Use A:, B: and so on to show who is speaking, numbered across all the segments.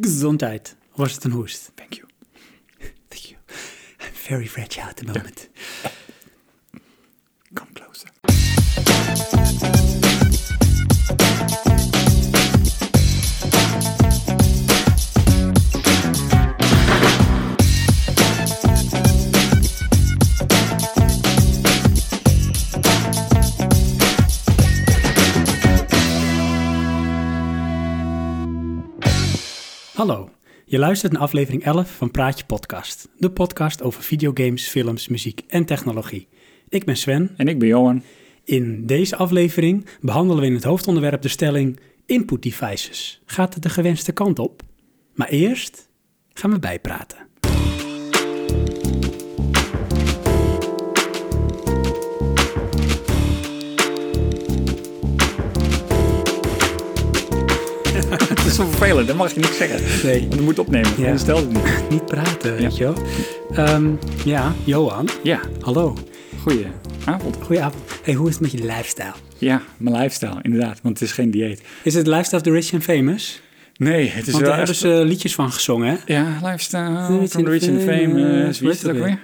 A: Gezondheid. Was het een hoest?
B: Thank you. Thank you. I'm very fragile at the moment. Come closer.
A: Hallo. Je luistert naar aflevering 11 van Praatje Podcast. De podcast over videogames, films, muziek en technologie. Ik ben Sven.
C: En ik ben Johan.
A: In deze aflevering behandelen we in het hoofdonderwerp de stelling Input devices. Gaat het de gewenste kant op? Maar eerst gaan we bijpraten.
C: Het is zo vervelend, dat mag je niet zeggen.
A: Nee.
C: Want je moet opnemen,
A: Ja.
C: ja. stel het niet.
A: Niet praten, weet je wel. Ehm, ja, Johan.
C: Ja,
A: Hallo.
C: goeie avond.
A: Goedenavond. Hey, hoe is het met je lifestyle?
C: Ja, mijn lifestyle, inderdaad, want het is geen dieet.
A: Is het Lifestyle of the Rich and Famous?
C: Nee, het is
A: Want
C: wel
A: daar
C: echt...
A: hebben ze liedjes van gezongen, hè?
C: Ja, lifestyle,
A: Rich
C: from the
A: and
C: rich and
A: famous.
C: famous. Wie
A: Weet
C: is dat
A: het
C: ook
A: weer?
C: weer?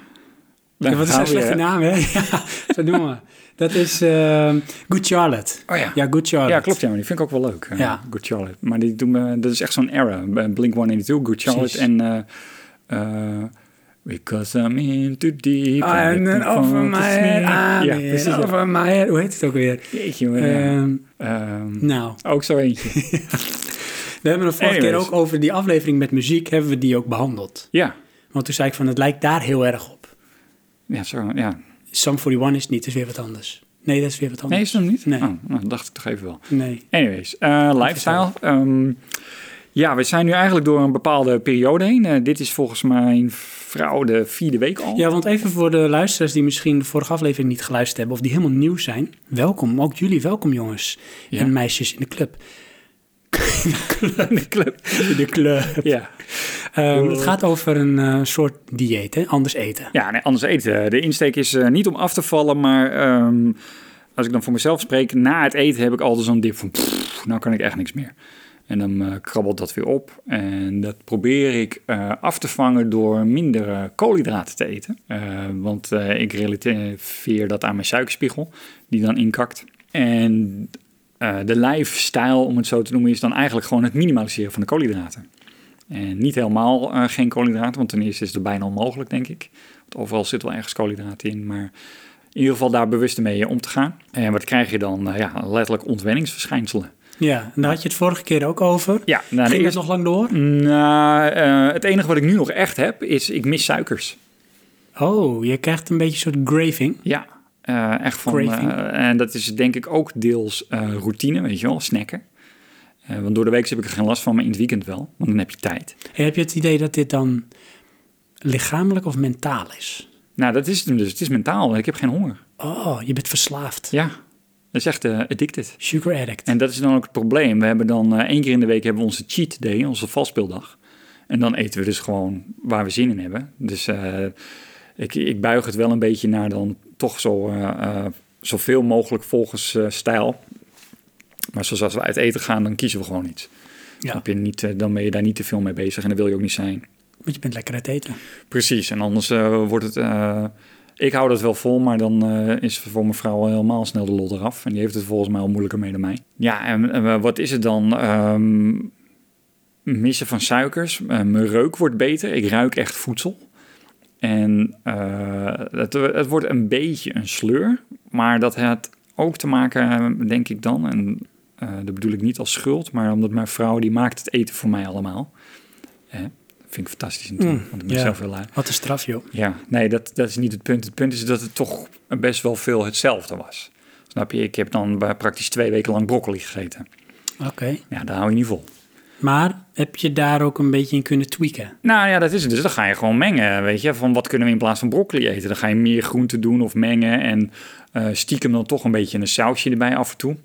C: Daar
A: Ja, wat is
C: gaan
A: een
C: we
A: slechte
C: weer.
A: naam, hè? Ja, zo noemen we. Dat is ehm, Good Charlotte.
C: Oh ja.
A: Ja, Good Charlotte.
C: Ja, klopt, ja, maar die vind ik ook wel leuk. eh,
A: Ja.
C: Good Charlotte. Maar die doen me, dat is echt zo'n era. eh, Bij Blink-182, Good
A: Precies.
C: Charlotte en... eh, eh, Because I'm in too deep.
A: Ah, En eh,
C: I'm
A: over
C: falling to
A: my
C: sleep.
A: head, I'm
C: Ja,
A: in
C: precies. ja.
A: over my head. Hoe heet het ook weer?
C: Jeetje, maar ja.
A: Ehm,
C: Ehm,
A: nou,
C: Ook zo eentje.
A: we hebben de vorige keer
C: Anyways.
A: ook over die aflevering met muziek, hebben we die ook behandeld.
C: ja.
A: Want toen zei ik van, het lijkt daar heel erg op.
C: Ja, zo, ja.
A: Some 41 is het niet, dat is weer wat anders. Nee, dat is weer wat
C: Nee,
A: anders.
C: is het hem niet?
A: Nee.
C: Oh, nou, dat dacht ik toch even wel.
A: Nee.
C: Anyways, eh, lifestyle. Ehm, ja, we zijn nu eigenlijk door een bepaalde periode heen. Eh, dit is volgens mijn vrouw de vierde week al.
A: Ja, want even voor de luisteraars die misschien de vorige aflevering niet geluisterd hebben of die helemaal nieuw zijn. Welkom, ook jullie welkom jongens
C: Ja.
A: en meisjes in de club.
C: in de club. Oh.
A: In de club.
C: Ja,
A: Ehm, het gaat over een eh, soort dieet, hè? anders eten.
C: ja nee, anders eten. De insteek is eh, niet om af te vallen, maar ehm, als ik dan voor mezelf spreek, na het eten heb ik altijd zo'n dip van, pff, nou kan ik echt niks meer. En dan eh, krabbelt dat weer op. En dat probeer ik eh, af te vangen door minder eh, koolhydraten te eten. Eh, want eh, ik relateer dat aan mijn suikerspiegel, die dan inkakt. En eh, de lifestyle, om het zo te noemen, is dan eigenlijk gewoon het minimaliseren van de koolhydraten. En niet helemaal eh, geen koolhydraten, want ten eerste is het bijna onmogelijk, denk ik. Want overal zit wel ergens koolhydraten in, maar in ieder geval daar bewust mee eh, om te gaan. En wat krijg je dan? Eh, ja, letterlijk ontwenningsverschijnselen.
A: Ja, en daar had je het vorige keer ook over.
C: Ja, nou, de
A: Ging dat
C: eerste-
A: nog lang door?
C: nou, eh, het enige wat ik nu nog echt heb, is ik mis suikers.
A: Oh, je krijgt een beetje een soort graving.
C: Ja, eh, echt van.
A: Craving.
C: eh, en dat is denk ik ook deels eh, routine, weet je wel, snacken. Eh, want door de week heb ik er geen last van, maar in het weekend wel, want dan heb je tijd.
A: Hey, heb je het idee dat dit dan lichamelijk of mentaal is?
C: Nou, dat is het hem dus. Het is mentaal, want ik heb geen honger.
A: Oh, je bent verslaafd.
C: Ja, dat is echt eh, addicted.
A: Sugar addict.
C: En dat is dan ook het probleem. We hebben dan eh, één keer in de week hebben we onze cheat day, onze valspeeldag. En dan eten we dus gewoon waar we zin in hebben. Dus eh, ik, ik buig het wel een beetje naar dan toch zo, eh, eh, zoveel mogelijk volgens eh, stijl. Maar zoals als we uit eten gaan, dan kiezen we gewoon iets.
A: ja,
C: Heb je niet, eh, dan ben je daar niet te veel mee bezig en dat wil je ook niet zijn.
A: want je bent lekker aan het eten.
C: Precies, en anders eh, wordt het... eh, ik hou dat wel vol, maar dan eh, is voor mijn vrouw helemaal snel de lol eraf. En die heeft het volgens mij al moeilijker mee dan mij. Ja, en, eh, wat is het dan? Ehm, missen van suikers. Eh, mijn reuk wordt beter. Ik ruik echt voedsel. En eh, het, het wordt een beetje een sleur. Maar dat had ook te maken, eh, denk ik dan... En, eh, dat bedoel ik niet als schuld, maar omdat mijn vrouw... die maakt het eten voor mij allemaal. Eh, vind ik fantastisch natuurlijk,
A: Mm,
C: want ik ben
A: ja.
C: zelf heel lui.
A: Wat een straf, joh.
C: Ja, nee, dat, dat is niet het punt. Het punt is dat het toch best wel veel hetzelfde was. Snap je? Ik heb dan bij- praktisch twee weken lang broccoli gegeten.
A: Oké.
C: Ja, daar hou je niet vol.
A: Maar heb je daar ook een beetje in kunnen tweaken?
C: Nou ja, dat is het. Dus dan ga je gewoon mengen, weet je. Van wat kunnen we in plaats van broccoli eten? Dan ga je meer groenten doen of mengen. En eh, stiekem dan toch een beetje een sausje erbij af en toe.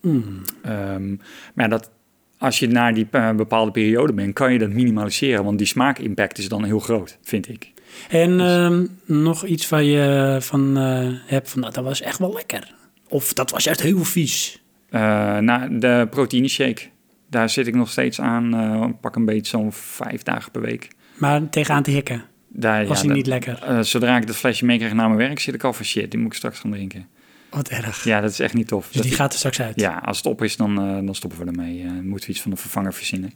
A: Mm.
C: Ehm, maar ja, dat, als je naar die eh, bepaalde periode bent, kan je dat minimaliseren. Want die smaakimpact is dan heel groot, vind ik.
A: En
C: Dus-
A: ehm, nog iets waar je van eh, hebt van, nou, dat was echt wel lekker. Of dat was echt heel vies.
C: Eh, nou, de proteïne shake. Daar zit ik nog steeds aan, eh, pak een beetje zo'n vijf dagen per week.
A: Maar tegenaan te hikken. Was
C: Daar, ja,
A: hij
C: dat-
A: niet lekker?
C: eh, zodra ik dat flesje meekrijg naar mijn werk, zit ik al van shit, die moet ik straks gaan drinken.
A: Wat erg.
C: Ja, dat is echt niet tof.
A: dus
C: Dat-
A: die gaat er straks uit.
C: Ja, als het op is, dan, eh, dan stoppen we ermee. Eh, moeten we iets van een vervanger verzinnen.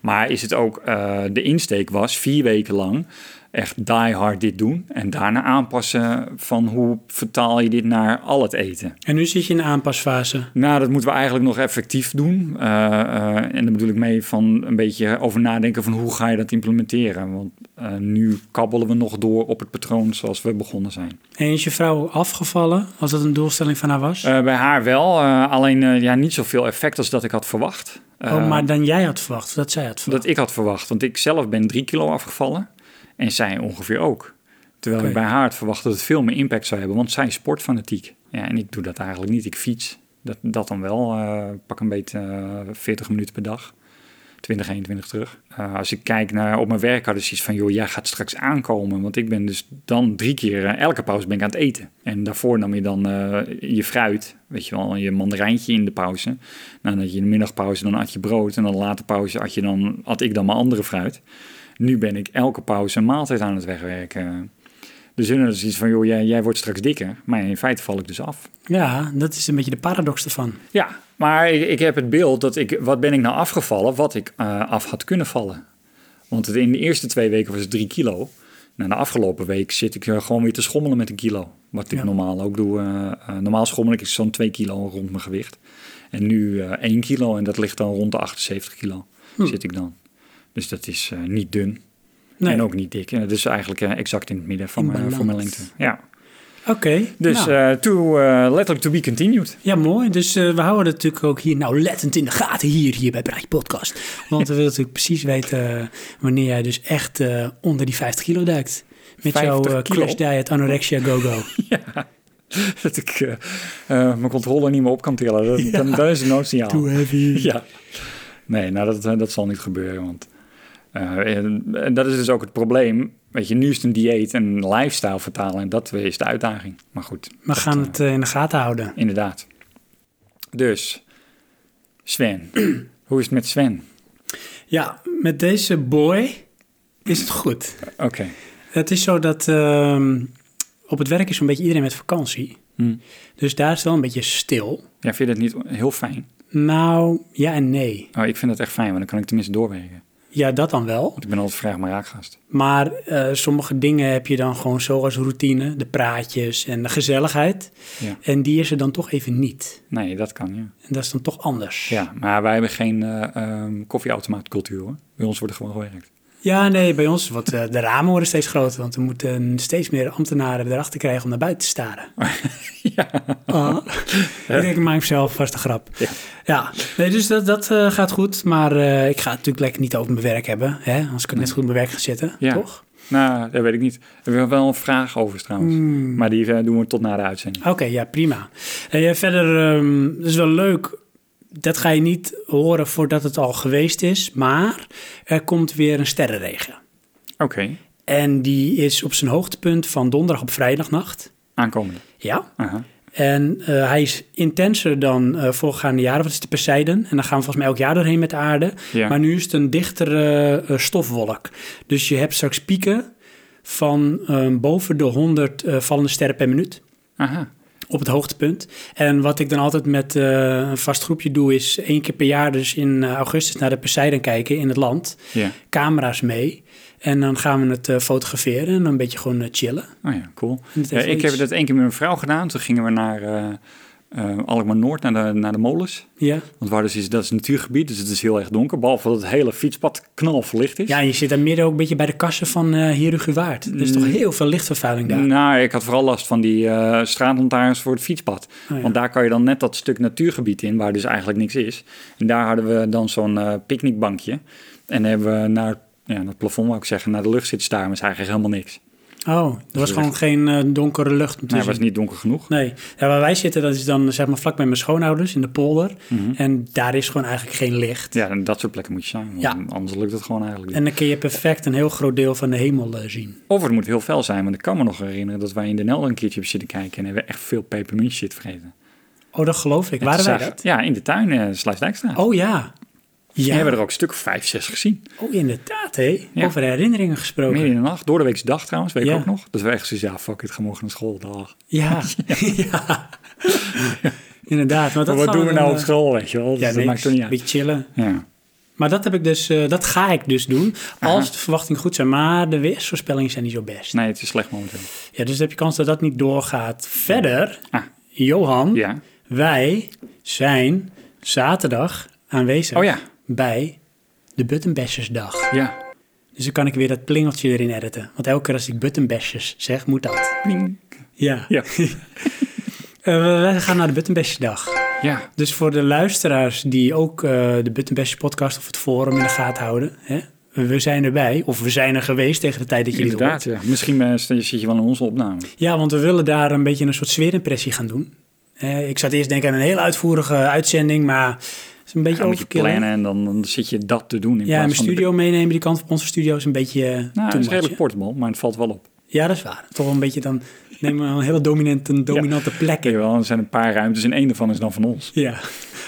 C: Maar is het ook, eh, de insteek was vier weken lang echt die hard dit doen. En daarna aanpassen van hoe vertaal je dit naar al het eten.
A: En nu zit je in de aanpasfase.
C: Nou, dat moeten we eigenlijk nog effectief doen. Eh, eh, en daar bedoel ik mee van een beetje over nadenken van hoe ga je dat implementeren. Want eh, nu kabbelen we nog door op het patroon zoals we begonnen zijn.
A: En is je vrouw afgevallen, als dat een doelstelling van haar was?
C: Eh, bij haar wel, eh, alleen eh, ja, niet zoveel effect als dat ik had verwacht.
A: oh,
C: Eh,
A: maar dan jij had verwacht, of dat zij had verwacht.
C: dat ik had verwacht. Want ik zelf ben drie kilo afgevallen en zij ongeveer ook. Terwijl
A: Oké.
C: ik bij haar had verwacht dat het veel meer impact zou hebben, want zij is sportfanatiek. Ja, en ik doe dat eigenlijk niet. Ik fiets. Dat, dat dan wel. eh, pak een beetje eh, 40 minuten per dag. 20, 21 terug. Eh, als ik kijk naar op mijn werk hadden ze iets van... joh, jij gaat straks aankomen. Want ik ben dus dan drie keer... eh, elke pauze ben ik aan het eten. En daarvoor nam je dan eh, je fruit. Weet je wel, je mandarijntje in de pauze. Nou, dan had je in de middagpauze, dan at je brood. En dan de late pauze at, je dan, at ik dan mijn andere fruit. Nu ben ik elke pauze een maaltijd aan het wegwerken. Dus hun hadden dus iets van... joh, jij, jij wordt straks dikker. Maar in feite val ik dus af.
A: Ja, dat is een beetje de paradox ervan.
C: Ja, maar ik, ik heb het beeld dat ik, wat ben ik nou afgevallen, wat ik eh, af had kunnen vallen. Want het, in de eerste twee weken was het drie kilo. Na de afgelopen week zit ik eh, gewoon weer te schommelen met een kilo. Wat ik
A: Ja.
C: normaal ook doe. eh, eh, normaal schommel ik zo'n 2 kilo rond mijn gewicht. En nu eh 1 kilo en dat ligt dan rond de 78 kilo
A: Hm.
C: zit ik dan. Dus dat is eh, niet dun
A: Nee,
C: en ook niet dik. Eh, Dat is eigenlijk eh, exact in het midden van,
A: In
C: mijn, eh, van mijn
A: balans.
C: lengte. Ja.
A: oké.
C: Dus
A: nou.
C: eh, to, eh, letterlijk to be continued.
A: Ja, mooi. Dus eh, we houden het natuurlijk ook hier nauwlettend in de gaten hier, hier bij Braai Podcast. Want we willen natuurlijk precies weten eh, wanneer jij dus echt eh, onder die 50 kilo duikt. Met
C: 50
A: jouw eh,
C: kilo?
A: Clash Diet Anorexia Go-Go.
C: dat ik eh, eh, mijn controle niet meer op kan tillen. Dat, dan, dan is het noodsignaal.
A: Too heavy.
C: Ja. Nee, nou dat, eh, dat zal niet gebeuren, want eh, en, en dat is dus ook het probleem. Weet je, nu is het een dieet en lifestyle vertalen en dat is de uitdaging. Maar goed,
A: We gaan
C: eh,
A: het eh, in de gaten houden.
C: inderdaad. Dus, Sven. Hoe is het met Sven?
A: Ja, met deze boy is het goed.
C: Oké.
A: Het is zo dat ehm, op het werk is zo'n beetje iedereen met vakantie.
C: Hm.
A: Dus daar is het wel een beetje stil.
C: Ja, vind je dat niet heel fijn?
A: Nou, ja en nee.
C: Oh, ik vind dat echt fijn, want dan kan ik tenminste doorwerken.
A: Ja, dat dan wel.
C: Want ik ben altijd vraag maar raakgast.
A: Maar eh, sommige dingen heb je dan gewoon zoals routine, de praatjes en de gezelligheid.
C: Ja.
A: En die is er dan toch even niet.
C: Nee, dat kan, ja.
A: En dat is dan toch anders.
C: Ja, maar wij hebben geen eh ehm koffieautomaatcultuur hoor. Bij ons wordt er gewoon gewerkt.
A: Ja, nee, bij ons, want eh, de ramen worden steeds groter, want we moeten steeds meer ambtenaren erachter krijgen om naar buiten te staren. Ah. ik denk, ik maak mezelf vast een grap. Ja, Nee, dus dat, dat eh, gaat goed, maar eh, ik ga het natuurlijk lekker niet over mijn werk hebben, hè? anders kan ik net zo goed op mijn werk gaan zitten,
C: Ja.
A: toch?
C: Nou, dat weet ik niet. We hebben wel een vraag over trouwens.
A: Hmm.
C: Maar die eh, doen we tot na de uitzending.
A: Oké, ja, prima. En ja, verder, ehm dat is wel leuk. Dat ga je niet horen voordat het al geweest is, maar er komt weer een sterrenregen.
C: Oké,
A: En die is op zijn hoogtepunt van donderdag op vrijdagnacht.
C: aankomende.
A: Ja.
C: Aha.
A: En eh, hij is intenser dan eh voorgaande jaren, want het is de Perseiden. En daar gaan we volgens mij elk jaar doorheen met de aarde.
C: Ja.
A: Maar nu is het een dichtere eh, stofwolk. Dus je hebt straks pieken van eh, boven de 100 eh, vallende sterren per minuut
C: Aha.
A: op het hoogtepunt. En wat ik dan altijd met eh, een vast groepje doe, is één keer per jaar, dus in eh, augustus, naar de Poseidon kijken in het land.
C: Ja.
A: Camera's mee. En dan gaan we het eh, fotograferen en dan een beetje gewoon eh, chillen.
C: Oh ja, cool.
A: En het
C: Ja,
A: heeft wel
C: ik heb
A: iets-
C: dat één keer met mijn vrouw gedaan. Toen gingen we naar eh eh, Alkmaar Noord, naar de, naar de molens.
A: Ja.
C: Want waar dus is, dat is een natuurgebied, dus het is heel erg donker. Behalve dat het hele fietspad knalverlicht is.
A: ja, en je zit daar midden ook een beetje bij de kassen van eh Herugewaard. Er
C: Mm.
A: is toch heel veel lichtvervuiling daar.
C: Nou, ik had vooral last van die eh straatlantaarns voor het fietspad.
A: Oh, ja.
C: Want daar kan je dan net dat stuk natuurgebied in, waar dus eigenlijk niks is. En daar hadden we dan zo'n eh, picknickbankje. En hebben we naar, ja, naar het plafond, wou ik zeggen, naar de lucht zitten staren. Maar is eigenlijk helemaal niks.
A: Oh, er was gewoon geen eh, donkere lucht. om te
C: Nee, het
A: zien.
C: was niet donker genoeg.
A: Nee, ja, waar wij zitten, dat is dan zeg maar vlak bij mijn schoonouders in de polder.
C: Mm-hmm.
A: En daar is gewoon eigenlijk geen licht.
C: Ja, en dat soort plekken moet je zijn. Want
A: Ja.
C: Anders lukt het gewoon eigenlijk niet.
A: En dan kun je perfect een heel groot deel van de hemel eh, zien.
C: Of het moet heel fel zijn, want ik kan me nog herinneren dat wij in Den Helder een keertje hebben zitten kijken. En hebben we echt veel pepermuntjes zitten vergeten.
A: Oh, dat geloof ik.
C: En
A: Waren
C: toen
A: wij
C: zagen-
A: dat?
C: Ja, in de tuin, eh Sluisdijkstraat.
A: Oh ja.
C: We
A: Ja.
C: hebben er ook een stuk of vijf, zes gezien.
A: Oh, inderdaad, hé.
C: Ja.
A: Over herinneringen gesproken.
C: Midden in de nacht, door de weekse dag trouwens, weet ik
A: Ja.
C: ook nog. Dus wij echt zoiets, ja, fuck it, ga morgen naar school. Dag.
A: Ja. ja. Inderdaad. Maar dat
C: Maar
A: gaan
C: wat doen we
A: dan,
C: nou op
A: eh,
C: school, weet je wel? Dus
A: Ja,
C: dat
A: niks.
C: maakt toch niet uit.
A: Beetje chillen.
C: Ja.
A: Maar dat, heb ik dus, eh, dat ga ik dus doen. Als de verwachtingen goed zijn. Maar de weersvoorspellingen zijn niet zo best.
C: Nee, het is slecht momenteel.
A: Ja, dus dan heb je kans dat dat niet doorgaat. Verder,
C: Ah.
A: Johan,
C: Ja.
A: wij zijn zaterdag aanwezig
C: Oh ja,
A: bij de Buttonbashersdag.
C: ja.
A: Dus dan kan ik weer dat plingeltje erin editen. Want elke keer als ik Buttonbashers zeg, moet dat.
C: Pling.
A: Ja.
C: Ja.
A: Eh, we gaan naar de Buttonbashersdag.
C: ja.
A: Dus voor de luisteraars die ook eh, de Buttonbashers podcast of het forum in de gaten houden. Hè? We zijn erbij, of we zijn er geweest tegen de tijd dat jullie het
C: Inderdaad, ja. Misschien eh, sta- zit je wel in onze opname.
A: Ja, want we willen daar een beetje een soort sfeerimpressie gaan doen. Eh, ik zat eerst denken aan een heel uitvoerige uitzending, maar het is een beetje
C: Dan moet je
A: overkill. hè?
C: plannen en dan, dan zit je dat te doen
A: Ja,
C: in
A: en
C: plaats
A: mijn
C: van... de-
A: studio meenemen, die kant van onze studio is een beetje eh, too
C: Nou, het is
A: much,
C: redelijk
A: hè?
C: portable, maar het valt wel op.
A: Ja, dat is waar. Toch wel een beetje dan nemen we een hele dominante, een dominante plek
C: Oké,
A: in.
C: wel, er zijn een paar ruimtes en één daarvan is dan van ons.
A: Ja.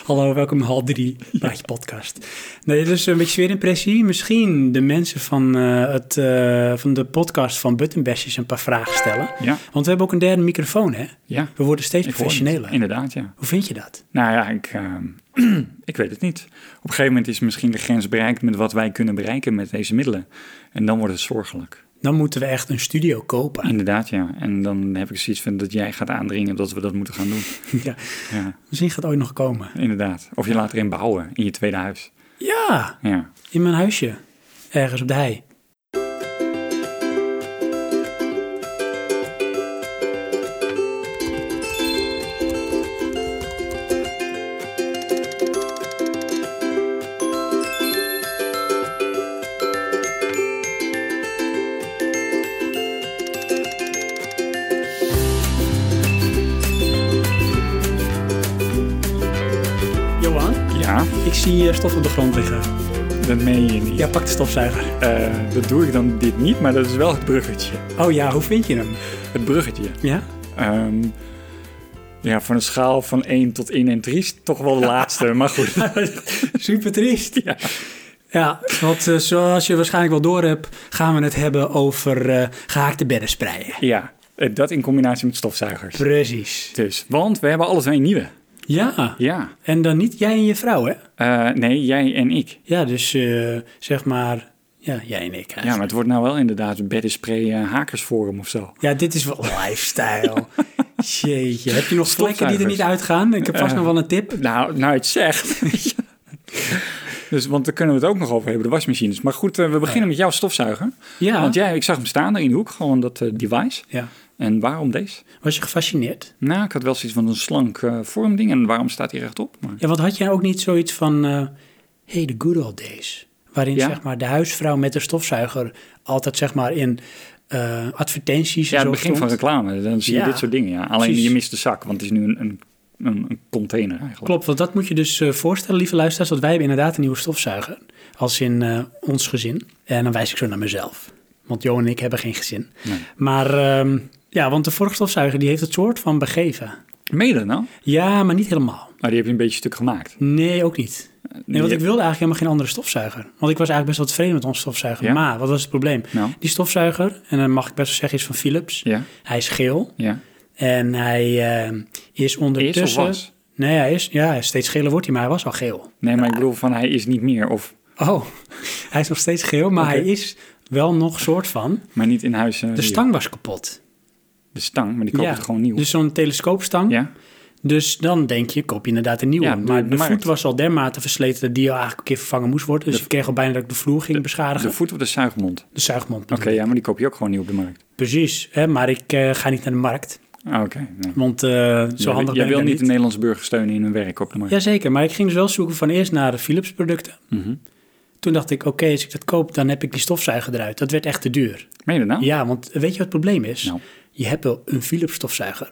A: Hallo, welkom in hal 3, Praatje Podcast. Nee, dus een beetje sfeerimpressie. Misschien de mensen van, eh, het, eh, van de podcast van Buttonbashers een paar vragen stellen.
C: Ja,
A: Want we hebben ook een derde microfoon, hè?
C: ja.
A: We worden steeds
C: Ik hoor het.
A: professioneler.
C: Inderdaad, ja.
A: Hoe vind je dat?
C: Nou ja, ik, eh, ik weet het niet. Op een gegeven moment is misschien de grens bereikt met wat wij kunnen bereiken met deze middelen. En dan wordt het zorgelijk.
A: Dan moeten we echt een studio kopen.
C: Inderdaad, ja. En dan heb ik zoiets van dat jij gaat aandringen dat we dat moeten gaan doen.
A: Ja.
C: Ja,
A: Misschien gaat het ooit nog komen.
C: inderdaad. Of je laat erin bouwen, in je tweede huis.
A: Ja,
C: Ja.
A: in mijn huisje. Ergens op de hei. Johan,
C: Ja,
A: ik zie eh, stof op de grond liggen.
C: dat meen je niet.
A: Ja, pak de stofzuiger.
C: Eh, dat doe ik dan dit niet, maar dat is wel het bruggetje.
A: Oh ja, hoe vind je hem?
C: Het bruggetje.
A: Ja?
C: Ehm, ja, van een schaal van 1 tot 1 en triest, toch wel de laatste. Maar goed,
A: Super triest. Ja, want eh, zoals je waarschijnlijk wel door hebt, gaan we het hebben over eh gehaakte beddenspreien.
C: ja, eh, dat in combinatie met stofzuigers.
A: Precies.
C: Dus, want we hebben alle twee een nieuwe.
A: Ja,
C: Ja.
A: en dan niet jij en je vrouw, hè?
C: Eh, nee, jij en ik.
A: Ja, dus eh, zeg maar, ja, jij en ik.
C: Ja, maar het wordt nou wel inderdaad een beddenspray eh, hakersforum of zo.
A: Ja, dit is wel lifestyle. Jeetje, heb je nog vlekken die er
C: Stofzuigers.
A: niet uitgaan? Ik heb vast nog wel een tip.
C: Nou, nou je het zegt. dus, want daar kunnen we het ook nog over hebben, de wasmachines. Maar goed, eh, we beginnen met jouw stofzuiger.
A: Ja.
C: Want jij, ik zag hem staan daar in de hoek, gewoon dat eh, device.
A: ja.
C: En waarom deze?
A: Was je gefascineerd?
C: Nou, ik had wel zoiets van een slank eh, vormding. En waarom staat hij rechtop? Maar...
A: Ja, want had jij ook niet zoiets van, eh hey, the good old days. Waarin
C: Ja.
A: zeg maar, de huisvrouw met de stofzuiger altijd zeg maar, in eh, advertenties
C: Ja,
A: en zo
C: het begin van
A: stond?
C: reclame. Dan zie je
A: Ja.
C: dit soort dingen. Ja. Alleen
A: Precies.
C: je mist de zak, want het is nu een, een, een, een container eigenlijk.
A: Klopt, want dat moet je dus eh, voorstellen, lieve luisteraars, dat wij hebben inderdaad een nieuwe stofzuiger. Als in eh, ons gezin. En dan wijs ik zo naar mezelf. Want Jo en ik hebben geen gezin.
C: Nee.
A: Maar ehm, ja, want de vorige stofzuiger die heeft het soort van begeven.
C: Mede nou?
A: Ja, maar niet helemaal.
C: Nou, die heb je een beetje stuk gemaakt.
A: Nee, ook niet. Nee, want
C: Die-
A: ik wilde eigenlijk helemaal geen andere stofzuiger. Want ik was eigenlijk best wel tevreden met onze stofzuiger.
C: Ja?
A: Maar wat was het probleem?
C: Nou,
A: Die stofzuiger, en dan mag ik best wel zeggen, is van Philips.
C: ja,
A: Hij is geel
C: ja.
A: en hij eh, is
C: Is of
A: ondertussen...
C: was?
A: Nee, hij is, ja, steeds geler wordt hij, maar hij was al geel.
C: Nee, maar ik bedoel van hij is niet meer. Of,
A: Oh, hij is nog steeds geel, maar hij is wel nog soort van...
C: maar niet in huis. eh,
A: De
C: hier.
A: stang was kapot.
C: De stang, maar die koopt
A: Ja,
C: het gewoon nieuw.
A: Dus zo'n telescoopstang.
C: Ja,
A: Dus dan denk je, koop je inderdaad een nieuwe.
C: Ja, de-
A: maar
C: de
A: de voet
C: markt.
A: was al dermate versleten dat die al eigenlijk een keer vervangen moest worden. Dus ik kreeg al bijna dat ik de vloer ging beschadigen.
C: de
A: De,
C: voet op de zuigmond. Oké,
A: zuigmond. bedoel ik.
C: ja, maar die koop je ook gewoon nieuw op de markt.
A: Precies, hè, maar ik eh, ga niet naar de markt.
C: Ah, Oké, nee.
A: Want eh, zo
C: Jij-
A: handig
C: Jij
A: ben ik
C: wil
A: dan
C: niet de Nederlandse burger steunen in hun werk op de markt.
A: Jazeker, maar ik ging dus wel zoeken van eerst naar de Philips producten.
C: Mhm.
A: Toen dacht ik, oké, als ik dat koop, dan heb ik die stofzuiger eruit. Dat werd echt te duur.
C: Meen je dat nou?
A: Ja, want weet je wat het probleem is?
C: Nou.
A: Je hebt wel een Philips stofzuiger.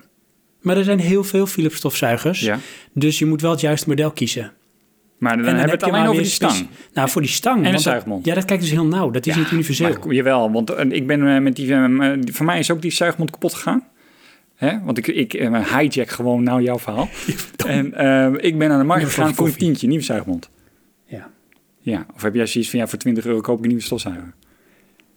A: Maar er zijn heel veel Philips stofzuigers.
C: Ja.
A: Dus je moet wel het juiste model kiezen.
C: Maar
A: En
C: dan, hebben we het
A: heb je
C: alleen
A: maar
C: over die
A: weer
C: stang.
A: specie- Nou, voor die stang.
C: een
A: want dat-
C: zuigmond.
A: ja, dat kijkt dus heel nauw. Dat is niet universeel.
C: Maar, jawel, want eh, ik ben eh, met die, eh, eh, die- voor mij is ook die zuigmond kapot gegaan. Hè? Want ik, ik eh, hijack gewoon nou jouw verhaal. en eh, ik ben aan de markt
A: Nieuwe slokje
C: gegaan voor een
A: koffie.
C: tientje, nieuwe zuigmond.
A: ja.
C: Ja, of heb jij zoiets van, ja, voor 20 euro koop ik een nieuwe stofzuiger?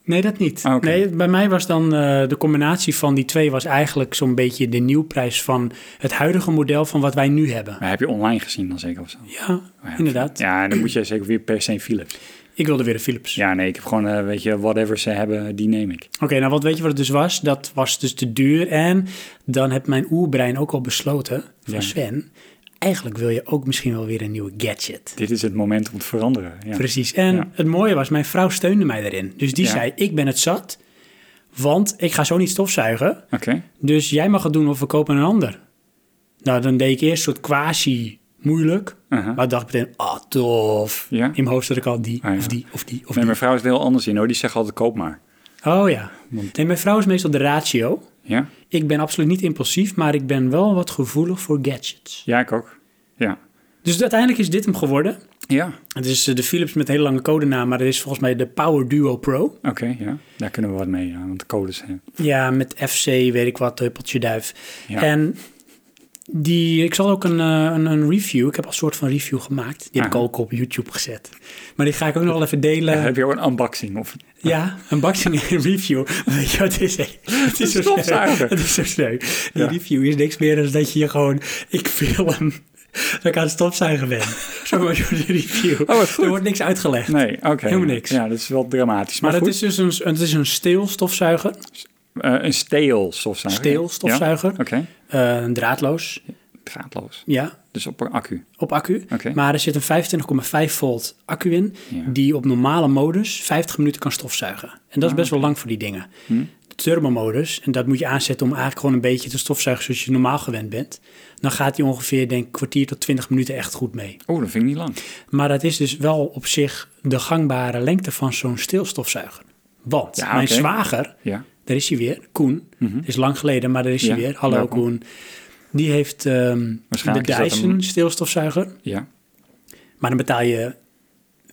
A: Nee, dat niet.
C: Ah, oké.
A: Nee, bij mij was dan eh, de combinatie van die twee was eigenlijk zo'n beetje de nieuwprijs van het huidige model van wat wij nu hebben.
C: Maar heb je online gezien dan zeker of zo?
A: Ja,
C: Maar ja,
A: inderdaad.
C: Ja, en dan moet jij zeker weer per se Philips.
A: Ik wilde weer een Philips.
C: Ja, nee, ik heb gewoon, eh, weet je, whatever ze hebben, die neem ik.
A: Oké, nou wat weet je wat het dus was? Dat was dus te duur. En dan heb mijn oerbrein ook al besloten van
C: Ja.
A: Sven, eigenlijk wil je ook misschien wel weer een nieuwe gadget.
C: Dit is het moment om te veranderen. Ja.
A: Precies. En
C: Ja.
A: het mooie was, mijn vrouw steunde mij daarin. Dus die
C: Ja.
A: zei, ik ben het zat, want ik ga zo niet stofzuigen.
C: Oké.
A: Dus jij mag het doen of we kopen een ander. Nou, dan deed ik eerst een soort quasi moeilijk.
C: Aha.
A: Maar dacht meteen, ah, tof.
C: Uh-huh. Ja.
A: In mijn hoofd zat ik al die,
C: Ah, ja.
A: of die, of die, of
C: Nee,
A: die.
C: mijn vrouw is er heel anders in hoor. Die zegt altijd koop maar.
A: Oh ja. Nee, mijn vrouw is meestal de ratio.
C: Ja?
A: Ik ben absoluut niet impulsief, maar ik ben wel wat gevoelig voor gadgets.
C: Ja, ik ook. Ja.
A: Dus uiteindelijk is dit hem geworden.
C: Ja.
A: Het is eh, de Philips met een hele lange codenaam, maar dat is volgens mij de Power Duo Pro.
C: Oké, ja. Daar kunnen we wat mee, ja, want de eh, codes zijn.
A: Ja, met FC, weet ik wat, huppeltje duif.
C: Ja.
A: En die, ik zal ook een, eh, een, een review, ik heb al een soort van review gemaakt. Die heb ik
C: Aha.
A: ook op YouTube gezet. Maar die ga ik ook nog wel even delen.
C: heb je ook een unboxing of
A: Ja, een boxing en een review. Weet je wat het is? Het is zo sneu.
C: stofzuiger.
A: Het is zo sneu. Die
C: Ja.
A: review is niks meer dan dat je hier gewoon... Ik film dat ik aan het stofzuigen ben. Zo was de review.
C: Oh, wat goed.
A: Er wordt niks uitgelegd.
C: Nee, oké.
A: Helemaal niks.
C: Ja, dat is wel dramatisch. Maar,
A: Maar het
C: goed,
A: is dus een, het is een steel stofzuiger.
C: eh, een steel stofzuiger.
A: Steel
C: Ja?
A: stofzuiger.
C: Oké,
A: Eh, een draadloos.
C: draadloos.
A: Ja,
C: Dus op een accu.
A: op accu.
C: Oké.
A: Maar er zit een 25,5 volt accu in...
C: Ja.
A: die op normale modus 50 minuten kan stofzuigen. En dat is
C: Ah,
A: best wel lang voor die dingen.
C: Hm.
A: De turbomodus, en dat moet je aanzetten om eigenlijk gewoon een beetje te stofzuigen... zoals je normaal gewend bent. Dan gaat die ongeveer, denk ik, kwartier tot 20 minuten echt goed mee.
C: Oh, dat vind ik niet lang.
A: Maar dat is dus wel op zich de gangbare lengte van zo'n stilstofzuiger. Want
C: Ja,
A: mijn
C: oké.
A: zwager,
C: Ja.
A: daar is hij weer, Koen. Het is lang geleden, maar daar is
C: Ja,
A: hij weer. Hallo
C: welkom.
A: Koen. Die heeft ehm, de
C: Waarschijnlijk is dat
A: Dyson
C: een-
A: stilstofzuiger.
C: Ja.
A: Maar dan betaal je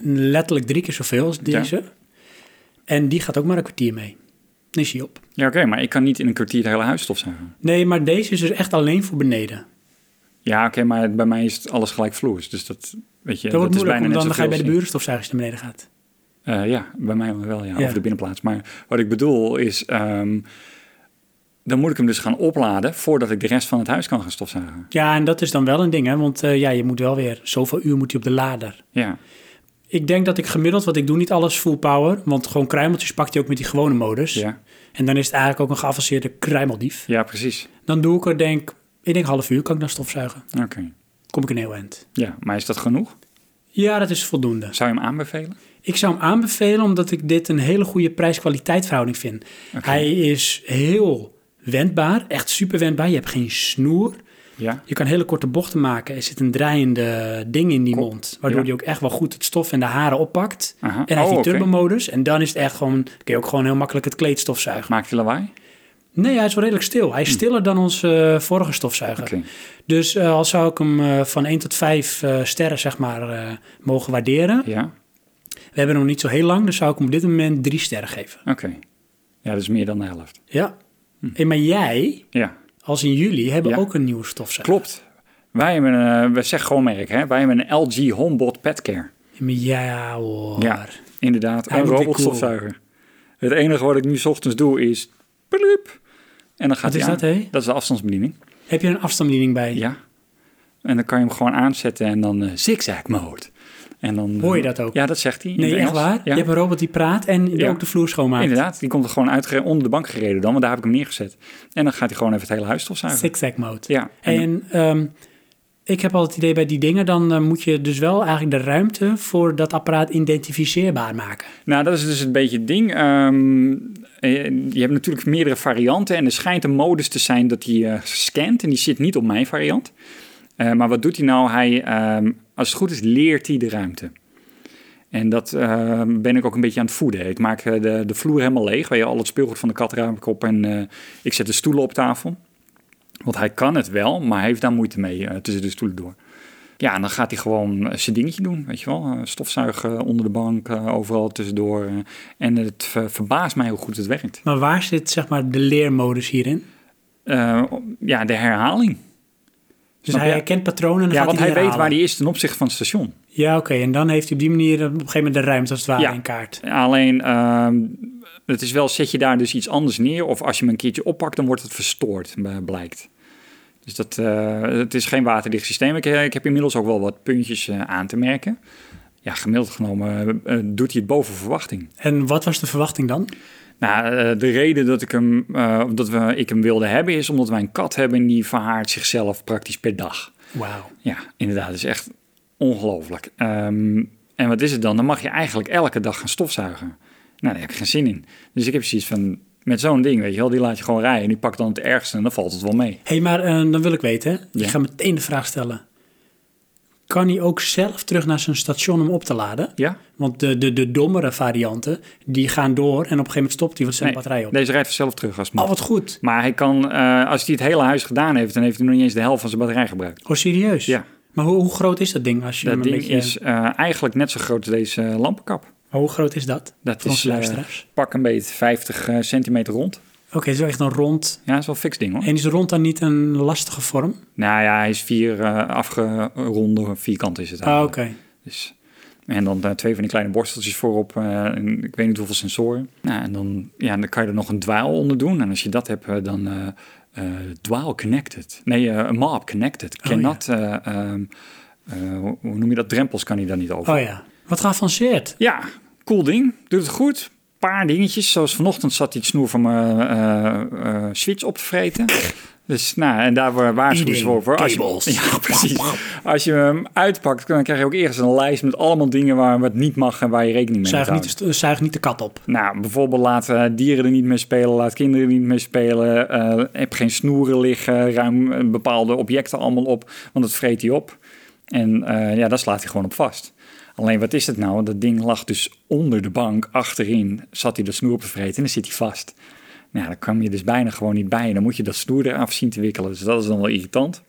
A: letterlijk drie keer zoveel als deze. En die gaat ook maar een kwartier mee. Dan is hij op.
C: Ja, oké, maar ik kan niet in een kwartier het hele huis stofzuigen.
A: Nee, maar deze is dus echt alleen voor beneden.
C: Ja, oké, maar bij mij is het alles gelijk vloers. Dus dat, weet je,
A: dat wordt
C: is
A: moeilijk,
C: bijna net
A: omdat dan ga je bij de
C: zoveel
A: buren stofzuigers naar beneden gaat.
C: als- Eh, ja, bij mij wel, ja.
A: Ja.
C: Of de binnenplaats. Maar wat ik bedoel is, ehm, dan moet ik hem dus gaan opladen voordat ik de rest van het huis kan gaan stofzuigen.
A: Ja, en dat is dan wel een ding, hè. Want eh, ja, je moet wel weer... Zoveel uur moet hij op de lader.
C: Ja.
A: Ik denk dat ik gemiddeld, want ik doe niet alles full power... want gewoon kruimeltjes pakt hij ook met die gewone modus.
C: Ja.
A: En dan is het eigenlijk ook een geavanceerde kruimeldief.
C: ja, precies.
A: Dan doe ik er denk... Ik denk half uur kan ik dan stofzuigen.
C: Oké.
A: Kom ik een heel eind.
C: Ja, maar is dat genoeg?
A: Ja, dat is voldoende.
C: Zou je hem aanbevelen?
A: Ik zou hem aanbevelen omdat ik dit een hele goede prijs-kwaliteit verhouding vind. Hij is heel wendbaar, echt super wendbaar. Je hebt geen snoer.
C: Ja.
A: Je kan hele korte bochten maken. Er zit een draaiende ding in die
C: Kop,
A: mond, waardoor
C: ja.
A: hij ook echt wel goed het stof en de haren oppakt.
C: Aha.
A: En hij heeft
C: Oh,
A: die
C: oké.
A: turbomodus. En dan is het echt gewoon, kun je ook gewoon heel makkelijk het kleed stofzuigen.
C: Maakt hij lawaai?
A: Nee, hij is wel redelijk stil. Hij is stiller dan onze eh, vorige stofzuiger.
C: Hm. Oké.
A: Dus eh, al zou ik hem eh, van 1 tot 5 eh, sterren, zeg maar, eh, mogen waarderen.
C: Ja.
A: We hebben hem nog niet zo heel lang, dus zou ik hem op dit moment drie sterren geven.
C: Oké. Ja, dat is meer dan de helft.
A: Ja. En maar jij,
C: Ja,
A: als in jullie, hebben
C: Hm. Ja.
A: ook een nieuwe stofzuiger.
C: klopt. Wij hebben een, we zeggen gewoon merk, hè? Wij hebben een LG Homebot Petcare.
A: Maar Ja hoor.
C: Ja, inderdaad.
A: Oh. Hij
C: Een
A: wordt weer
C: robotstofzuiger. Het enige wat ik nu 's ochtends doe is... Bloep, en dan gaat
A: Wat is
C: hij aan.
A: dat, hè?
C: Dat is de afstandsbediening.
A: Heb je een afstandsbediening bij?
C: Ja. En dan kan je hem gewoon aanzetten en dan eh, zigzag mode. En dan,
A: Hoor je dat ook?
C: Ja, dat zegt hij. in
A: Nee,
C: het
A: echt
C: Engels.
A: waar?
C: Ja.
A: Je hebt een robot die praat en die
C: Ja.
A: ook de vloer schoonmaakt.
C: Inderdaad, die komt er gewoon uit, onder de bank gereden dan, want daar heb ik hem neergezet. En dan gaat hij gewoon even het hele huis stofzuigen.
A: Zigzag mode.
C: Ja, en-
A: En ehm, ik heb al het idee bij die dingen, dan eh, moet je dus wel eigenlijk de ruimte voor dat apparaat identificeerbaar maken.
C: Nou, dat is dus een beetje het ding. Ehm, eh, je hebt natuurlijk meerdere varianten en er schijnt een modus te zijn dat die eh, scant en die zit niet op mijn variant. Eh, maar wat doet hij nou? Hij, ehm, als het goed is, leert hij de ruimte. En dat ehm, ben ik ook een beetje aan het voeden. Ik maak eh, de, de vloer helemaal leeg, waar je al het speelgoed van de kat ruim ik op en eh, ik zet de stoelen op tafel. Want hij kan het wel, maar hij heeft daar moeite mee eh, tussen de stoelen door. Ja, en dan gaat hij gewoon eh, zijn dingetje doen, weet je wel. Eh, Stofzuigen onder de bank, eh, overal tussendoor. eh. En het ver- verbaast mij hoe goed het werkt.
A: Maar waar zit zeg maar de leermodus hierin?
C: Eh, ja, de herhaling.
A: Dus
C: Snap
A: hij
C: je?
A: herkent patronen en dan
C: Ja,
A: gaat
C: want
A: Dus hij
C: hij
A: die
C: weet waar
A: herhalen.
C: hij is ten opzichte van het station.
A: Ja, oké. En dan heeft hij op die manier op een gegeven moment de ruimte als het ware
C: Ja.
A: in kaart.
C: Alleen, ehm, het is wel, zet je daar dus iets anders neer... of als je hem een keertje oppakt, dan wordt het verstoord, eh, blijkt. Dus dat, eh, het is geen waterdicht systeem. Ik, eh, ik heb inmiddels ook wel wat puntjes eh, aan te merken. Ja, gemiddeld genomen eh, doet hij het boven verwachting.
A: En wat was de verwachting dan?
C: Nou, eh, de reden dat ik hem, eh, dat we, ik hem wilde hebben is omdat wij een kat hebben en die verhaart zichzelf praktisch per dag.
A: Wauw.
C: Ja, inderdaad, dat is echt ongelooflijk. Ehm, en wat is het dan? Dan mag je eigenlijk elke dag gaan stofzuigen. Nou, daar heb ik geen zin in. Dus ik heb zoiets van, met zo'n ding, weet je wel, die laat je gewoon rijden. Die pakt dan het ergste en dan valt het wel mee.
A: Hé, hey, maar eh, dan wil ik weten, hè?
C: Ja.
A: ik ga meteen de vraag stellen. Kan hij ook zelf terug naar zijn station om op te laden?
C: Ja?
A: Want de, de, de dommere varianten, die gaan door en op een gegeven moment stopt hij, want zijn
C: Nee,
A: batterij op.
C: Deze rijdt vanzelf terug als het
A: Oh,
C: moet.
A: wat goed.
C: Maar hij kan, eh, als hij het hele huis gedaan heeft, dan heeft hij nog niet eens de helft van zijn batterij gebruikt.
A: Oh, serieus?
C: Ja.
A: Maar hoe, hoe groot is dat ding? Als je hem
C: Dat
A: een
C: ding
A: beetje,
C: is eh, eigenlijk net zo groot als deze lampenkap.
A: Maar hoe groot is dat?
C: Dat
A: Voor
C: is
A: onze
C: eh,
A: luisteraars.
C: pak een beetje 50 eh, centimeter rond.
A: Oké, het is wel echt een rond.
C: Ja, dat is wel een fix ding hoor.
A: En is rond dan niet een lastige vorm?
C: Nou ja, hij is vier eh, afgeronde vierkant is het
A: Ah, oké.
C: eigenlijk. Dus, en dan eh, twee van die kleine borsteltjes voorop. eh, en ik weet niet hoeveel sensoren. Nou, en dan, ja, dan kan je er nog een dwaal onder doen. En als je dat hebt, eh, dan eh eh, dwaal connected. Nee, eh, een map connected.
A: Oh, ja.
C: Cannot, eh, ehm, eh, hoe hoe noem je dat? Drempels kan hij daar niet over.
A: Oh ja. Wat geavanceerd.
C: Ja, cool ding. Doet het goed. Paar dingetjes. Zoals vanochtend zat die snoer van mijn eh, eh, switch op te vreten. Dus nou, en daar wa- waarschuwen ze
A: Eating
C: voor. voor Als
A: cables.
C: je, ja, precies. Als je hem uitpakt, dan krijg je ook eerst een lijst met allemaal dingen waar wat niet mag en waar je rekening mee moet
A: Zuig niet,
C: houden.
A: de st- zuig niet de kat op.
C: Nou, bijvoorbeeld laat eh, dieren er niet mee spelen, laat kinderen er niet mee spelen. eh, heb geen snoeren liggen, ruim eh, bepaalde objecten allemaal op, want dat vreet hij op. En eh, ja, daar slaat hij gewoon op vast. Alleen wat is het nou? Dat ding lag dus onder de bank, achterin zat hij de snoer op te vreten en dan zit hij vast. Nou, dan kwam je dus bijna gewoon niet bij en dan moet je dat snoer eraf zien te wikkelen. Dus dat is dan wel irritant.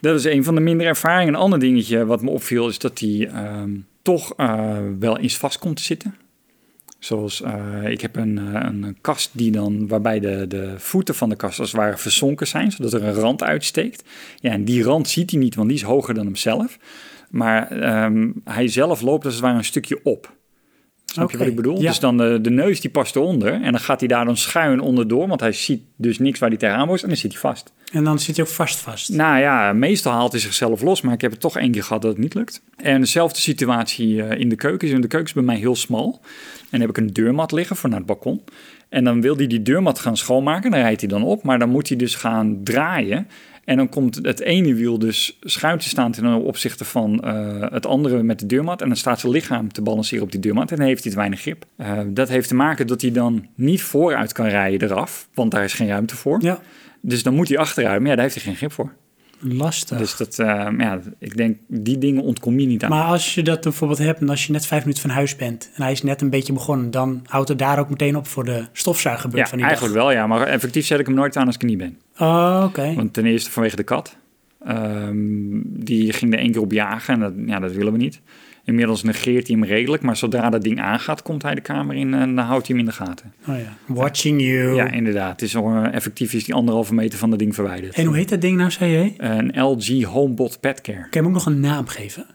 C: Dat is een van de minder ervaringen. Een ander dingetje wat me opviel is dat hij ehm, toch eh, wel eens vast komt te zitten. Zoals eh, ik heb een, eh, een kast die dan, waarbij de, de voeten van de kast als het ware verzonken zijn, zodat er een rand uitsteekt. Ja, en die rand ziet hij niet, want die is hoger dan hemzelf. Maar ehm, hij zelf loopt als het ware een stukje op. Snap je
A: Oké,
C: wat ik bedoel?
A: ja.
C: Dus dan de, de neus die past eronder en dan gaat hij daar dan schuin onderdoor, want hij ziet dus niks waar hij tegenaan moest en dan zit hij vast.
A: En dan zit hij ook vast vast.
C: Nou ja, meestal haalt hij zichzelf los, maar ik heb het toch één keer gehad dat het niet lukt. En dezelfde situatie eh, in de keuken. is. En de keuken is bij mij heel smal. En heb ik een deurmat liggen voor naar het balkon. En dan wil hij die deurmat gaan schoonmaken. Daar rijdt hij dan op, maar dan moet hij dus gaan draaien. En dan komt het ene wiel dus schuin te staan ten opzichte van eh, het andere met de deurmat. En dan staat zijn lichaam te balanceren op die deurmat en dan heeft hij te weinig grip. Eh, dat heeft te maken dat hij dan niet vooruit kan rijden eraf, want daar is geen ruimte voor.
A: Ja,
C: Dus dan moet hij achteruit, maar ja, daar heeft hij geen grip voor.
A: lastig.
C: Dus dat, eh, ja, ik denk, die dingen ontkom je niet aan.
A: maar als je dat bijvoorbeeld hebt en als je net vijf minuten van huis bent en hij is net een beetje begonnen, dan houdt het daar ook meteen op voor de stofzuigerbeurt
C: ja,
A: van die dag.
C: eigenlijk wel, ja. Maar effectief zet ik hem nooit aan als ik er niet ben.
A: Oh, oké.
C: Want ten eerste vanwege de kat. Ehm, die ging er één keer op jagen en dat, ja, dat willen we niet. Inmiddels negeert hij hem redelijk, maar zodra dat ding aangaat, komt hij de kamer in eh, en dan houdt hij hem in de gaten.
A: Oh, ja. Watching you.
C: Ja, inderdaad. Het is, al, eh, effectief is die anderhalve meter van dat ding verwijderd.
A: en hoe heet dat ding nou, zei je? Kan
C: Een LG Homebot Petcare.
A: je hem ook nog een naam geven?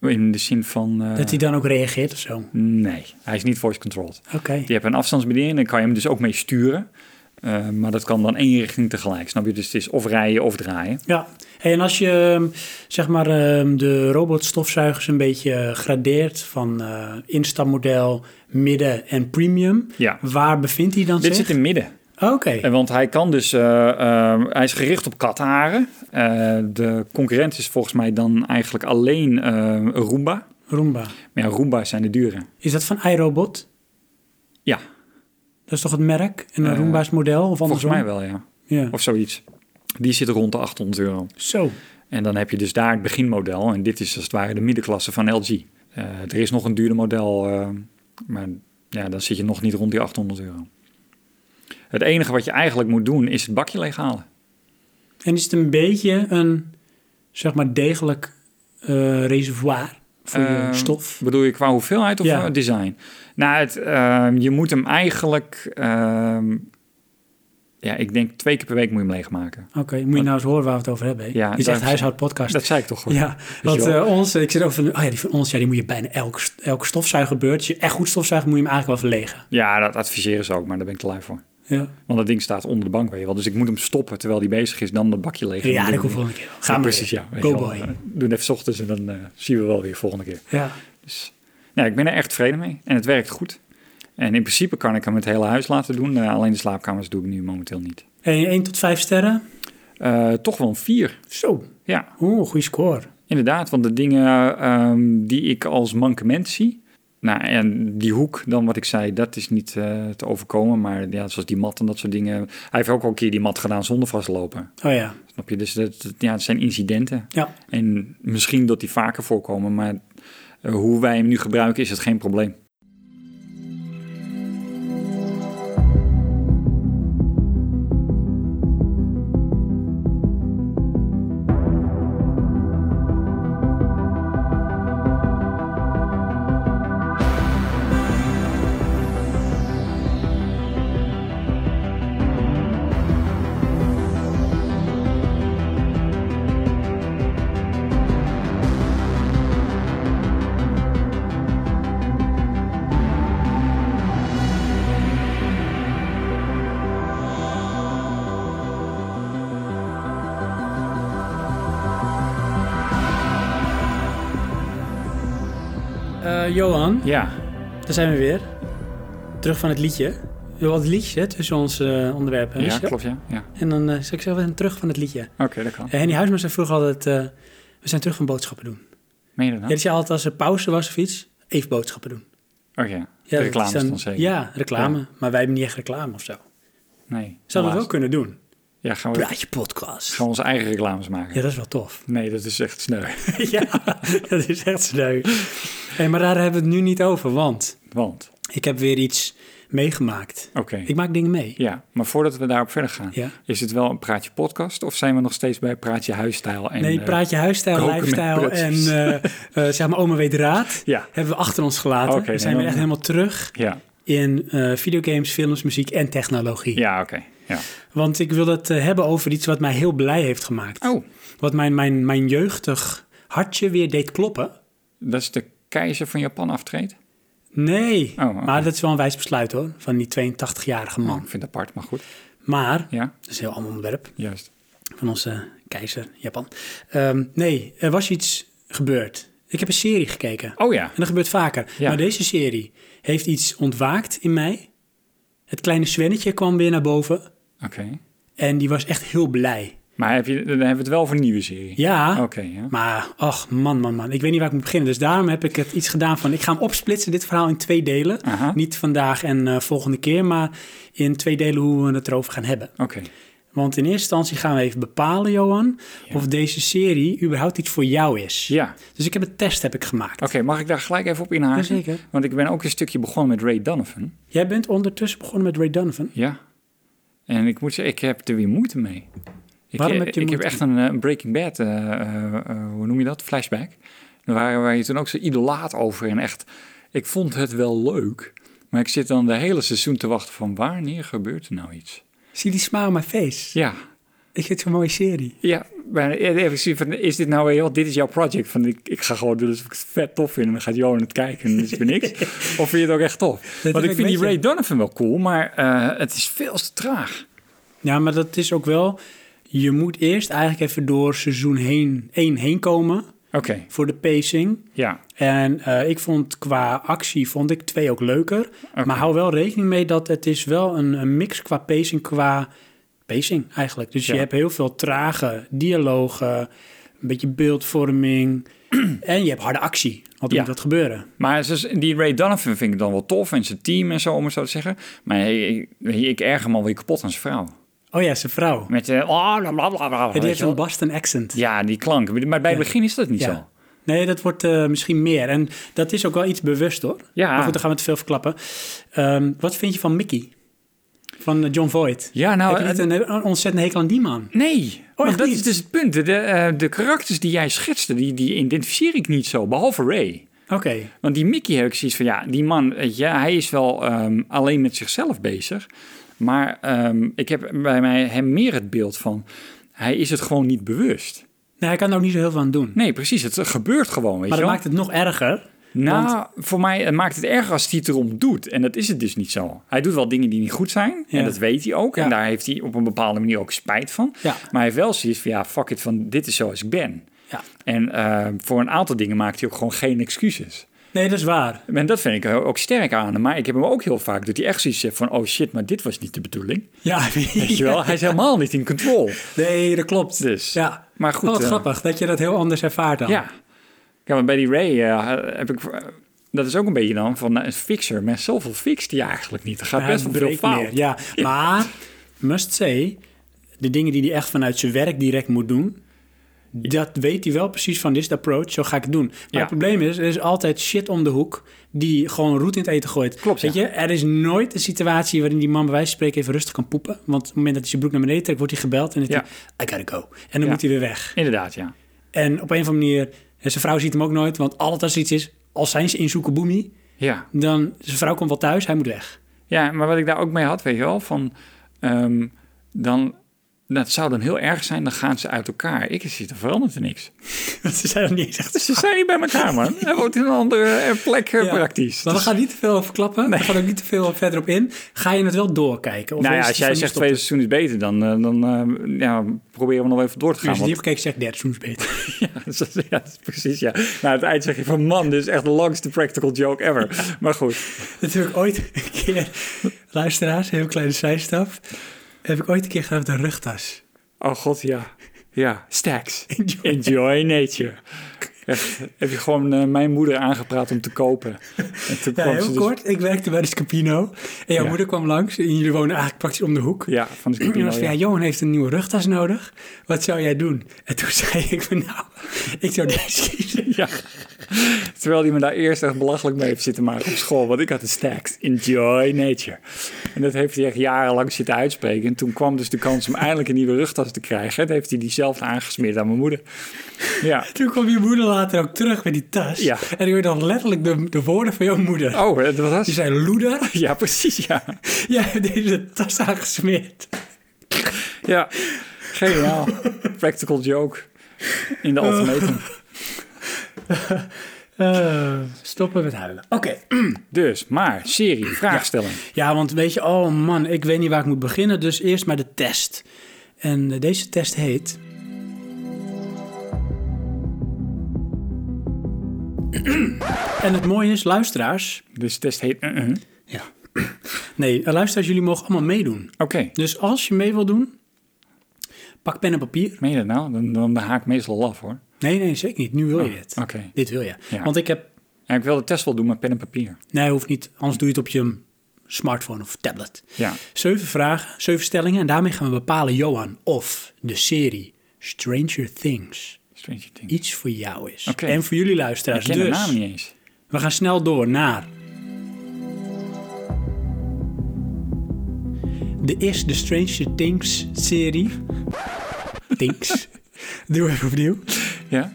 C: In de zin van... eh,
A: Dat hij dan ook reageert of zo? Oké.
C: Nee, hij is niet voice controlled. Je hebt een afstandsbediening, dan kan je hem dus ook mee sturen. Eh, maar dat kan dan één richting tegelijk, snap je? Dus het is of rijden of draaien.
A: Ja, Hey, en als je ehm, zeg maar ehm, de robotstofzuigers een beetje eh, gradeert van eh, instapmodel, midden en premium,
C: Ja.
A: waar bevindt hij dan
C: Dit
A: zich?
C: zit in het midden.
A: Oké,
C: Eh, Want hij kan dus, eh, eh, hij is gericht op katharen. Eh, de concurrent is volgens mij dan eigenlijk alleen eh, een Roomba.
A: Roomba.
C: Maar ja, Roomba's zijn de dure.
A: Is dat van iRobot?
C: Ja,
A: Dat is toch het merk? En een
C: Eh,
A: Roomba's model of
C: volgens
A: andersom?
C: mij wel, ja.
A: Ja.
C: Of zoiets. Die zit rond de 800 euro.
A: Zo.
C: En dan heb je dus daar het beginmodel. En dit is als het ware de middenklasse van LG. Eh, er is nog een duurder model, eh, maar ja, dan zit je nog niet rond die 800 euro. Het enige wat je eigenlijk moet doen is het bakje leeghalen.
A: En is het een beetje een zeg maar degelijk eh, reservoir voor
C: Eh,
A: je stof?
C: Bedoel je qua hoeveelheid of
A: Ja.
C: eh, ehm, design? Nou, het, eh, je moet hem eigenlijk... eh, ehm, Ja, ik denk twee keer per week moet je hem leegmaken.
A: Oké, moet je nou eens horen waar we het over hebben. hè?
C: Ja,
A: Dit is
C: daar-
A: echt huishoudpodcast.
C: Dat zei ik toch goed.
A: Ja,
C: Weet je
A: want
C: wel.
A: eh, ons, ik zit ook van, oh ja, die van ons, ja, die moet je bijna elk, elk stofzuigerbeurt. Als je echt goed stofzuigt, moet je hem eigenlijk wel verlegen.
C: Ja, dat adviseren ze ook, maar daar ben ik te lui voor.
A: Ja,
C: Want dat ding staat onder de bank, weet je wel. Dus ik moet hem stoppen terwijl die bezig is, dan dat bakje leeg.
A: ja dat
C: Doen.
A: komt volgende keer. wel. Ga
C: Ja,
A: maar
C: precies,
A: weer.
C: ja. weet
A: Go
C: je wel.
A: boy.
C: Eh, Doe het even 's ochtends en dan eh, zien we wel weer volgende keer.
A: Ja,
C: Dus nou, ik ben er echt tevreden mee en het werkt goed. En in principe kan ik hem het hele huis laten doen. eh, alleen de slaapkamers doe ik nu momenteel niet.
A: en 1 tot 5 sterren.
C: Eh, toch wel een vier.
A: Zo,
C: Ja,
A: oeh, goede score.
C: inderdaad. Want de dingen ehm, die ik als mankement zie. Nou, en die hoek dan wat ik zei, dat is niet eh, te overkomen. Maar ja, zoals die mat en dat soort dingen. Hij heeft ook al een keer die mat gedaan zonder vastlopen.
A: Oh ja,
C: Snap je? Dus dat, dat- ja, het zijn incidenten.
A: ja,
C: En misschien dat die vaker voorkomen. Maar eh, hoe wij hem nu gebruiken is het geen probleem.
A: Eh, Johan,
C: Ja,
A: daar zijn we weer. Terug van het liedje. Heel wat liedjes hè, tussen onze eh, onderwerpen.
C: ja
A: Wist je dat?
C: klopt ja. ja.
A: En dan eh, zeg ik zelf weer terug van het liedje.
C: Oké, dat kan.
A: Eh, Henny Huisman zei vroeger altijd, eh, we zijn terug van boodschappen doen.
C: Meen je dat
A: Ja,
C: nou?
A: dat je altijd als er pauze was of iets, even boodschappen doen.
C: Oh ja,
A: Ja, dat
C: reclame
A: is
C: is dan zeker.
A: Ja, reclame. Maar wij hebben niet echt reclame of zo.
C: Nee,
A: Zouden we
C: helaas.
A: dat wel kunnen doen?
C: Ja, gaan we, gaan
A: Praatje podcast.
C: we onze eigen reclames maken?
A: Ja, dat is wel tof.
C: Nee, dat is echt sneu.
A: ja, dat is echt sneu. Hey, maar daar hebben we het nu niet over, want
C: Want,
A: ik heb weer iets meegemaakt.
C: oké.
A: Ik maak dingen mee.
C: Ja, maar voordat we daarop verder gaan,
A: Ja.
C: is het wel een praatje podcast of zijn we nog steeds bij praatje huisstijl? En,
A: nee,
C: eh,
A: praat je huisstijl,
C: koken met
A: lifestyle en
C: prutsjes.
A: eh, eh, zeg maar oma weet raad.
C: ja,
A: Hebben we achter ons gelaten.
C: Oké,
A: we zijn
C: dan-
A: weer echt helemaal terug
C: ja,
A: in eh, videogames, films, muziek en technologie.
C: ja, oké. Ja.
A: Want ik wil het eh, hebben over iets wat mij heel blij heeft gemaakt.
C: Oh,
A: Wat mijn, mijn, mijn jeugdig hartje weer deed kloppen.
C: dat is de keizer van Japan aftreedt?
A: Nee,
C: Oh, oké.
A: maar dat is wel een wijs besluit hoor, van die 82-jarige man.
C: Oh, ik vind het apart, maar goed.
A: Maar,
C: Ja,
A: dat is een heel ander onderwerp,
C: juist.
A: van onze keizer Japan. Ehm, nee, er was iets gebeurd. Ik heb een serie gekeken.
C: Oh ja,
A: En dat gebeurt vaker.
C: Ja.
A: Maar deze serie heeft iets ontwaakt in mij. Het kleine Zwennetje kwam weer naar boven.
C: oké.
A: En die was echt heel blij.
C: Maar heb je, dan hebben we het wel voor een nieuwe serie.
A: Ja,
C: Oké, ja.
A: Maar, ach man, man, man. Ik weet niet waar ik moet beginnen. Dus daarom heb ik het iets gedaan van... ik ga hem opsplitsen, dit verhaal, in twee delen.
C: Aha.
A: Niet vandaag en eh, volgende keer, maar in twee delen hoe we het erover gaan hebben.
C: Oké,
A: Want in eerste instantie gaan we even bepalen, Johan... of deze serie überhaupt iets voor jou is.
C: ja.
A: Dus ik heb een test heb ik gemaakt.
C: Oké, mag ik daar gelijk even op inhaken?
A: Jazeker.
C: Want ik ben ook een stukje begonnen met Ray Donovan.
A: Jij bent ondertussen begonnen met Ray Donovan.
C: Ja. En ik moet zeggen, ik heb er weer moeite mee. Ik,
A: Waarom
C: eh,
A: heb je
C: ik heb
A: moeite?
C: echt een eh, Breaking Bad, eh, eh, eh, hoe noem je dat? Flashback. Daar waren wij toen ook zo idolaat over. En echt, ik vond het wel leuk. Maar ik zit dan de hele seizoen te wachten van wanneer gebeurt er nou iets?
A: Zie die smile on my face.
C: Ja,
A: Ik vind het zo'n mooie serie.
C: ja. Maar even zien van, is dit nou, joh, dit is jouw project. Van, ik, ik ga gewoon doen alsof ik het vet tof vind. En dan gaat Johan het kijken en dat is weer niks. of vind je het ook echt tof?
A: heb
C: Want ik
A: ik
C: vind
A: met
C: die
A: je.
C: Ray Donovan wel cool, maar eh, het is veel te traag.
A: Ja, maar dat is ook wel... Je moet eerst eigenlijk even door seizoen 1 heen, heen komen...
C: Oké,
A: voor de pacing...
C: ja.
A: En eh, ik vond qua actie vond ik twee ook leuker.
C: Oké.
A: Maar hou wel rekening mee dat het is wel een, een mix qua pacing, qua pacing eigenlijk. Dus
C: Ja.
A: je hebt heel veel trage dialogen, een beetje beeldvorming. en je hebt harde actie, want er
C: Ja.
A: moet wat gebeuren.
C: Maar ze is- die Ray Donovan vind ik dan wel tof en zijn team en zo, om het zo te zeggen. Maar hey, ik, ik erger me alweer kapot aan zijn vrouw.
A: Oh ja, zijn vrouw. Ja,
C: Met eh, oh, bla, bla, bla, bla, weet
A: die
C: je
A: heeft
C: wel.
A: een Boston accent.
C: Ja, die klank. Maar bij het begin is dat niet
A: Ja.
C: zo.
A: Nee, dat wordt eh, misschien meer. En dat is ook wel iets bewust hoor.
C: Ja.
A: Maar goed, dan gaan we te veel verklappen. Ehm, wat vind je van Mickey? Van eh, John Voight?
C: Ja, nou...
A: Heb je niet
C: eh,
A: een, een ontzettend hekel aan die man?
C: Nee, want
A: Oh, echt
C: dat
A: niet?
C: is dus het punt. De, eh, de karakters die jij schetste, die, die identificeer ik niet zo, behalve Ray.
A: Oké.
C: Want die Mickey heb ik zoiets van, ja, die man, weet je, hij is wel ehm, alleen met zichzelf bezig. Maar ehm, ik heb bij mij hem meer het beeld van... hij is het gewoon niet bewust.
A: Nee, Nou, hij kan er ook niet zo heel veel aan doen.
C: Nee, precies. Het gebeurt gewoon, weet
A: maar dat
C: je wel.
A: maakt het nog erger.
C: Nou, voor mij het maakt het erger als hij het erom doet. En dat is het dus niet zo. Hij doet wel dingen die niet goed zijn.
A: Ja.
C: En dat weet hij ook.
A: Ja.
C: En daar heeft hij op een bepaalde manier ook spijt van.
A: Ja.
C: Maar hij heeft wel zoiets van, ja, fuck it, van dit is zoals ik ben.
A: Ja.
C: En eh, voor een aantal dingen maakt hij ook gewoon geen excuses.
A: Nee, dat is waar.
C: En dat vind ik er ook sterk aan hem. Maar ik heb hem ook heel vaak dat hij echt zoiets zegt van... oh shit, maar dit was niet de bedoeling.
A: Ja,
C: Weet je wel, hij is helemaal niet in control.
A: Nee, dat klopt.
C: Dus,
A: Ja.
C: maar goed.
A: Oh, wat
C: eh,
A: grappig dat je dat heel anders ervaart dan.
C: Ja. Ja, maar bij die Ray eh, heb ik... dat is ook een beetje dan van nou, een fixer. Maar zoveel fixt hij eigenlijk niet. Er gaat
A: Hij
C: best wel veel
A: breekt
C: fout.
A: meer, Ja, maar must say, de dingen die hij echt vanuit zijn werk direct moet doen, dat weet hij wel precies van dit is de approach, zo ga ik het doen. Maar
C: Ja.
A: het probleem is, er is altijd shit om de hoek die gewoon roet in het eten gooit.
C: Klopt,
A: Weet
C: ja.
A: je, er is nooit een situatie waarin die man bij wijze van spreken even rustig kan poepen. Want op het moment dat hij zijn broek naar beneden trekt, wordt hij gebeld en dan
C: Ja.
A: denkt hij, I gotta go. En dan
C: Ja.
A: moet hij weer weg.
C: Inderdaad, ja.
A: En op een of andere manier, en zijn vrouw ziet hem ook nooit, want altijd als er iets is, als zijn ze in Soekoboemi,
C: Ja.
A: dan, zijn vrouw komt wel thuis, hij moet weg.
C: ja, maar wat ik daar ook mee had, weet je wel, van... ehm, dan, dat zou dan heel erg zijn, dan gaan ze uit elkaar. Ik zie, dan verandert er niks.
A: Want ze zijn nog niet eens echt
C: Dus ze zijn niet bij elkaar, man. Hij woont in een andere eh, plek eh,
A: Ja.
C: praktisch.
A: Maar we
C: Dus-
A: gaan niet te veel over klappen. We gaan ook niet te veel verder op in. Ga je het wel doorkijken? Of
C: nou
A: is
C: ja,
A: het
C: als jij
A: van
C: zegt
A: die
C: tweede seizoen is beter, dan, eh, dan eh, ja, proberen we nog even door
A: stoppen?
C: te gaan.
A: Als je
C: want-
A: die hebt gekeken, zegt derde seizoen is beter.
C: Ja, dat is precies, ja. Na het eind zeg je van, man, dit is echt de langste practical joke ever. Maar goed.
A: Dat heb ik ooit een keer... Luisteraars, heel kleine zijstap. Heb ik ooit een keer gedaan met een rugtas.
C: Oh god, ja. Ja, stacks.
A: Enjoy.
C: Enjoy nature. Echt, heb je gewoon eh, mijn moeder aangepraat om te kopen. En toen
A: Ja,
C: kwam ze
A: heel
C: dus-
A: kort. Ik werkte bij de Scapino. En jouw
C: Ja.
A: moeder kwam langs. En jullie wonen eigenlijk praktisch om de hoek.
C: Ja, van de
A: En
C: Scapino,
A: was van, ja,
C: ja.
A: Johan heeft een nieuwe rugtas nodig. Wat zou jij doen? En toen zei ik van, nou, ik zou deze kiezen.
C: Ja. Terwijl die me daar eerst echt belachelijk mee heeft zitten maken op school. Want ik had de stacks. Enjoy nature. En dat heeft hij echt jarenlang zitten uitspreken. En toen kwam dus de kans om eindelijk een nieuwe rugtas te krijgen. En heeft hij die zelf aangesmeerd aan mijn moeder. Ja.
A: Toen kwam je moeder later ook terug met die tas.
C: Ja.
A: En ik hoorde dan letterlijk de, de woorden van jouw moeder.
C: Oh, dat was...
A: Die zei, loeder,
C: Ja, precies, ja.
A: jij hebt deze tas aangesmeerd.
C: Ja, geniaal. Practical joke in de ultimatum.
A: Eh, stoppen met huilen. Oké.
C: Dus, maar, serie, vraagstelling.
A: Ja, want weet je, oh man, ik weet niet waar ik moet beginnen. Dus eerst maar de test. En eh, deze test heet... En het mooie is, luisteraars...
C: Dus de test heet... uh-uh. Oké,
A: Ja. Nee, eh, luisteraars, jullie mogen allemaal meedoen. Dus als je mee wil doen, pak pen en papier.
C: meen je dat nou? Dan, dan haak ik meestal af, hoor.
A: Nee, nee, zeker niet. Nu wil je dit.
C: oké.
A: Dit wil je.
C: Ja.
A: Want ik heb
C: Ja, ik wil de test wel doen met pen en papier.
A: Nee, hoeft niet. Anders doe je het op je smartphone of tablet.
C: Ja.
A: Zeven vragen, zeven stellingen. En daarmee gaan we bepalen, Johan, of de serie Stranger Things
C: Stranger Things.
A: iets voor jou is.
C: Oké.
A: En voor jullie
C: Ik
A: luisteraars.
C: ken de
A: dus
C: naam niet eens.
A: we gaan snel door naar... De is de Stranger Things serie. Things. Doe even opnieuw.
C: Ja?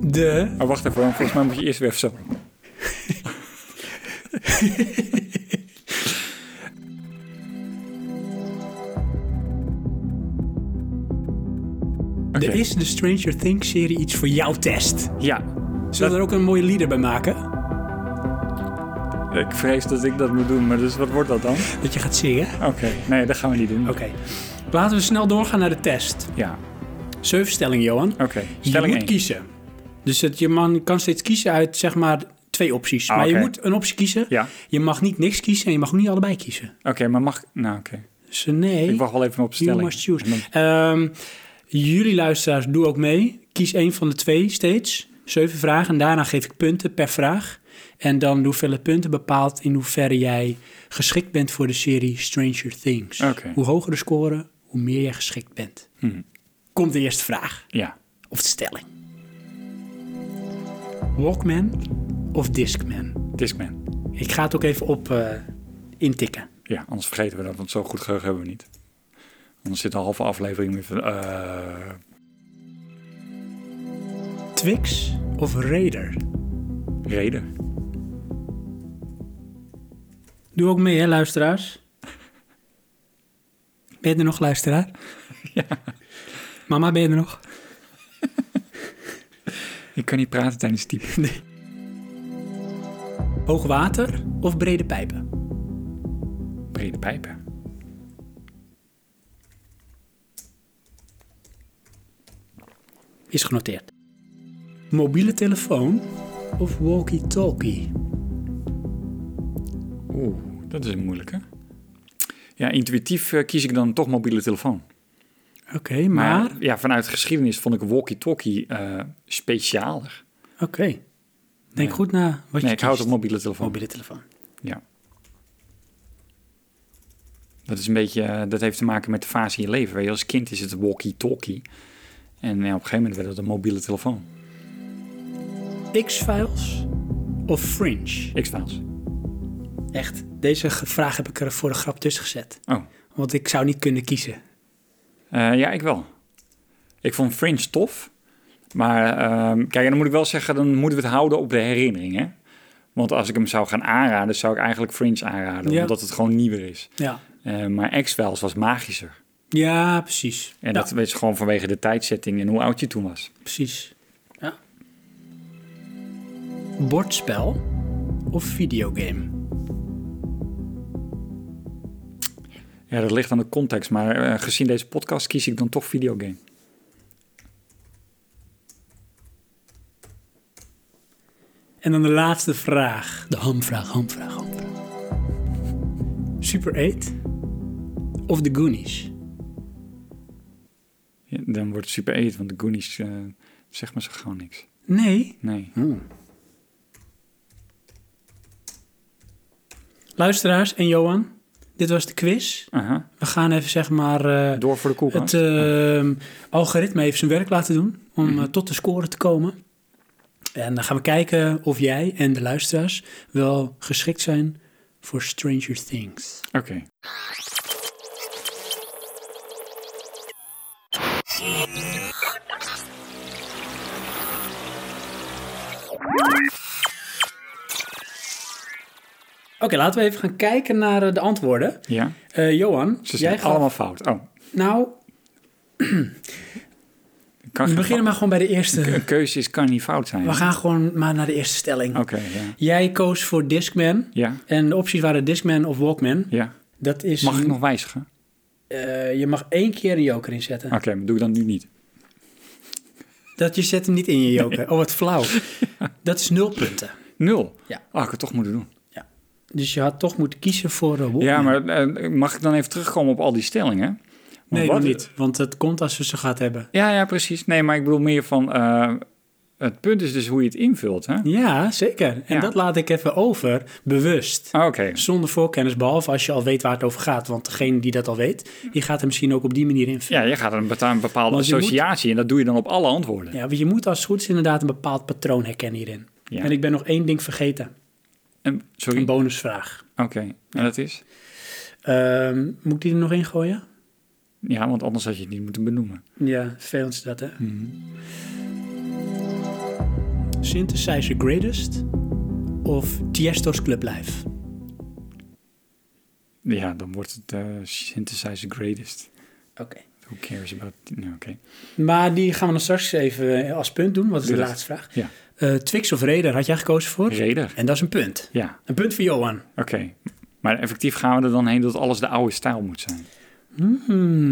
A: De
C: Oh, wacht even, want volgens mij moet je eerst weer even zo.
A: De
C: Oké.
A: Is de Stranger Things serie iets voor jou test?
C: Ja.
A: Zullen we er ook een mooie lieder bij maken?
C: Ik vrees dat ik dat moet doen, maar dus wat wordt dat dan?
A: Dat je gaat zingen? Oké.
C: Oké, nee, dat gaan we niet doen.
A: Laten we snel doorgaan naar de test.
C: Ja,
A: Zeven stellingen, Johan.
C: oké. Oh, Stelling
A: je moet
C: één.
A: kiezen. Dus het, je man kan steeds kiezen uit zeg maar twee opties.
C: Ah,
A: maar je
C: oké.
A: moet een optie kiezen.
C: Ja.
A: Je mag niet niks kiezen en je mag ook niet allebei kiezen.
C: Oké, maar mag... Nou, oké.
A: Dus eh, nee,
C: Ik wacht wel even op de
A: you
C: stelling.
A: must choose.
C: En dan-
A: Ehm, jullie luisteraars, doe ook mee. Kies één van de twee steeds. Zeven vragen en daarna geef ik punten per vraag. En dan de hoeveelheid punten bepaalt in hoeverre jij geschikt bent voor de serie Stranger Things.
C: Oké. Mhm.
A: Hoe hoger de score, hoe meer jij geschikt bent. Komt de eerste vraag,
C: Ja.
A: of de stelling. Walkman of Discman?
C: Discman.
A: Ik ga het ook even op eh, intikken.
C: Ja, anders vergeten we dat, want zo goed geheugen hebben we niet. Anders zit een halve aflevering weer van... eh,
A: Twix of Raider?
C: reden.
A: Doe ook mee, hè, luisteraars. Ben je er nog, luisteraar?
C: Ja.
A: Mama, ben je er nog?
C: Ik kan niet praten tijdens typen.
A: Hoog water of brede pijpen?
C: Brede pijpen.
A: Is genoteerd. Mobiele telefoon of walkie-talkie?
C: Oeh, dat is een moeilijke. Ja, intuïtief eh, kies ik dan toch mobiele telefoon.
A: Oké, maar...
C: ja, vanuit de geschiedenis vond ik walkie-talkie eh, specialer.
A: Oké. Denk goed na wat
C: Nee,
A: je
C: ik houd
A: kiest.
C: op mobiele telefoon.
A: mobiele telefoon.
C: Ja. Dat is een beetje, eh, dat heeft te maken met de fase in je leven. Weet je, als kind is het walkie-talkie. En ja, op een gegeven moment werd het een mobiele telefoon.
A: X-Files of Fringe?
C: X-Files.
A: Echt, deze ge- vraag heb ik er voor de grap tussen gezet.
C: Oh,
A: Want ik zou niet kunnen kiezen.
C: Eh, ja, ik wel. Ik vond Fringe tof. Maar ehm, kijk, en dan moet ik wel zeggen, dan moeten we het houden op de herinnering, hè? Want als ik hem zou gaan aanraden, zou ik eigenlijk Fringe aanraden.
A: Ja.
C: Omdat het gewoon nieuwer is.
A: Ja,
C: Eh, maar X-Files was magischer.
A: ja precies.
C: En
A: Ja,
C: dat is gewoon vanwege de tijdzetting en hoe oud je toen was.
A: precies. Ja. Bordspel of videogame?
C: Ja, dat ligt aan de context. Maar eh, gezien deze podcast kies ik dan toch videogame.
A: En dan de laatste vraag. De hamvraag, hamvraag, hamvraag. Super 8 of The Goonies?
C: Ja, dan wordt het Super 8, want de Goonies eh zegt me zo gewoon niks.
A: Nee,
C: Nee.
A: Luisteraars en Johan, dit was de quiz.
C: Aha.
A: We gaan even zeg maar eh,
C: Door voor de koelkast.
A: het ehm, algoritme even zijn werk laten doen om
C: Mhm.
A: eh, tot de score te komen. En dan gaan we kijken of jij en de luisteraars wel geschikt zijn voor Stranger Things.
C: Oké.
A: Oké, laten we even gaan kijken naar eh, de antwoorden.
C: Ja.
A: Eh, Johan,
C: Ze
A: jij
C: zijn
A: gaf-
C: allemaal fout. Oh.
A: Nou,
C: Kan
A: we
C: geen
A: beginnen maar gewoon bij de
C: fout-
A: eerste.
C: Een keuze is, kan niet fout zijn.
A: We gaan gewoon maar naar de eerste stelling.
C: Oké, ja.
A: Jij koos voor Discman.
C: Ja,
A: En de opties waren Discman of Walkman.
C: ja.
A: Dat is.
C: Mag ik nog wijzigen?
A: eh, je mag één keer een joker inzetten.
C: Oké, maar doe ik dan nu niet.
A: Dat je zet hem niet in je joker. Oh, wat flauw. Dat is nul punten.
C: Nul?
A: Ja.
C: Oh, ik had het toch moeten doen.
A: Dus je had toch moeten kiezen voor eh, Walkman.
C: Ja, maar eh, mag ik dan even terugkomen op al die stellingen? Want
A: Nee,
C: wat-
A: doe niet. Want dat komt als we ze gehad hebben.
C: Ja, ja, precies. Nee, maar ik bedoel meer van... eh, het punt is dus hoe je het invult, hè?
A: Ja, zeker. En
C: Ja.
A: dat laat ik even over, bewust.
C: Ah, Oké,
A: Zonder voorkennis, behalve als je al weet waar het over gaat. Want degene die dat al weet, die gaat er misschien ook op die manier invullen.
C: Ja, je gaat een beta- een bepaalde
A: Want je moet-
C: associatie en dat doe je dan op alle antwoorden.
A: Ja, want je moet als het goed is inderdaad een bepaald patroon herkennen hierin.
C: Ja.
A: En ik ben nog één ding vergeten.
C: En, sorry,
A: Een
C: oké.
A: bonusvraag.
C: En dat is?
A: Ehm, moet ik die er nog in gooien?
C: Ja, want anders had je het niet moeten benoemen.
A: Ja, vervelend is dat, hè? Mhm. Synthesizer Greatest of Tiesto's Club Life?
C: Ja, dan wordt het eh synthesizer greatest.
A: Oké.
C: Who cares about... Nou, oké.
A: Maar die gaan we dan straks even eh, als punt doen, want dat is
C: Doe
A: de
C: dat.
A: laatste vraag.
C: Ja,
A: Eh, Twix of Raider had jij gekozen voor?
C: reder.
A: En dat is een punt.
C: Ja,
A: Een punt voor Johan.
C: oké. Maar effectief gaan we er dan heen dat alles de oude stijl moet zijn.
A: Hmm,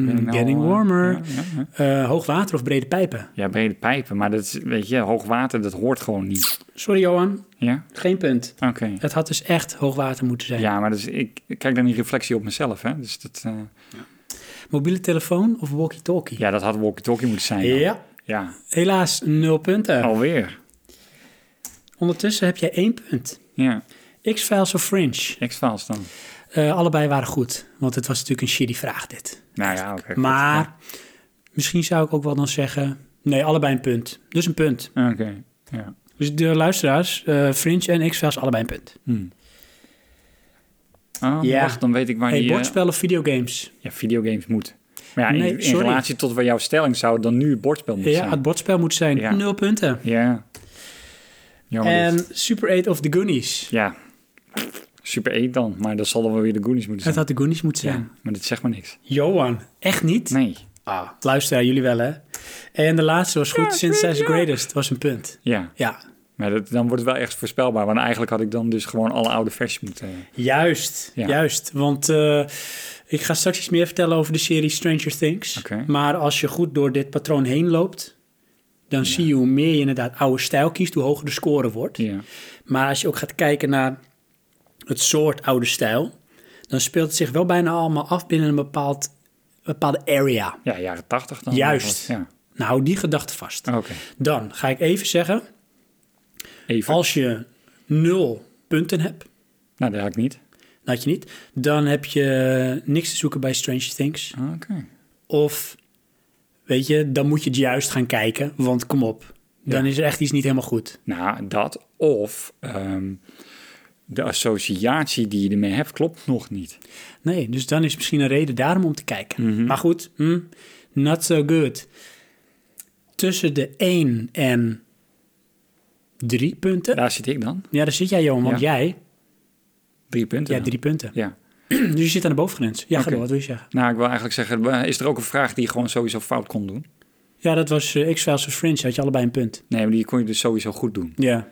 C: Ben ik nou
A: Mm, getting
C: al, eh,
A: warmer.
C: ja, ja, ja.
A: Eh, hoog water of brede pijpen?
C: Ja, brede pijpen, maar dat is, weet je, hoogwater, dat hoort gewoon niet.
A: Sorry Johan,
C: Ja,
A: geen punt.
C: oké.
A: Het had dus echt hoog water moeten zijn.
C: Ja, maar dus ik, ik kijk dan die reflectie op mezelf, hè. Dus dat, eh,
A: Mobiele telefoon of walkie-talkie?
C: ja, dat had walkie-talkie moeten zijn. dan.
A: ja, Oh.
C: Ja,
A: helaas nul punten.
C: alweer.
A: Ondertussen heb jij één punt.
C: Ja,
A: X-Files of Fringe?
C: X-Files dan.
A: Eh, allebei waren goed, want het was natuurlijk een shitty vraag dit.
C: Nou ja, oké. goed.
A: Maar misschien zou ik ook wel dan zeggen... Nee, allebei een punt. Dus een punt.
C: Ja. Oké, ja.
A: Dus de luisteraars, eh, Fringe en X-Files allebei een punt.
C: Hm. Oh,
A: Ja.
C: wacht, dan weet ik waar
A: hey,
C: die... eh,
A: bordspel of videogames?
C: ja, videogames moet. Maar ja, in-
A: Nee,
C: in,
A: sorry.
C: relatie tot waar jouw stelling zou het dan nu het bordspel moeten
A: Ja,
C: zijn.
A: het bordspel moet zijn
C: Ja.
A: nul punten.
C: Ja, Jammer dit.
A: En Super 8 of The Goonies.
C: Ja, Super 8 dan. Maar dat zal dan wel weer de Goonies moeten
A: Het had
C: zijn.
A: The Goonies moeten zijn.
C: Ja, maar dit zegt maar niks.
A: Johan. Echt niet?
C: Nee.
A: Ah, luisteren jullie wel, hè? En de laatste was goed, sinds Size Greatest was een punt.
C: Ja,
A: Ja,
C: maar dat, dan wordt het wel echt voorspelbaar. Want eigenlijk had ik dan dus gewoon alle oude versies moeten... eh,
A: juist.
C: Ja.
A: Juist, want eh, ik ga straks iets meer vertellen over de serie Stranger Things.
C: Oké.
A: Maar als je goed door dit patroon heen loopt, dan zie je hoe meer je inderdaad oude stijl kiest, hoe hoger de score wordt.
C: Ja,
A: Maar als je ook gaat kijken naar het soort oude stijl, dan speelt het zich wel bijna allemaal af binnen een bepaald, bepaalde area.
C: ja jaren 80 dan.
A: Juist.
C: Ja,
A: Nou, hou die gedachte vast.
C: oké.
A: Dan ga ik even zeggen,
C: Even.
A: als je nul punten hebt,
C: Nou, dat had ik niet.
A: dat had je niet, dan heb je niks te zoeken bij Strange Things.
C: Oké.
A: Of, weet je, dan moet je het juist gaan kijken, want kom op, dan is er echt iets niet helemaal goed.
C: Nou, dat of ehm, de associatie die je ermee hebt klopt nog niet.
A: Nee, dus dan is misschien een reden daarom om te kijken. Maar goed, hm, not so good. Tussen de 1 en 3 punten. Ja,
C: Daar zit ik dan.
A: daar zit jij, Johan, want
C: Ja.
A: jij,
C: Drie punten.
A: ja,
C: dan.
A: drie punten.
C: Ja.
A: Dus je zit aan de bovengrens. Ja, ga
C: Oké.
A: door, wat wil je zeggen?
C: Nou, ik wil eigenlijk zeggen, is er ook een vraag die je gewoon sowieso fout kon doen?
A: Ja, dat was eh, X-Files of Fringe, had je allebei een punt.
C: Nee, maar die kon je dus sowieso goed doen.
A: Ja,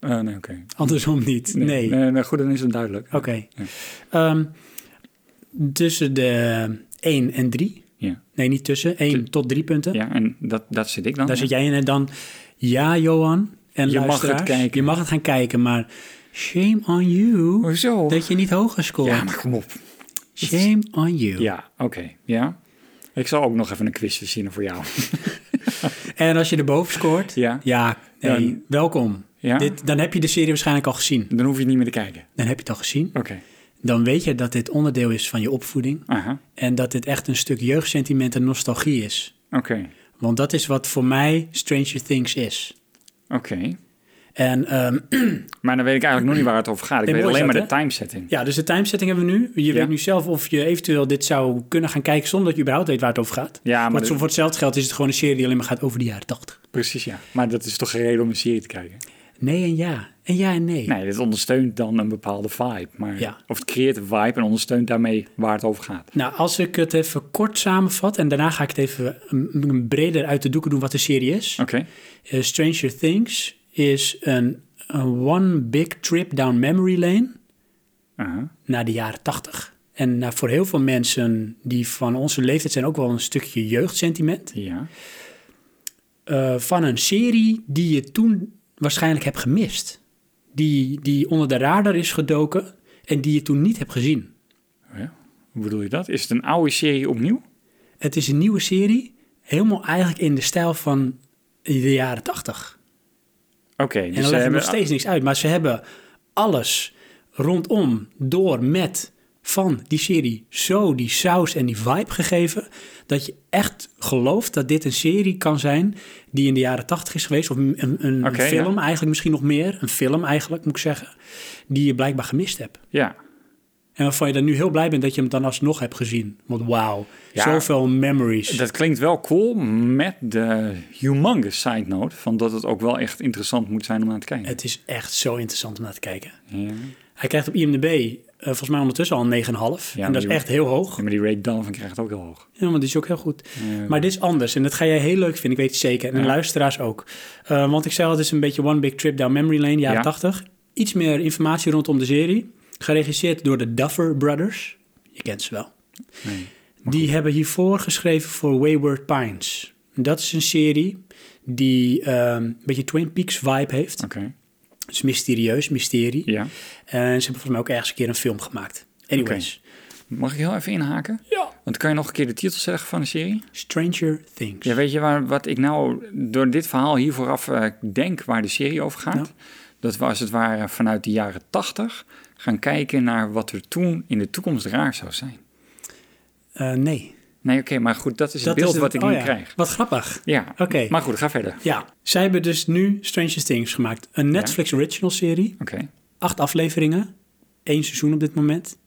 C: Eh, nee, oké.
A: andersom niet. Nee.
C: nou, goed, dan is het duidelijk.
A: Oké. Ehm, tussen de 1 en 3.
C: Ja.
A: Nee, niet tussen. 1 tot 3 punten.
C: ja, en dat, dat zit ik dan.
A: Daar zit jij in. En dan, ja, Johan. En
C: Je mag
A: luisteraars,
C: het kijken.
A: Je mag het gaan kijken, maar shame on you
C: Hoezo?
A: dat je niet hoger scoort.
C: Ja, maar kom op.
A: Shame on you.
C: Ja, oké. Ja. Ik zal ook nog even een quizje zien voor jou.
A: En als je erboven scoort,
C: Ja.
A: ja nee,
C: Ja.
A: welkom.
C: Ja.
A: Dit, dan heb je de serie waarschijnlijk al gezien.
C: Dan hoef je het niet meer te kijken.
A: Dan heb je het al gezien.
C: Oké.
A: Dan weet je dat dit onderdeel is van je opvoeding.
C: Aha.
A: En dat dit echt een stuk jeugdsentiment en nostalgie is.
C: Oké.
A: Want dat is wat voor mij Stranger Things is.
C: Oké.
A: En ehm,
C: Maar dan weet ik eigenlijk nog niet waar het over gaat. Ik
A: Nee,
C: weet
A: mooi
C: alleen
A: is
C: maar
A: dat,
C: de timesetting.
A: ja, dus de timesetting hebben we nu. Je weet nu zelf of je eventueel dit zou kunnen gaan kijken zonder dat je überhaupt weet waar het over gaat.
C: Ja, maar
A: Want
C: dit-
A: zo voor hetzelfde geld is het gewoon een serie die alleen maar gaat over de jaren 80.
C: Precies, ja. Maar dat is toch geen reden om een serie te kijken?
A: Nee en ja. En ja en nee.
C: Nee, dit ondersteunt dan een bepaalde vibe. Maar,
A: Ja.
C: Of het creëert een vibe en ondersteunt daarmee waar het over gaat.
A: Nou, als ik het even kort samenvat en daarna ga ik het even een- een breder uit de doeken doen wat de serie is.
C: Oké.
A: Eh, Stranger Things is een, een one big trip down memory lane.
C: Aha.
A: naar de jaren 80. En nou, voor heel veel mensen die van onze leeftijd zijn ook wel een stukje jeugdsentiment.
C: Ja.
A: eh, van een serie die je toen waarschijnlijk hebt gemist. Die, die onder de radar is gedoken en die je toen niet hebt gezien.
C: Oh ja. Hoe bedoel je dat? Is het een oude serie opnieuw?
A: Het is een nieuwe serie, helemaal eigenlijk in de stijl van de jaren 80.
C: Oké.
A: En
C: dus
A: dan
C: ze
A: legt er
C: hebben
A: nog steeds niks uit. Maar ze hebben alles rondom, door, met, van die serie zo die saus en die vibe gegeven... dat je echt gelooft dat dit een serie kan zijn die in de jaren tachtig is geweest... of een, een, een
C: Oké,
A: film eigenlijk misschien nog meer. Een film eigenlijk, moet ik zeggen. Die je blijkbaar gemist hebt.
C: Ja.
A: En waarvan je dan nu heel blij bent dat je hem dan alsnog hebt gezien. Want wauw,
C: Ja.
A: zoveel memories.
C: Dat klinkt wel cool met de humongous side note van dat het ook wel echt interessant moet zijn om naar te kijken.
A: Het is echt zo interessant om naar te kijken.
C: Ja.
A: Hij krijgt op IMDb eh, volgens mij ondertussen al een 9,5. en
C: maar
A: dat is
C: die-
A: echt heel hoog.
C: Ja, maar die Ray Donovan krijgt ook heel hoog.
A: Ja, want die is ook heel goed. Maar dit is anders en dat ga jij heel leuk vinden, ik weet het zeker. En de luisteraars ook. Eh, want ik zei al, het is een beetje One Big Trip Down Memory Lane, jaren
C: Ja.
A: 80. Iets meer informatie rondom de serie. Geregisseerd door de Duffer Brothers. Je kent ze wel.
C: Nee.
A: Die hebben hiervoor geschreven voor Wayward Pines. Dat is een serie die ehm, een beetje Twin Peaks vibe heeft.
C: Oké.
A: Het is mysterieus, mysterie.
C: Ja.
A: En ze hebben volgens mij ook ergens een keer een film gemaakt. Anyways.
C: Mag ik heel even inhaken?
A: Ja.
C: Want kan je nog een keer de titel zeggen van de serie?
A: Stranger Things.
C: Ja, weet je waar, wat ik nou door dit verhaal hier vooraf eh, denk waar de serie over gaat? Dat we als het ware vanuit de jaren tachtig gaan kijken naar wat er toen in de toekomst raar zou zijn.
A: Eh, nee.
C: Nee, oké, maar goed, dat is het
A: Dat
C: beeld
A: is
C: wat ik
A: oh
C: nu
A: ja.
C: krijg.
A: Wat grappig.
C: Ja,
A: Oké.
C: maar goed, ga verder.
A: Ja, zij hebben dus nu Stranger Things gemaakt. Een Netflix original serie.
C: Oké,
A: Acht afleveringen. Eén seizoen op dit moment.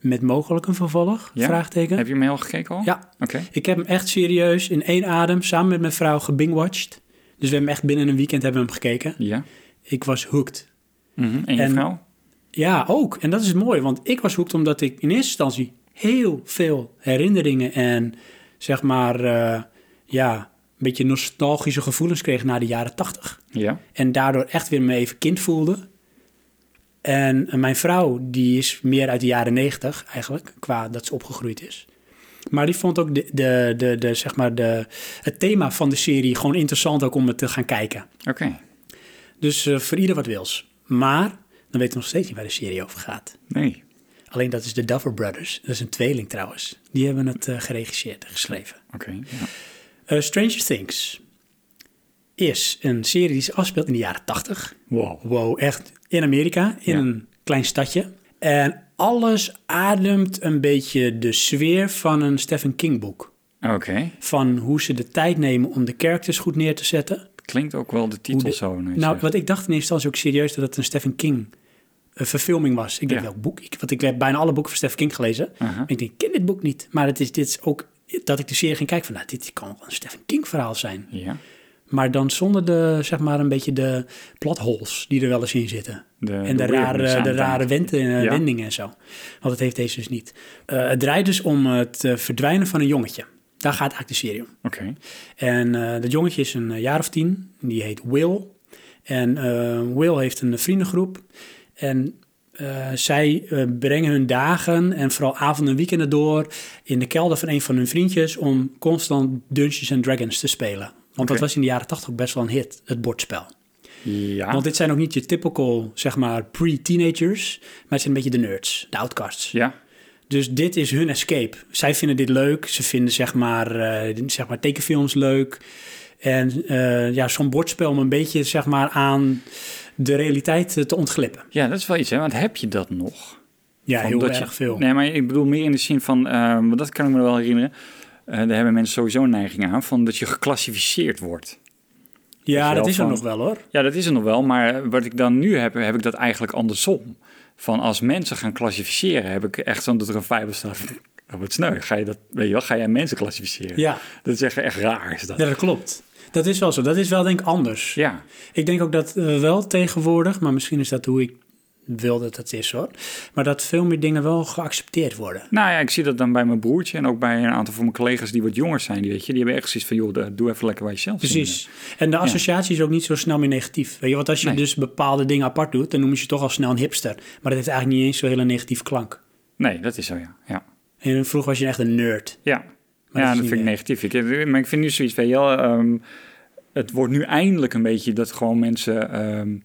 A: Met mogelijk een vervolg?
C: Ja.
A: Vraagteken.
C: heb je hem al gekeken al?
A: Ja.
C: Oké,
A: Ik heb hem echt serieus in één adem samen met mijn vrouw gebingwatcht. Dus we hebben hem echt binnen een weekend hebben we hem gekeken.
C: ja.
A: Ik was hooked.
C: Mhm. En je
A: En-
C: vrouw?
A: Ja, ook. En dat is mooi, want ik was hoekt omdat ik in eerste instantie heel veel herinneringen en zeg maar, eh, ja, een beetje nostalgische gevoelens kreeg na de jaren tachtig.
C: Ja.
A: En daardoor echt weer me even kind voelde. En eh, mijn vrouw, die is meer uit de jaren negentig eigenlijk, qua dat ze opgegroeid is. Maar die vond ook de, de, de, de, zeg maar de, het thema van de serie gewoon interessant ook om het te gaan kijken.
C: Oké.
A: Dus eh, voor ieder wat wils. Maar dan weten we nog steeds niet waar de serie over gaat.
C: Nee.
A: Alleen dat is de Duffer Brothers. Dat is een tweeling trouwens. Die hebben het eh, geregisseerd en geschreven.
C: Oké. ja.
A: Eh, Stranger Things is een serie die zich afspeelt in de jaren 80.
C: Wow.
A: Wow, echt in Amerika, in
C: Ja.
A: een klein stadje. En alles ademt een beetje de sfeer van een Stephen King boek.
C: Oké.
A: Van hoe ze de tijd nemen om de characters goed neer te zetten.
C: Klinkt ook wel de titel
A: Hoe de-
C: zo. nee,
A: Nou,
C: zeg.
A: wat ik dacht in eerste instantie ook serieus dat het een Stephen King eh, verfilming was. Ik denk
C: Ja.
A: welk boek. Ik, want ik heb bijna alle boeken van Stephen King gelezen.
C: Aha.
A: Ik denk, ik ken dit boek niet. Maar het is, dit is ook dat ik de serie ging kijken van, nou, dit kan wel een Stephen King verhaal zijn.
C: Ja.
A: Maar dan zonder de, zeg maar, een beetje de plot holes die er wel eens in zitten.
C: De-
A: en
C: Eh, de
A: de, rare,
C: weirdness
A: de
C: aan
A: rare
C: het
A: wenden- eh,
C: Ja.
A: wendingen en zo. Want dat heeft deze dus niet. Eh, het draait dus om het eh, verdwijnen van een jongetje. Daar gaat eigenlijk de serie om.
C: Oké.
A: En eh, dat jongetje is een eh, jaar of tien. Die heet Will. En eh, Will heeft een vriendengroep. En eh, zij eh, brengen hun dagen en vooral avonden en weekenden door in de kelder van een van hun vriendjes om constant Dungeons and Dragons te spelen. Want dat
C: Oké.
A: was in de jaren tachtig best wel een hit, het bordspel.
C: Ja.
A: Want dit zijn ook niet je typical, zeg maar, pre-teenagers, maar het zijn een beetje de nerds, de outcasts.
C: Ja.
A: Dus dit is hun escape. Zij vinden dit leuk. Ze vinden zeg maar, eh, zeg maar tekenfilms leuk. En eh, ja, zo'n bordspel om een beetje zeg maar, aan de realiteit eh, te ontglippen.
C: Ja, dat is wel iets, hè? Want heb je dat nog?
A: Ja,
C: Van
A: heel
C: dat
A: erg
C: je-
A: veel.
C: Nee, maar ik bedoel meer in de zin van, ehm, want dat kan ik me wel herinneren. Eh, daar hebben mensen sowieso een neiging aan, van dat je geclassificeerd wordt.
A: ja,
C: wel
A: dat is er
C: van-
A: nog wel hoor.
C: Ja, dat is er nog wel, maar wat ik dan nu heb, heb ik dat eigenlijk andersom. Van als mensen gaan klassificeren, heb ik echt zo'n dat er een vibe staat van, dat wordt sneu. Ga je dat, weet je wel, ga jij mensen klassificeren?
A: Ja.
C: Dat is echt, echt raar, is dat.
A: Ja, dat klopt. Dat is wel zo. Dat is wel denk ik anders.
C: Ja,
A: Ik denk ook dat eh, wel tegenwoordig, maar misschien is dat hoe ik wil dat het is hoor. Maar dat veel meer dingen wel geaccepteerd worden.
C: Nou ja, ik zie dat dan bij mijn broertje en ook bij een aantal van mijn collega's die wat jonger zijn. Die, weet je, die hebben echt zoiets van, joh, doe even lekker bij jezelf.
A: Precies. En de associatie is ook niet zo snel meer negatief. Weet je? Want als je
C: Nee.
A: dus bepaalde dingen apart doet, dan noemen ze je toch al snel een hipster. Maar dat heeft eigenlijk niet eens zo'n hele negatieve klank.
C: Nee, dat is zo, ja. Ja,
A: En vroeger was je echt een nerd.
C: ja.
A: Maar
C: ja
A: dat
C: dat
A: is
C: vind
A: niet
C: ik negatief. Ik, heb- maar ik vind nu zoiets van, joh, ehm, het wordt nu eindelijk een beetje dat gewoon mensen ehm,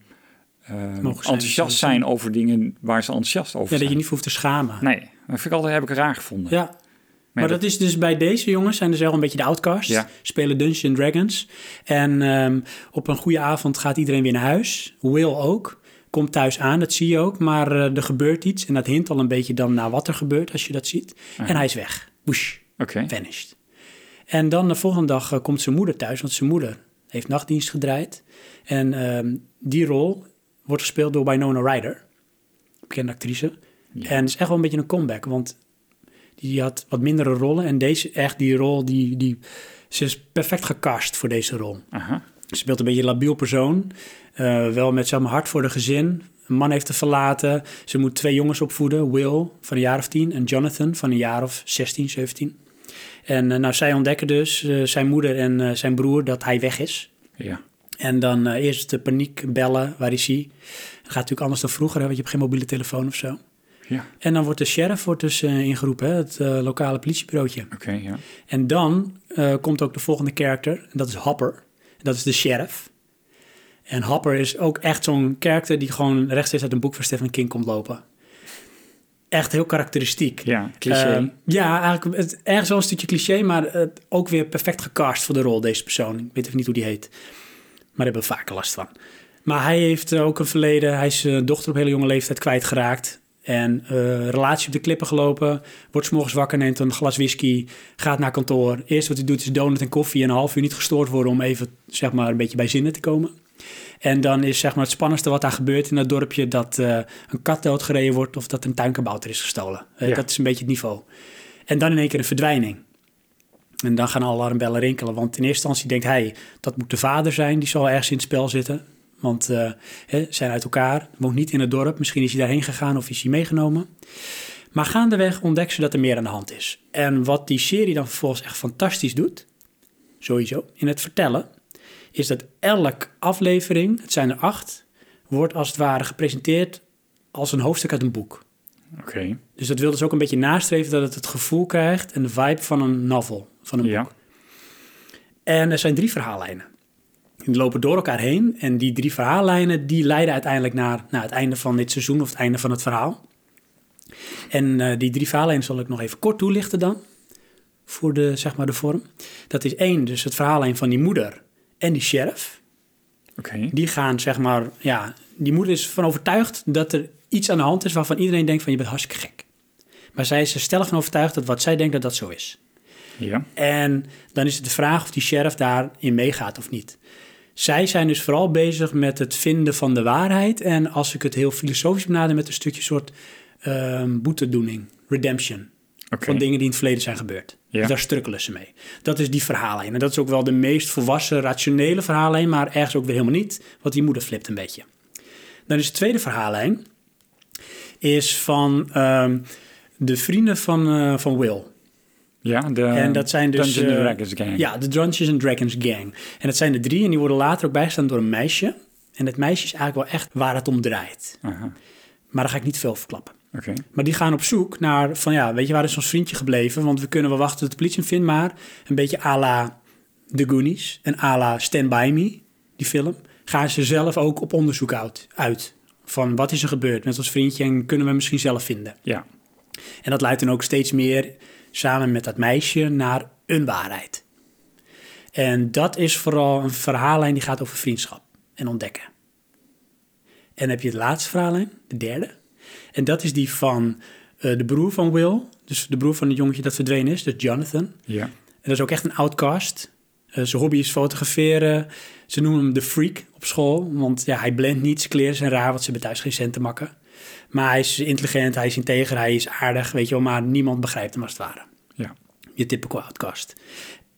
C: ehm,
A: mogen zijn,
C: enthousiast
A: zijn.
C: zijn over dingen waar ze enthousiast over
A: Ja, dat
C: zijn.
A: je niet voor hoeft te schamen.
C: Nee, dat vind ik altijd, heb ik raar gevonden.
A: Ja. Maar dat... is dus bij deze jongens, zijn dus wel een beetje de outcasts.
C: Ja.
A: Spelen Dungeons and Dragons. En ehm, op een goede avond gaat iedereen weer naar huis. Will ook. Komt thuis aan, dat zie je ook. Maar eh, er gebeurt iets. En dat hint al een beetje dan naar wat er gebeurt als je dat ziet. En hij is weg. Woesh.
C: Oké,
A: vanished. En dan de volgende dag eh, komt zijn moeder thuis, want zijn moeder heeft nachtdienst gedraaid. En ehm, die rol wordt gespeeld door Winona Ryder, bekende actrice. En het is echt wel een beetje een comeback, want die had wat mindere rollen. En deze, echt die rol, die, die, ze is perfect gecast voor deze rol.
C: aha,
A: Ze speelt een beetje een labiel persoon. eh, wel met zeg maar, hart voor de gezin. Een man heeft te verlaten. Ze moet twee jongens opvoeden. Will van een jaar of tien en Jonathan van een jaar of 16, 17. En eh, nou, zij ontdekken dus, eh, zijn moeder en eh, zijn broer, dat hij weg is.
C: ja.
A: En dan eh, eerst de paniek bellen, waar is hij? Dat gaat natuurlijk anders dan vroeger, hè, want je hebt geen mobiele telefoon of zo.
C: Ja,
A: En dan wordt de sheriff wordt dus eh, ingeroepen, hè, het eh, lokale politiebureautje.
C: oké, ja.
A: En dan eh, komt ook de volgende character. En dat is Hopper. En dat is de sheriff. En Hopper is ook echt zo'n character die gewoon rechtstreeks uit een boek van Stephen King komt lopen. Echt heel karakteristiek.
C: Ja, cliché.
A: Eh, ja, eigenlijk het, ergens wel een stukje cliché, maar eh, ook weer perfect gecast voor de rol, deze persoon. Ik weet even niet hoe die heet. Maar daar hebben we vaker last van. Maar hij heeft eh, ook een verleden. Hij is zijn dochter op hele jonge leeftijd kwijtgeraakt. En eh, relatie op de klippen gelopen. Wordt 's morgens wakker, neemt een glas whisky. Gaat naar kantoor. Eerst wat hij doet is donut en koffie. En een half uur niet gestoord worden om even zeg maar, een beetje bij zinnen te komen. En dan is zeg maar, het spannendste wat daar gebeurt in dat dorpje... dat eh, een kat doodgereden wordt of dat een tuinkabouter is gestolen. Eh,
C: Ja.
A: Dat is een beetje het niveau. En dan in één keer een verdwijning. En dan gaan alle alarmbellen rinkelen. Want in eerste instantie denkt hij, dat moet de vader zijn. Die zal ergens in het spel zitten. Want eh, hè, ze zijn uit elkaar, woont niet in het dorp. Misschien is hij daarheen gegaan of is hij meegenomen. Maar gaandeweg ontdekt ze dat er meer aan de hand is. En wat die serie dan vervolgens echt fantastisch doet, sowieso, in het vertellen, is dat elk aflevering, het zijn er acht, wordt als het ware gepresenteerd als een hoofdstuk uit een boek.
C: Oké.
A: Dus dat wil dus ook een beetje nastreven dat het het gevoel krijgt en de vibe van een novel, van een boek.
C: Ja.
A: En er zijn drie verhaallijnen. Die lopen door elkaar heen en die drie verhaallijnen die leiden uiteindelijk naar, naar het einde van dit seizoen of het einde van het verhaal. En eh, die drie verhaallijnen zal ik nog even kort toelichten dan, voor de, zeg maar, de vorm. Dat is één, dus het verhaallijn van die moeder en die sheriff
C: Oké.
A: die gaan zeg maar, ja, die moeder is van overtuigd dat er iets aan de hand is waarvan iedereen denkt van je bent hartstikke gek. Maar zij is er stellig van overtuigd dat wat zij denkt dat dat zo is.
C: Ja.
A: En dan is het de vraag of die sheriff daarin meegaat of niet. Zij zijn dus vooral bezig met het vinden van de waarheid. En als ik het heel filosofisch benader met een stukje soort ehm, boetedoening, redemption.
C: Oké.
A: Van dingen die in het verleden zijn gebeurd.
C: Ja.
A: Dus daar strukkelen ze mee. Dat is die verhaallijn. En dat is ook wel de meest volwassen, rationele verhaallijn, maar ergens ook weer helemaal niet, want die moeder flipt een beetje. Dan is de tweede verhaallijn is van ehm, de vrienden van, eh, van Will.
C: Ja, de
A: en dat zijn dus...
C: Ehm, Dungeons and
A: eh,
C: Dragons gang.
A: Ja, de Dungeons and Dragons gang. En dat zijn de drie en die worden later ook bijgestaan door een meisje. En dat meisje is eigenlijk wel echt waar het om draait.
C: Aha.
A: Maar daar ga ik niet veel verklappen.
C: Oké.
A: Maar die gaan op zoek naar van ja, weet je waar is ons vriendje gebleven? Want we kunnen wel wachten tot de politie hem vindt, maar een beetje à la The Goonies en à la Stand By Me, die film, gaan ze zelf ook op onderzoek uit. uit. Van wat is er gebeurd met ons vriendje en kunnen we hem misschien zelf vinden?
C: Ja.
A: En dat leidt dan ook steeds meer samen met dat meisje naar een waarheid. En dat is vooral een verhaallijn die gaat over vriendschap en ontdekken. En dan heb je het laatste verhaallijn, de derde. En dat is die van eh, de broer van Will. Dus de broer van het jongetje dat verdwenen is, dus Jonathan. En
C: Ja.
A: dat is ook echt een outcast. Eh, zijn hobby is fotograferen. Ze noemen hem de freak op school. Want ja, hij blendt niets, kleren zijn raar, want ze hebben thuis geen cent te makken. Maar hij is intelligent, hij is integer, hij is aardig, weet je wel. Maar niemand begrijpt hem als het ware
C: Ja.
A: je typical outcast.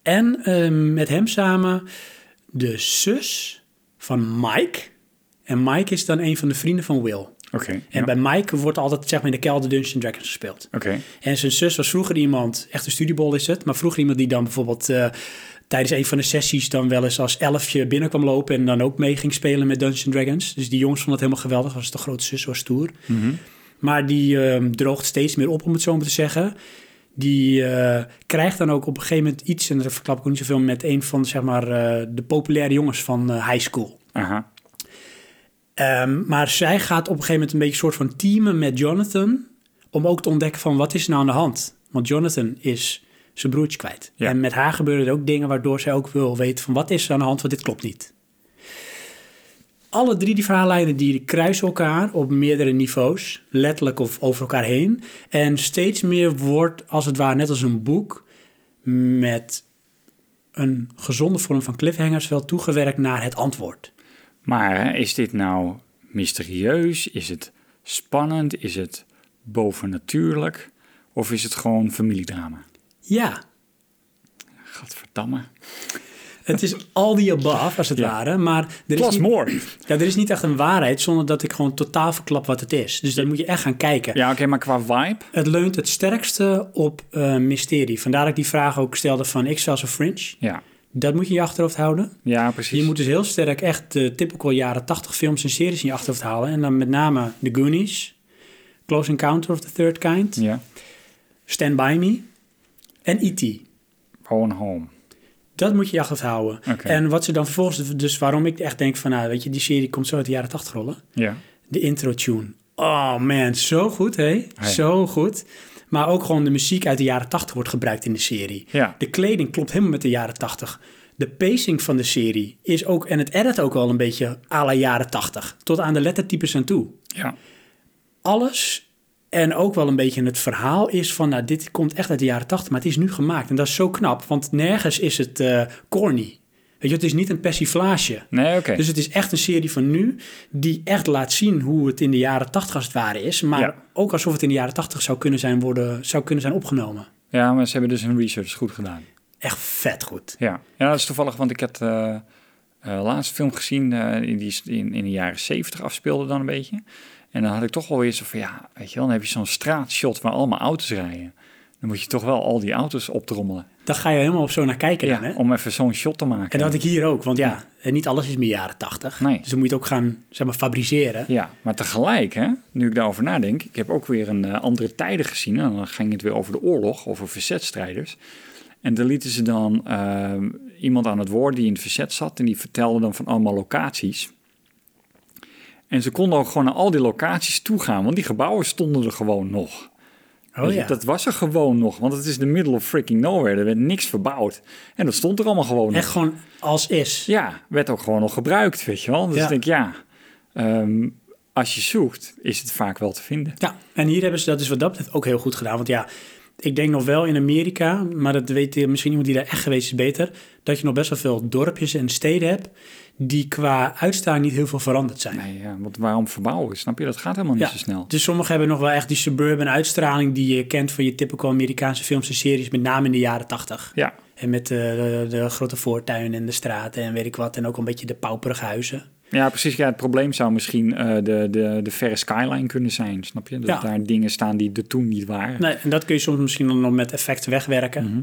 A: En eh, met hem samen de zus van Mike. En Mike is dan een van de vrienden van Will.
C: Oké.
A: En
C: ja.
A: bij Mike wordt altijd zeg maar, in de kelder Dungeons and Dragons gespeeld.
C: Oké.
A: En zijn zus was vroeger iemand, echt een studiebol is het, maar vroeger iemand die dan bijvoorbeeld eh, tijdens een van de sessies dan wel eens als elfje binnenkwam lopen en dan ook mee ging spelen met Dungeons and Dragons. Dus die jongens vonden het helemaal geweldig, was de grote zus, was stoer. Maar die eh, droogt steeds meer op, om het zo maar te zeggen. Die eh, krijgt dan ook op een gegeven moment iets, en daar verklap ik ook niet zoveel, met een van zeg maar, eh, de populaire jongens van eh, high school.
C: Aha.
A: Ehm, maar zij gaat op een gegeven moment een beetje soort van teamen met Jonathan. Om ook te ontdekken van wat is er nou aan de hand. Want Jonathan is zijn broertje kwijt.
C: Ja.
A: En met haar gebeuren er ook dingen waardoor zij ook wil weten van wat is er aan de hand, want dit klopt niet. Alle drie die verhaallijnen die kruisen elkaar op meerdere niveaus, letterlijk of over elkaar heen. En steeds meer wordt, als het ware, net als een boek met een gezonde vorm van cliffhangers wel toegewerkt naar het antwoord.
C: Maar hè, is dit nou mysterieus? Is het spannend? Is het bovennatuurlijk? Of is het gewoon familiedrama?
A: Ja,
C: Gadverdamme.
A: Het is al die above, als het
C: Ja.
A: ware. Maar er is,
C: Plus
A: niet,
C: more.
A: ja, er is niet echt een waarheid zonder dat ik gewoon totaal verklap wat het is. Dus dan moet je echt gaan kijken.
C: Ja, oké, maar qua vibe?
A: Het leunt het sterkste op eh, mysterie. Vandaar dat ik die vraag ook stelde van ik zelfs een fringe.
C: Ja.
A: Dat moet je in je achterhoofd houden.
C: Ja, precies.
A: Je moet dus heel sterk echt de typical jaren 80 films en series in je achterhoofd halen. En dan met name The Goonies, Close Encounter of the Third Kind,
C: Ja.
A: Stand By Me en E E.T.
C: Gewoon home.
A: Dat moet je je achterhoofd houden.
C: Oké.
A: En wat ze dan vervolgens, dus waarom ik echt denk van, nou weet je, die serie komt zo uit de jaren 80 rollen.
C: Ja.
A: De intro tune. Oh man, zo goed hé.
C: Hey.
A: Zo goed. Maar ook gewoon de muziek uit de jaren 80 wordt gebruikt in de serie.
C: Ja.
A: De kleding klopt helemaal met de jaren 80. De pacing van de serie is ook, en het edit ook wel een beetje à la jaren 80. Tot aan de lettertypes aan toe
C: Ja.
A: alles en ook wel een beetje het verhaal is van, nou, dit komt echt uit de jaren 80, maar het is nu gemaakt. En dat is zo knap, want nergens is het eh, corny. Weet je, het is niet een persiflage.
C: Nee, oké.
A: Dus het is echt een serie van nu die echt laat zien hoe het in de jaren 80 als het ware is. Maar
C: Ja.
A: ook alsof het in de jaren 80 zou kunnen zijn, worden, zou kunnen zijn opgenomen.
C: Ja, maar ze hebben dus hun research goed gedaan.
A: Echt vet goed.
C: Ja. Ja, dat is toevallig, want ik had eh, eh, laatste film gezien eh, die is in, in de jaren zeventig afspeelde dan een beetje. En dan had ik toch wel weer zo van, ja, weet je wel, dan heb je zo'n straatshot waar allemaal auto's rijden. Dan moet je toch wel al die auto's optrommelen.
A: Dan ga je helemaal op zo naar kijken dan,
C: Ja,
A: hè?
C: om even zo'n shot te maken.
A: En dat had ik hier ook, want ja, eh, niet alles is meer jaren tachtig.
C: Nee.
A: Dus dan moet je het ook gaan, zeg maar, fabriceren.
C: Ja, maar tegelijk, hè, nu ik daarover nadenk, ik heb ook weer een eh, andere tijden gezien. En dan ging het weer over de oorlog, over verzetstrijders. En dan lieten ze dan eh, iemand aan het woord die in het verzet zat. En die vertelde dan van allemaal locaties. En ze konden ook gewoon naar al die locaties toe gaan, want die gebouwen stonden er gewoon nog.
A: Oh
C: Weet je,
A: ja.
C: Dat was er gewoon nog, want het is de middle of freaking nowhere. Er werd niks verbouwd. En dat stond er allemaal gewoon nog.
A: Echt gewoon als is.
C: Ja, werd ook gewoon nog gebruikt, weet je wel. Dus
A: Ja.
C: ik denk, ja, ehm, als je zoekt, is het vaak wel te vinden.
A: Ja, en hier hebben ze dat dus wat dat betreft ook heel goed gedaan. Want ja, ik denk nog wel in Amerika, maar dat weet misschien iemand die daar echt geweest is beter, dat je nog best wel veel dorpjes en steden hebt die qua uitstaan niet heel veel veranderd zijn.
C: Nee, ja, want waarom verbouwen? Snap je, dat gaat helemaal niet
A: Ja,
C: zo snel.
A: dus sommigen hebben nog wel echt die suburban uitstraling die je kent van je typical Amerikaanse films en series, met name in de jaren tachtig.
C: Ja,
A: En met eh, de, de grote voortuinen en de straten en weet ik wat. En ook een beetje de pauperige huizen.
C: ja precies. Ja, het probleem zou misschien eh, de, de, de verre skyline kunnen zijn, snap je? Dat
A: Ja.
C: daar dingen staan die er toen niet waren.
A: Nee, en dat kun je soms misschien dan nog met effect wegwerken.
C: Mhm.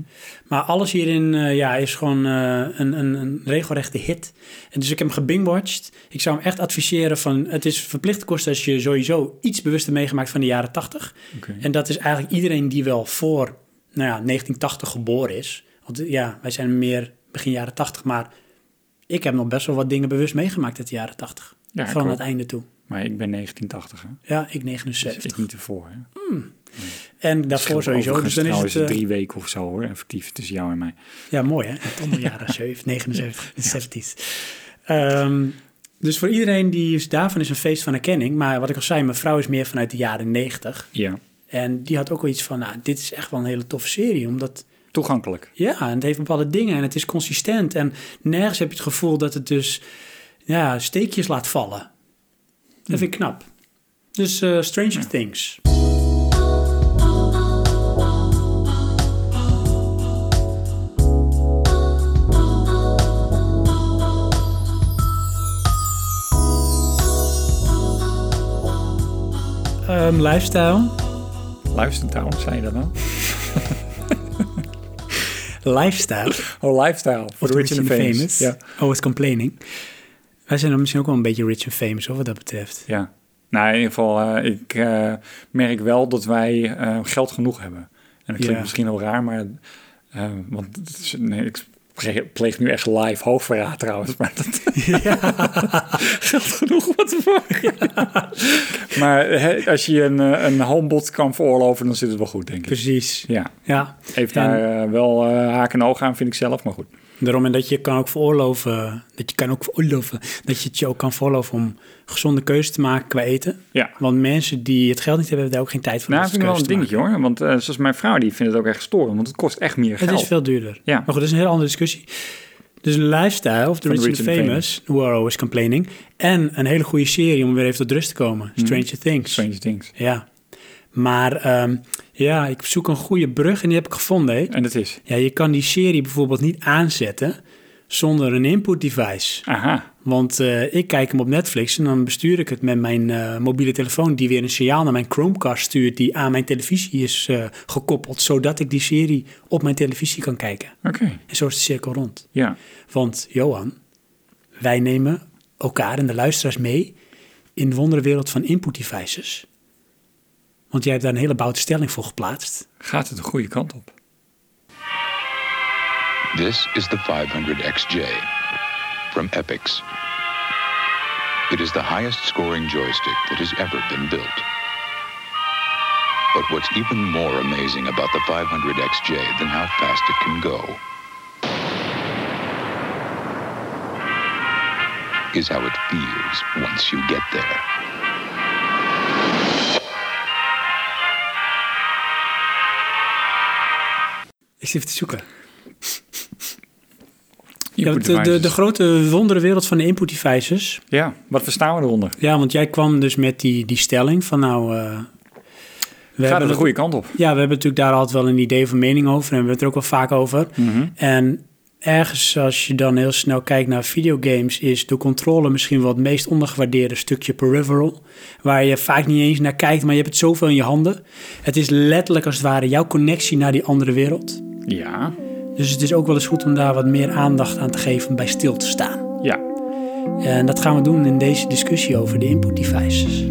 A: Maar alles hierin eh, ja, is gewoon eh, een, een, een regelrechte hit. En dus ik heb hem gebingwatched. Ik zou hem echt adviseren van... het is verplichte kost als je sowieso iets bewuster meegemaakt van de jaren 80.
C: Oké.
A: En dat is eigenlijk iedereen die wel voor nou ja, 1980 geboren is. Want eh, ja, wij zijn meer begin jaren 80, maar... Ik heb nog best wel wat dingen bewust meegemaakt uit de jaren 80.
C: Ja, ik
A: van
C: ook.
A: het einde toe.
C: Maar ik ben 1980, hè?
A: Ja, ik
C: Dus ik
A: 79.
C: niet ervoor, hè?
A: En daarvoor
C: Scheelt
A: sowieso.
C: overigens
A: Dus dan is het,
C: trouwens
A: eh,
C: drie weken of zo, hoor, effectief tussen jou en mij.
A: Ja, mooi hè? Het onder jaren 7, 79, 70. Ehm, dus voor iedereen die is daarvan is een feest van erkenning. Maar wat ik al zei, mijn vrouw is meer vanuit de jaren 90.
C: Ja,
A: En die had ook wel iets van, nou, dit is echt wel een hele toffe serie. Omdat,
C: toegankelijk.
A: ja, en het heeft bepaalde dingen en het is consistent. En nergens heb je het gevoel dat het dus, ja, steekjes laat vallen. Dat vind ik knap. Dus eh, Stranger Things. Ehm, lifestyle.
C: Luister, trouwens, zei je dat nou?
A: Lifestyle.
C: Oh, lifestyle. Voor
A: Of
C: de rich and the famous. Ja.
A: Always Oh, complaining. Wij zijn dan misschien ook wel een beetje rich and famous, hoor, wat dat betreft.
C: Ja. Nou, in ieder geval, eh, ik eh, merk wel dat wij eh, geld genoeg hebben. En dat klinkt
A: Ja.
C: misschien wel raar, maar... eh, want het is- nee, ik pre- pleeg nu echt live hoogverraad trouwens. Maar dat geld genoeg, wat de fuck. Maar hè, als je een, eh, een homebot kan veroorloven, dan zit het wel goed, denk ik.
A: Precies.
C: Ja,
A: Ja,
C: heeft
A: En-
C: daar eh, wel eh, haak en oog aan, vind ik zelf, maar goed.
A: daarom en dat je kan ook veroorloven, dat je kan ook veroorloven, dat je het je ook kan veroorloven om gezonde keuzes te maken qua eten.
C: Ja.
A: Want mensen die het geld niet hebben, hebben daar ook geen tijd voor.
C: Nou,
A: om
C: dat vind ik wel een
A: keuzes te
C: dingetje hoor. Want eh, zoals mijn vrouw, die vindt het ook echt storend. Want het kost echt meer
A: maken.
C: geld.
A: Het is veel duurder.
C: Ja.
A: Maar goed, dat is een hele andere discussie. Dus lifestyle, of the
C: Van
A: rich, and famous, we are always complaining. En een hele goede serie om weer even tot rust te komen,
C: Hmm.
A: Stranger Things.
C: Strange things.
A: Ja. Maar ehm, ja, ik zoek een goede brug en die heb ik gevonden. Hè.
C: En dat is.
A: Ja, je kan die serie bijvoorbeeld niet aanzetten zonder een input device.
C: Aha.
A: Want eh, ik kijk hem op Netflix en dan bestuur ik het met mijn eh, mobiele telefoon... die weer een signaal naar mijn Chromecast stuurt... die aan mijn televisie is eh, gekoppeld... zodat ik die serie op mijn televisie kan kijken.
C: Oké.
A: En zo is de cirkel rond.
C: Ja.
A: Want Johan, wij nemen elkaar en de luisteraars mee... in de wonderenwereld van input devices. Want jij hebt daar een hele boute stelling voor geplaatst.
C: Gaat het de goede kant op?
D: This is the 500XJ from Epix. It is the highest scoring joystick that has ever been built. But what's even more amazing about the 500XJ than how fast it can go is how it feels once you get there.
A: Ik zit even te zoeken. Ja,
C: Input
A: want de, de,
C: devices.
A: de grote wonderenwereld van de input devices.
C: ja, wat verstaan we eronder?
A: Ja, want jij kwam dus met die, die stelling van nou... eh, we
C: Gaat
A: hebben
C: het de
A: het-
C: goede kant op?
A: Mhm. Ja, we hebben natuurlijk daar altijd wel een idee of een mening over. En we hebben het er ook wel vaak over. En ergens als je dan heel snel kijkt naar videogames, is de controle misschien wel het meest ondergewaardeerde stukje peripheral. Waar je vaak niet eens naar kijkt, maar je hebt het zoveel in je handen. Het is letterlijk als het ware jouw connectie naar die andere wereld.
C: Ja.
A: Dus het is ook wel eens goed om daar wat meer aandacht aan te geven bij stil te staan.
C: Ja.
A: En dat gaan we doen in deze discussie over de input devices.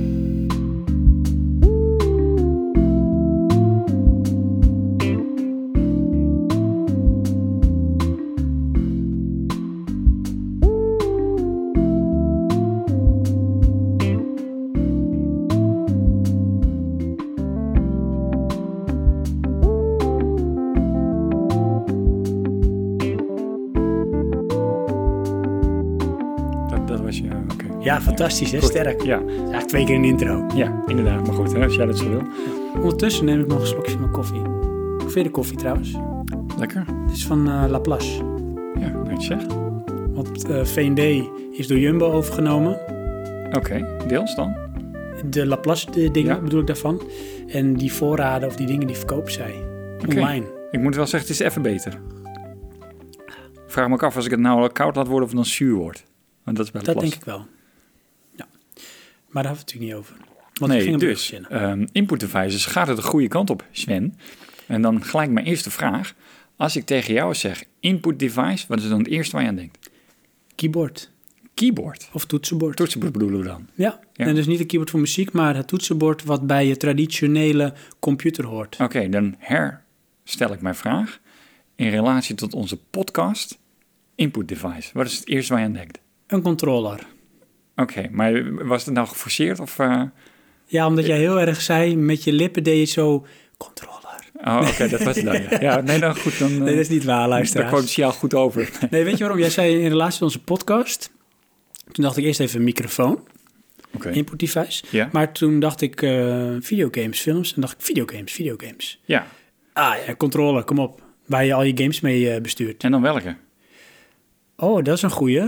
C: Dat, dat was je. Ja, oké.
A: Ja, fantastisch hè,
C: Goed.
A: sterk.
C: Ja,
A: Eigenlijk twee keer een intro.
C: ja, inderdaad. Maar goed, hè, als jij dat zo wil.
A: Ondertussen neem ik nog een slokje van mijn koffie. Hoe vind je de koffie trouwens?
C: Lekker.
A: Het is van eh, Laplace.
C: Ja, nou, zeg.
A: Want eh V&D is door Jumbo overgenomen.
C: Oké, deels dan.
A: De Laplace de dingen
C: Ja.
A: bedoel ik daarvan. En die voorraden of die dingen die verkoopt zij online.
C: Ik moet wel zeggen, het is even beter. Vraag me ook af als ik het nou koud laat worden of het dan zuur wordt. Want dat is bij de
A: Dat
C: plas.
A: denk ik wel. Ja. Maar daar hebben we het natuurlijk niet over. Want we
C: nee,
A: gingen
C: dus
A: beginnen.
C: ehm, input devices gaat het de goede kant op, Sven. En dan gelijk mijn eerste vraag. Als ik tegen jou zeg input device, wat is dan het eerste waar je aan denkt?
A: Keyboard
C: Keyboard.
A: of toetsenbord.
C: Toetsenbord bedoelen we dan.
A: ja.
C: Ja.
A: en dus niet het keyboard voor muziek, maar het toetsenbord wat bij je traditionele computer hoort.
C: Oké, dan herstel ik mijn vraag. In relatie tot onze podcast, input device. Wat is het eerste waar je aan denkt?
A: Een controller.
C: Oké, maar was het nou geforceerd of... eh,
A: Ja, omdat jij heel erg zei, met je lippen deed je zo... Controller.
C: Oh, oké, dat was het dan. Ja. ja, nee, dan goed. Dan, eh,
A: Nee, dat is niet waar,
C: daar
A: luisteraars.
C: kwam het signaal goed over.
A: Nee, weet je waarom? Jij zei in relatie tot onze podcast... Toen dacht ik eerst even microfoon,
C: Oké.
A: input device.
C: Ja.
A: Maar toen dacht ik eh, videogames, films. En dacht ik videogames, videogames.
C: Ja,
A: Ah ja, controller, kom op. Waar je al je games mee eh, bestuurt.
C: en dan welke?
A: Oh, dat is een goeie.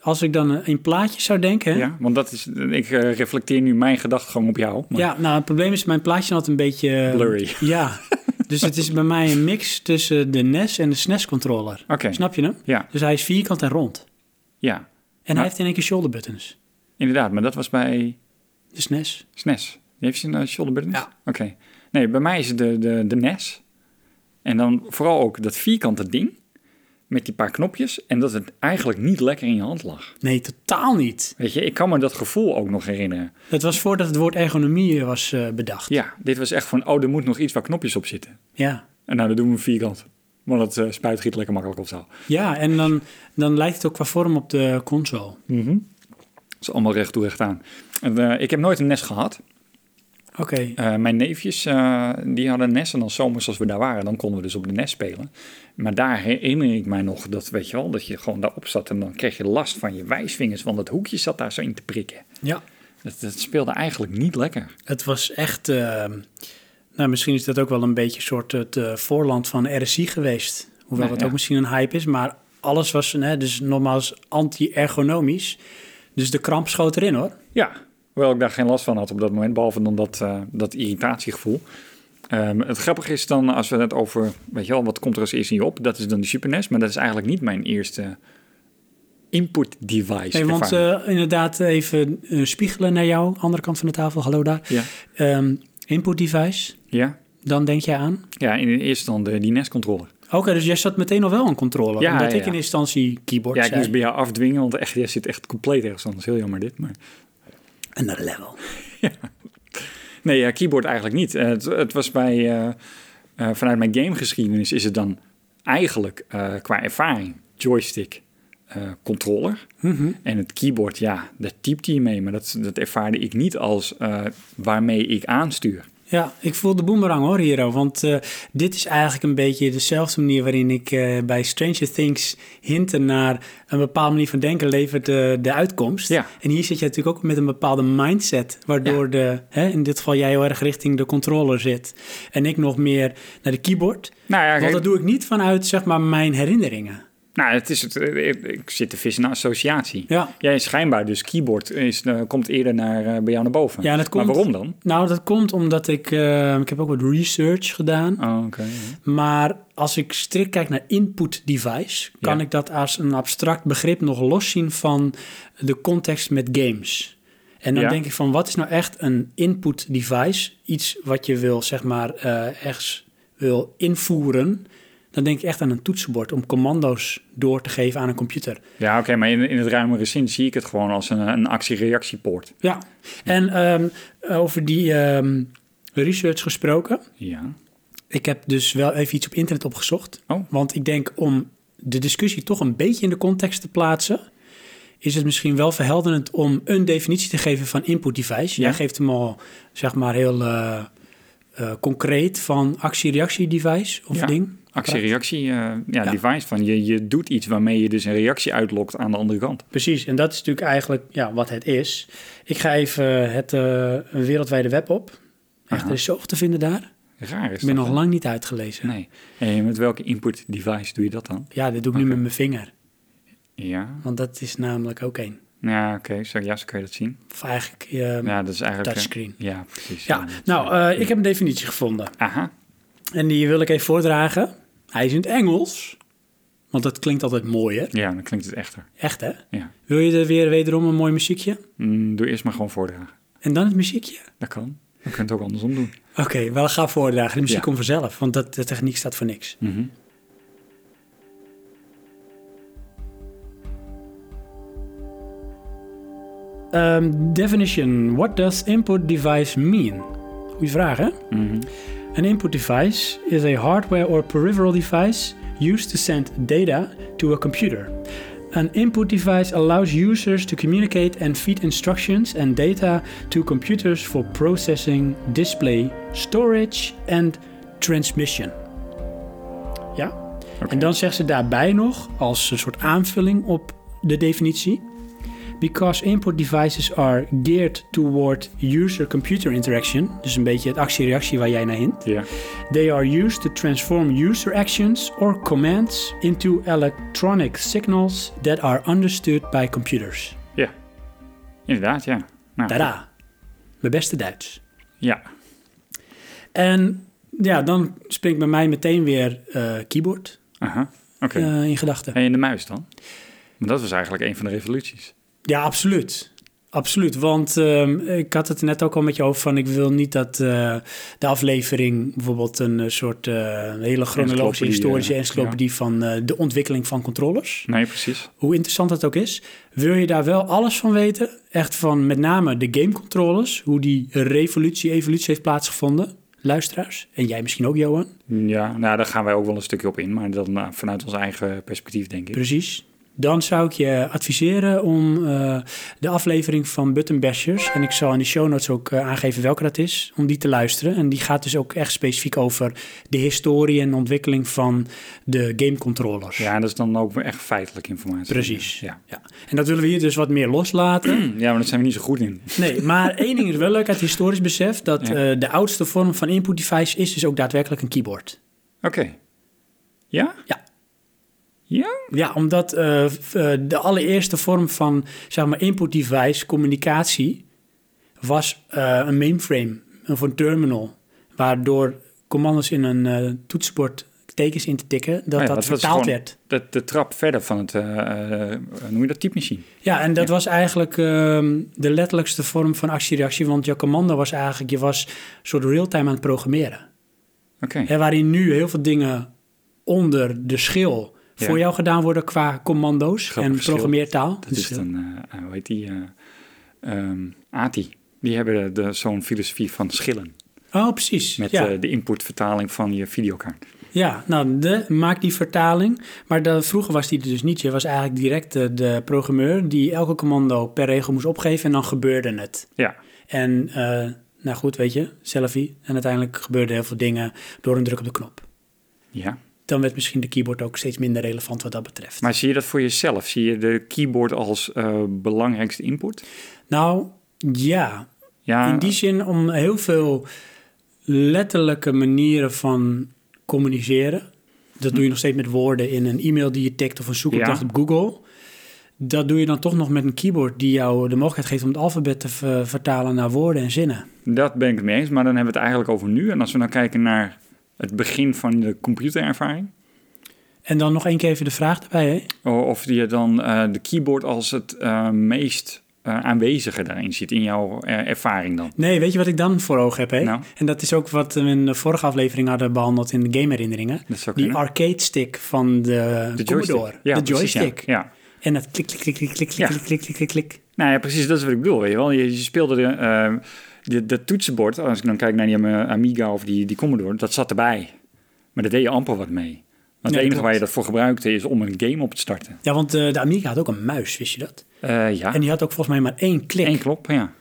A: Als ik dan eh, in plaatjes zou denken... hè?
C: Ja, want dat is, ik eh, reflecteer nu mijn gedachtegang op jou. maar-
A: Ja, nou het probleem is, mijn plaatje had een beetje... eh,
C: Blurry.
A: Ja, dus het is bij mij een mix tussen de NES en de SNES-controller.
C: Oké.
A: Snap je hem?
C: Ja,
A: Dus hij is vierkant en rond.
C: ja,
A: En hij
C: Maar-
A: heeft in één keer shoulder buttons.
C: inderdaad. Maar dat was bij
A: De E SNES.
C: SNES. Die heeft ze een eh, shoulder buttons?
A: Ja.
C: Oké. Nee, bij mij is het de, de, de NES. En dan vooral ook dat vierkante ding met die paar knopjes. En dat het eigenlijk niet lekker in je hand lag.
A: Nee, totaal niet.
C: Weet je, ik kan me dat gevoel ook nog herinneren.
A: Dat was voordat het woord ergonomie was eh, bedacht.
C: Ja, dit was echt van, oh, er moet nog iets waar knopjes op zitten.
A: Ja,
C: En nou, dat doen we vierkant. Want het eh, spuit giet lekker makkelijk op zo.
A: ja en dan, dan lijkt het ook qua vorm op de console.
C: Dat is allemaal recht toe, recht aan. En, eh, ik heb nooit een nest gehad.
A: Oké,
C: Eh, mijn neefjes, eh, die hadden een nest. En dan zomers als we daar waren, dan konden we dus op de nest spelen. Maar daar herinner ik mij nog dat, weet je wel, dat je gewoon daarop zat. En dan kreeg je last van je wijsvingers, want dat hoekje zat daar zo in te prikken.
A: ja.
C: Dat, dat speelde eigenlijk niet lekker.
A: Het was echt... eh, nou, misschien is dat ook wel een beetje soort het eh, voorland van RSI geweest. Hoewel dat
C: Ja, Nou ja.
A: ook misschien een hype is, maar alles was hè, dus nogmaals anti-ergonomisch. Dus de kramp schoot erin hoor.
C: Ja, hoewel ik daar geen last van had op dat moment, behalve dan dat, eh, dat irritatiegevoel. Ehm, het grappige is dan, als we het over, weet je wel, wat komt er als eerste in je op? Dat is dan de Super NES, maar dat is eigenlijk niet mijn eerste input device.
A: Nee, want
C: ervaring.
A: eh, inderdaad even eh, spiegelen naar jou, andere kant van de tafel, hallo daar.
C: ja,
A: Ehm, input device,
C: ja,
A: dan denk jij aan.
C: ja, in de eerste dan de, E die NES-controller.
A: Oké, dus jij zat meteen al wel aan controle.
C: Ja,
A: omdat
C: ja,
A: ik in
C: ja.
A: instantie keyboard
C: Ja, ik
A: zei.
C: moest bij jou afdwingen, want echt, jij zit echt compleet ergens anders. Heel jammer dit, maar...
A: Another level.
C: Nee, ja, keyboard eigenlijk niet. Eh, het, het was bij, eh, eh, vanuit mijn gamegeschiedenis is het dan eigenlijk eh, qua ervaring joystick, eh, controller. En het keyboard, ja, daar typte je mee. Maar dat, dat ervaarde ik niet als eh, waarmee ik aanstuur.
A: Ja, ik voel de boemerang hoor, Hero. Want eh, dit is eigenlijk een beetje dezelfde manier waarin ik eh, bij Stranger Things hinten naar een bepaalde manier van denken levert eh, de uitkomst.
C: Ja.
A: En hier zit je natuurlijk ook met een bepaalde mindset, waardoor de, hè, in dit geval jij heel erg richting de controller zit. En ik nog meer naar de keyboard.
C: Nou ja,
A: Want
C: kijk,
A: dat doe ik niet vanuit, zeg maar, mijn herinneringen.
C: Nou, het is het, ik zit te vissen naar associatie.
A: Ja.
C: Jij schijnbaar, dus keyboard is, eh, komt eerder naar, eh, bij jou naar boven.
A: Ja, dat komt-
C: Maar waarom dan?
A: Nou, dat komt omdat ik... eh, ik heb ook wat research gedaan.
C: Oh, oké. ja.
A: Maar als ik strikt kijk naar input device... kan
C: Ja.
A: ik dat als een abstract begrip nog loszien van de context met games. En dan
C: Ja.
A: denk ik van, wat is nou echt een input device? Iets wat je wil, zeg maar, eh, ergens wil invoeren... Dan denk ik echt aan een toetsenbord om commando's door te geven aan een computer.
C: Ja, oké, maar in, in het ruimere zin zie ik het gewoon als een, een actie-reactiepoort.
A: Ja, en ehm, over die ehm, research gesproken.
C: Ja.
A: Ik heb dus wel even iets op internet opgezocht.
C: Oh.
A: Want ik denk om de discussie toch een beetje in de context te plaatsen... is het misschien wel verhelderend om een definitie te geven van input device.
C: Ja.
A: Jij geeft hem al, zeg maar, heel eh, eh, concreet van actie-reactie device of
C: Ja.
A: ding.
C: Actie-reactie, eh, ja,
A: Ja.
C: device van je, je doet iets waarmee je dus een reactie uitlokt aan de andere kant.
A: Precies, en dat is natuurlijk eigenlijk ja, wat het is. Ik ga even het eh, wereldwijde web op. Echt,
C: Aha.
A: er is zoveel te vinden daar.
C: Raar is
A: Ik ben
C: dat,
A: nog
C: hè?
A: lang niet uitgelezen.
C: Nee. En met welke input device doe je dat dan?
A: Ja, dat doe ik nu met mijn vinger.
C: Ja.
A: Want dat is namelijk ook één.
C: Ja, oké. Zo, ja, zo kun je dat zien.
A: Of eigenlijk... eh,
C: Ja, dat is eigenlijk... eh,
A: touchscreen.
C: ja, precies.
A: ja,
C: dat-
A: nou, eh, ik heb een definitie gevonden.
C: Aha.
A: En die wil ik even voordragen. Hij is in het Engels. Want dat klinkt altijd mooier.
C: Ja, dan klinkt het echter.
A: Echt, hè?
C: Ja.
A: Wil je er weer wederom een mooi muziekje?
C: Mm, doe eerst maar gewoon voordragen.
A: En dan het muziekje?
C: Dat kan. We kunnen het ook andersom doen.
A: Oké, wel ga voordragen. De muziek
C: Ja.
A: komt vanzelf, want dat, de techniek staat voor niks. Um, definition. What does input device mean? Goeie vraag, hè? An input device is a hardware or peripheral device used to send data to a computer. An input device allows users to communicate and feed instructions and data to computers for processing, display, storage and transmission. Ja? En dan zegt ze daarbij nog, als een soort aanvulling op de definitie. Because input devices are geared toward user-computer interaction, dus een beetje het actie-reactie waar jij naar hint.
C: Ja.
A: They are used to transform user actions or commands into electronic signals that are understood by computers.
C: Ja. Inderdaad, ja. Nou,
A: Tada! Mijn beste Duits.
C: Ja.
A: En ja, dan springt bij mij meteen weer eh, keyboard
C: Aha. Oké.
A: eh, in gedachten.
C: En de muis dan? Maar dat was eigenlijk een van de revoluties.
A: Ja, absoluut. Absoluut, want ehm, ik had het net ook al met je over van... ik wil niet dat eh, de aflevering bijvoorbeeld een eh, soort... eh, een hele chronologische
C: Encyclopedie,
A: historische
C: eh,
A: encyclopedie... van eh, de ontwikkeling van controllers.
C: Nee, precies.
A: hoe interessant dat ook is, wil je daar wel alles van weten. Echt van met name de gamecontrollers, hoe die revolutie, evolutie heeft plaatsgevonden. Luisteraars, en jij misschien ook, Johan.
C: Ja, nou, daar gaan wij ook wel een stukje op in, maar dan eh, vanuit ons eigen perspectief, denk ik.
A: Precies. Dan zou ik je adviseren om eh, de aflevering van Button Bashers, en ik zal in de show notes ook eh, aangeven welke dat is, om die te luisteren. En die gaat dus ook echt specifiek over de historie en ontwikkeling van de gamecontrollers.
C: Ja, en dat is dan ook weer echt feitelijke informatie.
A: Precies.
C: Ja.
A: Ja. En dat willen we hier dus wat meer loslaten.
C: ja, maar daar zijn we niet zo goed in.
A: Nee, maar één ding is wel leuk uit historisch besef... dat
C: Ja.
A: eh, de oudste vorm van input device is dus ook daadwerkelijk een keyboard.
C: Oké. Ja?
A: Ja.
C: Ja?
A: Ja, omdat eh, v- eh, de allereerste vorm van zeg maar, input device, communicatie... was eh, een mainframe, of een terminal... waardoor commando's in een eh, toetsenbord tekens in te tikken... dat
C: Oh Ja,
A: dat,
C: was
A: vertaald
C: gewoon
A: werd.
C: De, de trap verder van het, eh, eh, noem je dat, typemachine.
A: Ja, en dat was eigenlijk ehm, de letterlijkste vorm van actie-reactie... want je commando was eigenlijk... je was een soort real-time aan het programmeren.
C: Oké.
A: Hè, waarin nu heel veel dingen onder de schil
C: Ja.
A: voor jou gedaan worden qua commando's
C: Grappig
A: en
C: verschil.
A: programmeertaal.
C: Dat
A: Dus,
C: is
A: eh,
C: dan, eh, eh, hoe heet die? eh ehm, ATI. Die hebben de- de- zo'n filosofie van schillen.
A: Oh, precies.
C: Met
A: ja.
C: eh, de inputvertaling van je videokaart.
A: ja, nou, de, maak die vertaling. Maar de, vroeger was die er dus niet. Je was eigenlijk direct de, de programmeur die elke commando per regel moest opgeven en dan gebeurde het.
C: Ja,
A: En eh, nou goed, weet je, selfie. En uiteindelijk gebeurden heel veel dingen door een druk op de knop.
C: ja.
A: Dan werd misschien de keyboard ook steeds minder relevant wat dat betreft.
C: Maar zie je dat voor jezelf? Zie je de keyboard als eh, belangrijkste input?
A: Nou, ja,
C: Ja,
A: In die zin om heel veel letterlijke manieren van communiceren. dat doe je nog steeds met woorden in een e-mail die je tikt of een zoekopdracht
C: Ja.
A: op Google. Dat doe je dan toch nog met een keyboard die jou de mogelijkheid geeft om het alfabet te ver- vertalen naar woorden en zinnen.
C: Dat ben ik het mee eens, maar dan hebben we het eigenlijk over nu. En als we nou kijken naar het begin van de computerervaring,
A: En dan nog één keer even de vraag erbij, hè?
C: o- of je dan eh, de keyboard als het eh, meest eh, aanwezige daarin ziet, in jouw eh, ervaring dan.
A: Nee, weet je wat ik dan voor ogen heb, hè?
C: Nou.
A: En dat is ook wat we in de vorige aflevering hadden behandeld in de gameherinneringen.
C: Dat zou
A: Die
C: kunnen.
A: arcade stick van de,
C: De joystick.
A: Commodore.
C: Ja,
A: de
C: precies, ja.
A: joystick.
C: ja.
A: En dat klik, klik, klik, klik, klik,
C: Ja.
A: klik, klik, klik, klik, klik.
C: Nou ja, precies, dat is wat ik bedoel. Weet je wel. Je, je speelde de, eh, de, de toetsenbord, als ik dan kijk naar die eh, Amiga of die, die Commodore, dat zat erbij. Maar daar deed je amper wat mee. Want het
A: Nee,
C: enige
A: klopt.
C: waar je dat voor gebruikte is om een game op te starten.
A: Ja, want eh, de Amiga had ook een muis, wist je dat?
C: Eh, ja,
A: En die had ook volgens mij maar één klik.
C: één klop, ja.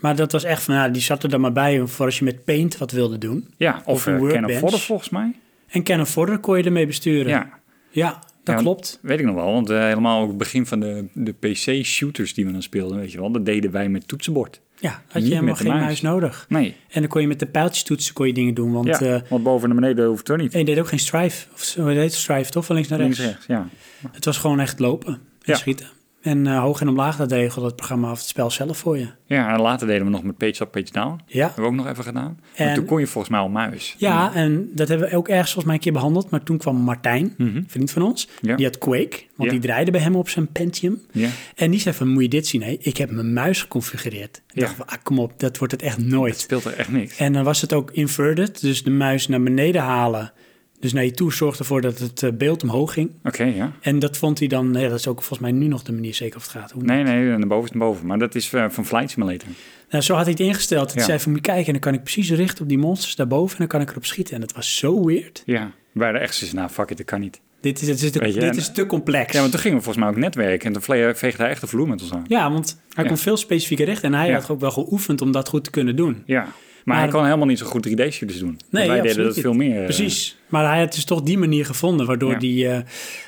A: Maar dat was echt van, nou, die zat er dan maar bij voor als je met Paint wat wilde doen.
C: Ja, of, eh,
A: Of
C: of
A: een
C: Ken
A: workbench.
C: Fodder volgens mij.
A: En Canon Fodder kon je ermee besturen.
C: Ja,
A: Ja, dat
C: Ja,
A: klopt.
C: weet ik nog wel. Want eh, helemaal ook het begin van de, de PC-shooters die we dan speelden, weet je wel. Dat deden wij met toetsenbord.
A: Ja, had je
C: Niet
A: helemaal
C: met de
A: geen
C: muis.
A: muis nodig.
C: Nee,
A: En dan kon je met de pijltjes toetsen kon je dingen doen. Want
C: want, ja,
A: eh,
C: want boven en beneden hoeft er niet.
A: En je deed ook geen strive. Of zo je deed strive toch? Van links naar rechts.
C: Links, rechts, ja.
A: Het was gewoon echt lopen en
C: Ja.
A: schieten. En eh, hoog en omlaag, dat regelde het programma of het spel zelf voor je.
C: Ja, en later deden we nog met Page Up, Page Down.
A: Ja.
C: Hebben we ook nog even gedaan. En
A: En-
C: toen kon je volgens mij al muis.
A: Ja, en dat hebben we ook ergens volgens mij een keer behandeld. Maar toen kwam Martijn, een vriend van ons.
C: Mhm. Ja.
A: Die had Quake, want
C: Ja.
A: die draaide bij hem op zijn Pentium.
C: Ja.
A: En die zei van, moet je dit zien? Hé, ik heb mijn muis geconfigureerd. Ik
C: Ja.
A: dacht van, ah, kom op, dat wordt het echt nooit.
C: Speelt er echt niks.
A: En dan was het ook inverted, dus de muis naar beneden halen. Dus naar je toe zorgde ervoor dat het eh, beeld omhoog ging.
C: Oké, ja.
A: En dat vond hij dan, ja, dat is ook volgens mij nu nog de manier zeker of het gaat. Hoe
C: Nee, nee, naar boven is naar boven. Maar dat is eh, van Flight Simulator.
A: Nou, zo had hij het ingesteld. Het
C: Ja.
A: zei van, moet je kijken, en dan kan ik precies richten op die monsters daarboven en dan kan ik erop schieten. En dat was zo weird.
C: Ja, waar er echt is, nou fuck it, dat kan niet.
A: Dit is, dit is, te,
C: Weet je,
A: dit
C: en-
A: is te complex.
C: Ja, want toen gingen we volgens mij ook netwerken. En toen vle- veegde hij echt de vloer met ons aan.
A: Ja, want hij
C: Ja.
A: kon veel specifieker richten en hij
C: Ja.
A: had ook wel geoefend om dat goed te kunnen doen.
C: Ja, maar, hij kan helemaal niet zo goed 3D-shooters doen.
A: Nee,
C: Nee, wij
A: ja,
C: deden dat
A: absoluut
C: veel
A: niet.
C: meer. eh,
A: Precies. Maar hij had dus toch die manier gevonden waardoor
C: Ja.
A: die,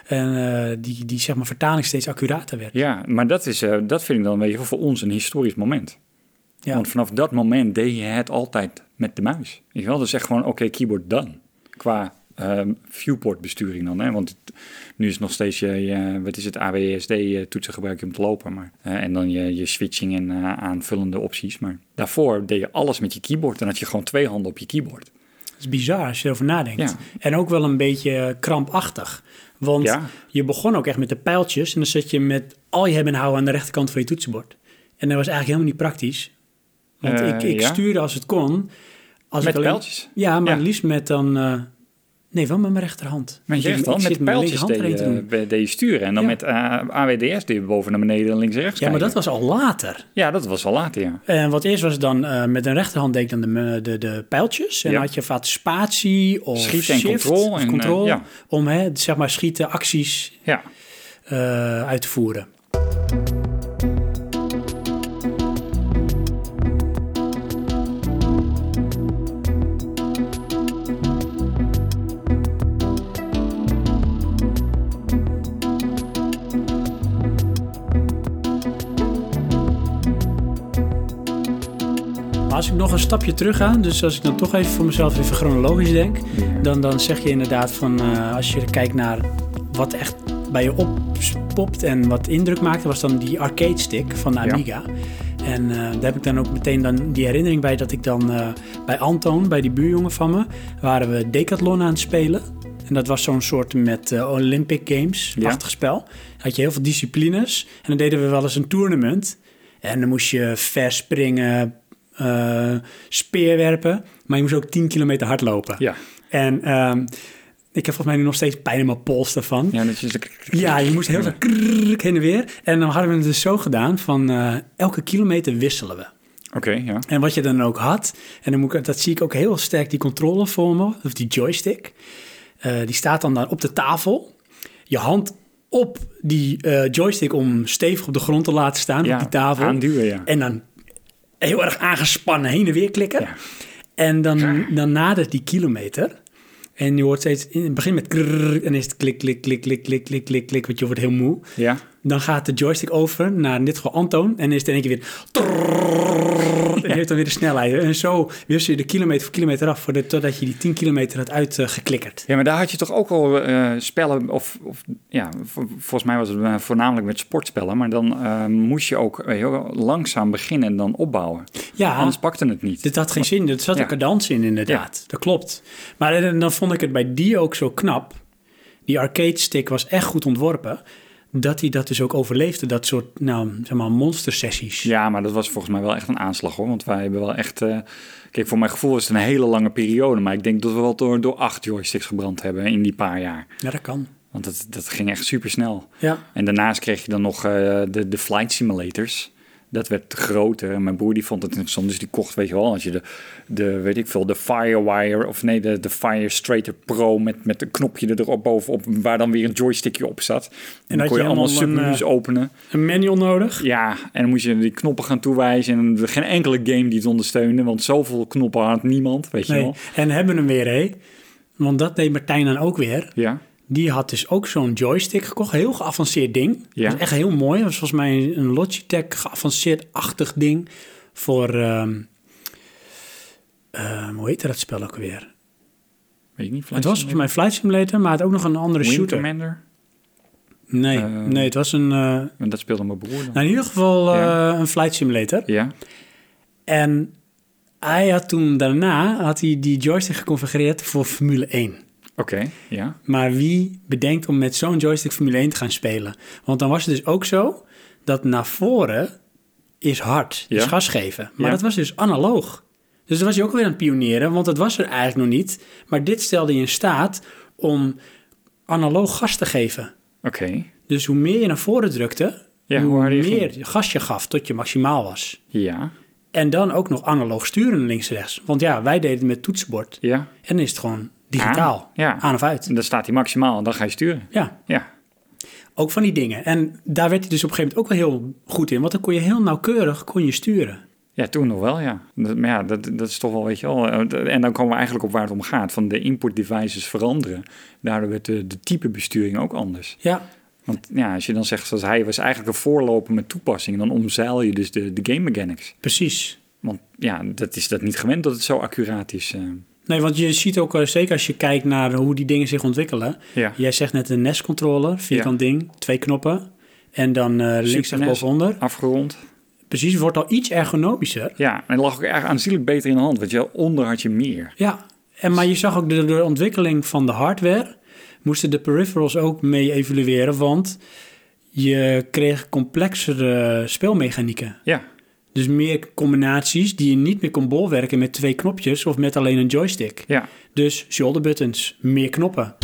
A: eh, eh, die, die zeg maar, vertaling steeds accurater werd.
C: Ja, maar dat, is, eh, dat vind ik dan weet je, wel, voor ons een historisch moment.
A: Ja.
C: Want vanaf dat moment deed je het altijd met de muis. Weet je wel, dus echt gewoon oké, keyboard dan. Qua ehm viewport besturing dan. Hè? Want het- nu is het nog steeds je, je- wat is het, AWSD-toetsen eh, gebruik je om te lopen. Maar, eh, en dan je, je switching en eh, aanvullende opties. Maar daarvoor deed je alles met je keyboard. En had je gewoon twee handen op je keyboard.
A: Dat is bizar als je erover nadenkt.
C: Ja.
A: En ook wel een beetje krampachtig. Want
C: Ja.
A: je begon ook echt met de pijltjes en dan zat je met al je hebben en houden aan de rechterkant van je toetsenbord. En dat was eigenlijk helemaal niet praktisch. Want
C: Eh,
A: ik, ik
C: ja.
A: stuurde als het kon. Als
C: Met
A: ik alleen,
C: pijltjes?
A: Ja, maar
C: Ja.
A: het liefst met dan... eh, nee, wel met mijn rechterhand.
C: Met je
A: Ik- ik
C: rechterhand,
A: zit
C: met
A: mijn
C: pijltjes eh,
A: linkerhand
C: deed
A: erheen te doen.
C: je, deed je sturen. En dan
A: Ja.
C: met eh, AWDS deed je boven naar beneden en links en rechts
A: Ja, maar dat
C: kijken.
A: was al later.
C: Ja, dat was al later, ja.
A: En wat eerst was het dan, eh, met een rechterhand deed ik dan de, me- de, de pijltjes. En
C: Ja.
A: dan had je vaak spatie of
C: Schieten en
A: shift
C: control
A: of
C: en, eh,
A: control.
C: ja.
A: Om hè, zeg maar schieten, acties
C: Ja,
A: eh, uit te voeren. Maar Als ik nog een stapje terug ga, dus als ik dan toch even voor mezelf even chronologisch denk, dan, dan zeg je inderdaad van eh, als je kijkt naar wat echt bij je oppopt en wat indruk maakte, was dan die arcade stick van de
C: Ja.
A: Amiga. En eh, daar heb ik dan ook meteen dan die herinnering bij dat ik dan eh, bij Antoon, bij die buurjongen van me, waren we Decathlon aan het spelen. En dat was zo'n soort met eh, Olympic Games-achtig spel. Had je heel veel disciplines. En dan deden we wel eens een tournament. En dan moest je verspringen, springen, speerwerpen. Maar je moest ook 10 kilometer hardlopen.
C: ja.
A: En ehm, ik heb volgens mij nu nog steeds pijn in mijn pols daarvan.
C: ja dat is dus
A: Ja, je moest heel veel krrrrk heen en weer. En dan hadden we het dus zo gedaan van eh, elke kilometer wisselen we.
C: Oké, ja.
A: En wat je dan ook had, en dan moet ik, dat zie ik ook heel sterk, die controle voor me, of die joystick. eh, die staat dan daar op de tafel. Je hand op die eh, joystick om stevig op de grond te laten staan,
C: Ja,
A: op die tafel.
C: aanduwen, ja.
A: En dan heel erg aangespannen heen en weer klikken.
C: Ja.
A: En dan, dan nadert die kilometer. En je hoort steeds, in het begin met krrrr, en is het klik, klik, klik, klik, klik, klik, klik, klik, want je wordt heel moe.
C: Ja.
A: Dan gaat de joystick over naar in dit geval Antoon. En is het in één keer weer. En heeft dan weer de snelheid. En zo wist je de kilometer voor kilometer af, voor de, totdat je die 10 kilometer had uitgeklikkerd.
C: Ja, maar daar had je toch ook al eh, spellen, of, of ja, vo- volgens mij was het eh, voornamelijk met sportspellen, maar dan eh, moest je ook heel langzaam beginnen en dan opbouwen.
A: Ja.
C: Anders pakte het niet.
A: Ah. Dit had geen zin. Er zat
C: Ja.
A: een cadans in, inderdaad. Dat klopt. Maar en dan vond ik het bij die ook zo knap. Die arcade stick was echt goed ontworpen. Dat hij dat dus ook overleefde. Dat soort, nou, zeg maar, monster sessies.
C: Ja, maar dat was volgens mij wel echt een aanslag hoor. Want wij hebben wel echt. eh, kijk, voor mijn gevoel was het een hele lange periode. Maar ik denk dat we wel door, door acht joysticks gebrand hebben in die paar jaar.
A: Ja, dat kan.
C: Want dat, dat ging echt super snel.
A: Ja.
C: En daarnaast kreeg je dan nog eh, de, de flight simulators. Dat werd groter. En mijn broer die vond het interessant. Dus die kocht, weet je wel, als je de, de weet ik veel, de Firewire. Of nee, de, de Fire Straighter Pro met, met een knopje erop bovenop. Waar dan weer een joystickje op zat. En dan
A: had
C: kon je
A: je
C: allemaal
A: helemaal een, eh,
C: submenu's openen.
A: Een manual nodig.
C: Ja, en dan moest je die knoppen gaan toewijzen. En geen enkele game die het ondersteunde, want zoveel knoppen had niemand, weet je
A: Nee.
C: wel.
A: En hebben we hem weer, hé. Want dat deed Martijn dan ook weer.
C: Ja,
A: Die had dus ook zo'n joystick gekocht. Heel geavanceerd ding.
C: Ja.
A: Dat was echt heel mooi. Dat was volgens mij een- een Logitech geavanceerd-achtig ding. Voor, ehm, ehm, hoe heet dat spel ook weer?
C: weet ik niet.
A: Het was volgens mij Flight Simulator, maar het had ook nog een andere
C: Wing
A: shooter.
C: Commander,
A: Nee,
C: Eh.
A: nee, het was een... eh,
C: want dat speelde mijn broer dan.
A: nou, in ieder geval eh,
C: Ja.
A: een Flight Simulator.
C: Ja,
A: En hij had toen daarna had hij die joystick geconfigureerd voor Formule 1.
C: oké, ja.
A: Maar wie bedenkt om met zo'n joystick Formule 1 te gaan spelen? Want dan was het dus ook zo dat naar voren is hard, is
C: Ja.
A: gas geven. Maar
C: Ja.
A: dat was dus analoog. Dus dan was je ook weer aan het pionieren, want dat was er eigenlijk nog niet. Maar dit stelde je in staat om analoog gas te geven.
C: Oké,
A: Dus hoe meer je naar voren drukte,
C: Ja, hoe
A: hoe,
C: harder je
A: meer gas je gaf tot je maximaal was.
C: ja,
A: En dan ook nog analoog sturen links-rechts. Want ja, wij deden het met toetsenbord.
C: ja.
A: En dan is het gewoon digitaal.
C: Aan, ja.
A: Aan of uit.
C: En dan staat hij maximaal en dan ga je sturen.
A: Ja.
C: Ja,
A: Ook van die dingen. En daar werd hij dus op een gegeven moment ook wel heel goed in. Want dan kon je heel nauwkeurig kon je sturen.
C: ja toen nog wel, ja. Dat, maar ja, dat, dat is toch wel, weet je wel. eh, dat- En dan komen we eigenlijk op waar het om gaat. Van de input devices veranderen. Daardoor werd de, de type besturing ook anders.
A: Ja.
C: Want ja, als je dan zegt, zoals hij was eigenlijk een voorloper met toepassing, dan omzeil je dus de, de game mechanics.
A: Precies.
C: Want ja, dat is dat niet gewend dat het zo accuraat is. eh.
A: Nee, want je ziet ook, eh, zeker als je kijkt naar hoe die dingen zich ontwikkelen.
C: Ja.
A: Jij zegt net een NES-controller, vierkant ding, twee knoppen. En dan eh links en
C: NES.
A: bovenonder.
C: afgerond.
A: Precies, het wordt al iets ergonomischer.
C: Ja, en dat lag ook echt aanzienlijk beter in de hand, want je onder had je meer.
A: Ja, en, maar je zag ook de, de ontwikkeling van de hardware. Moesten de peripherals ook mee evolueren, want je kreeg complexere speelmechanieken.
C: Ja,
A: Dus meer combinaties die je niet meer kon bolwerken met twee knopjes of met alleen een joystick.
C: ja.
A: Dus shoulder buttons, meer knoppen.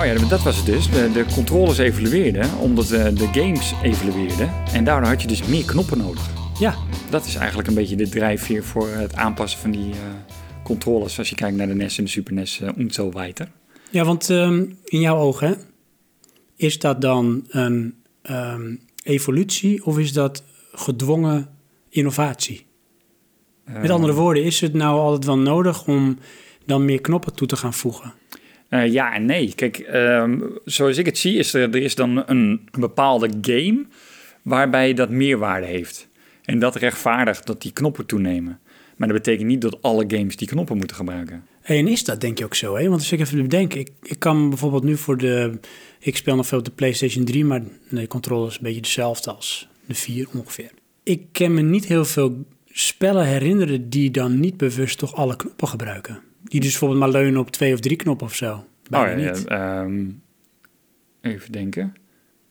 C: Oh ja, dat was het dus. De, de controllers evolueerden, omdat eh, de games evolueerden. En daardoor had je dus meer knoppen nodig.
A: Ja,
C: Dat is eigenlijk een beetje de drijfveer voor het aanpassen van die eh, controllers. Als je kijkt naar de NES en de Super NES, uh, weiter.
A: ja want ehm, in jouw ogen, is dat dan een ehm, evolutie of is dat gedwongen innovatie? Met andere woorden, is het nou altijd wel nodig om dan meer knoppen toe te gaan voegen?
C: Eh, ja en nee. Kijk, ehm, zoals ik het zie, is er, er is dan een bepaalde game waarbij dat meerwaarde heeft. En dat rechtvaardigt dat die knoppen toenemen. Maar dat betekent niet dat alle games die knoppen moeten gebruiken.
A: En is dat denk je ook zo, hè? Want als ik even bedenk, ik, ik kan bijvoorbeeld nu voor de... Ik speel nog veel op de PlayStation 3, maar de controller is een beetje dezelfde als de 4 ongeveer. Ik kan me niet heel veel spellen herinneren die dan niet bewust toch alle knoppen gebruiken. Die dus bijvoorbeeld maar leunen op twee of drie knoppen of zo. Bijna
C: ja,
A: niet.
C: ehm, even denken.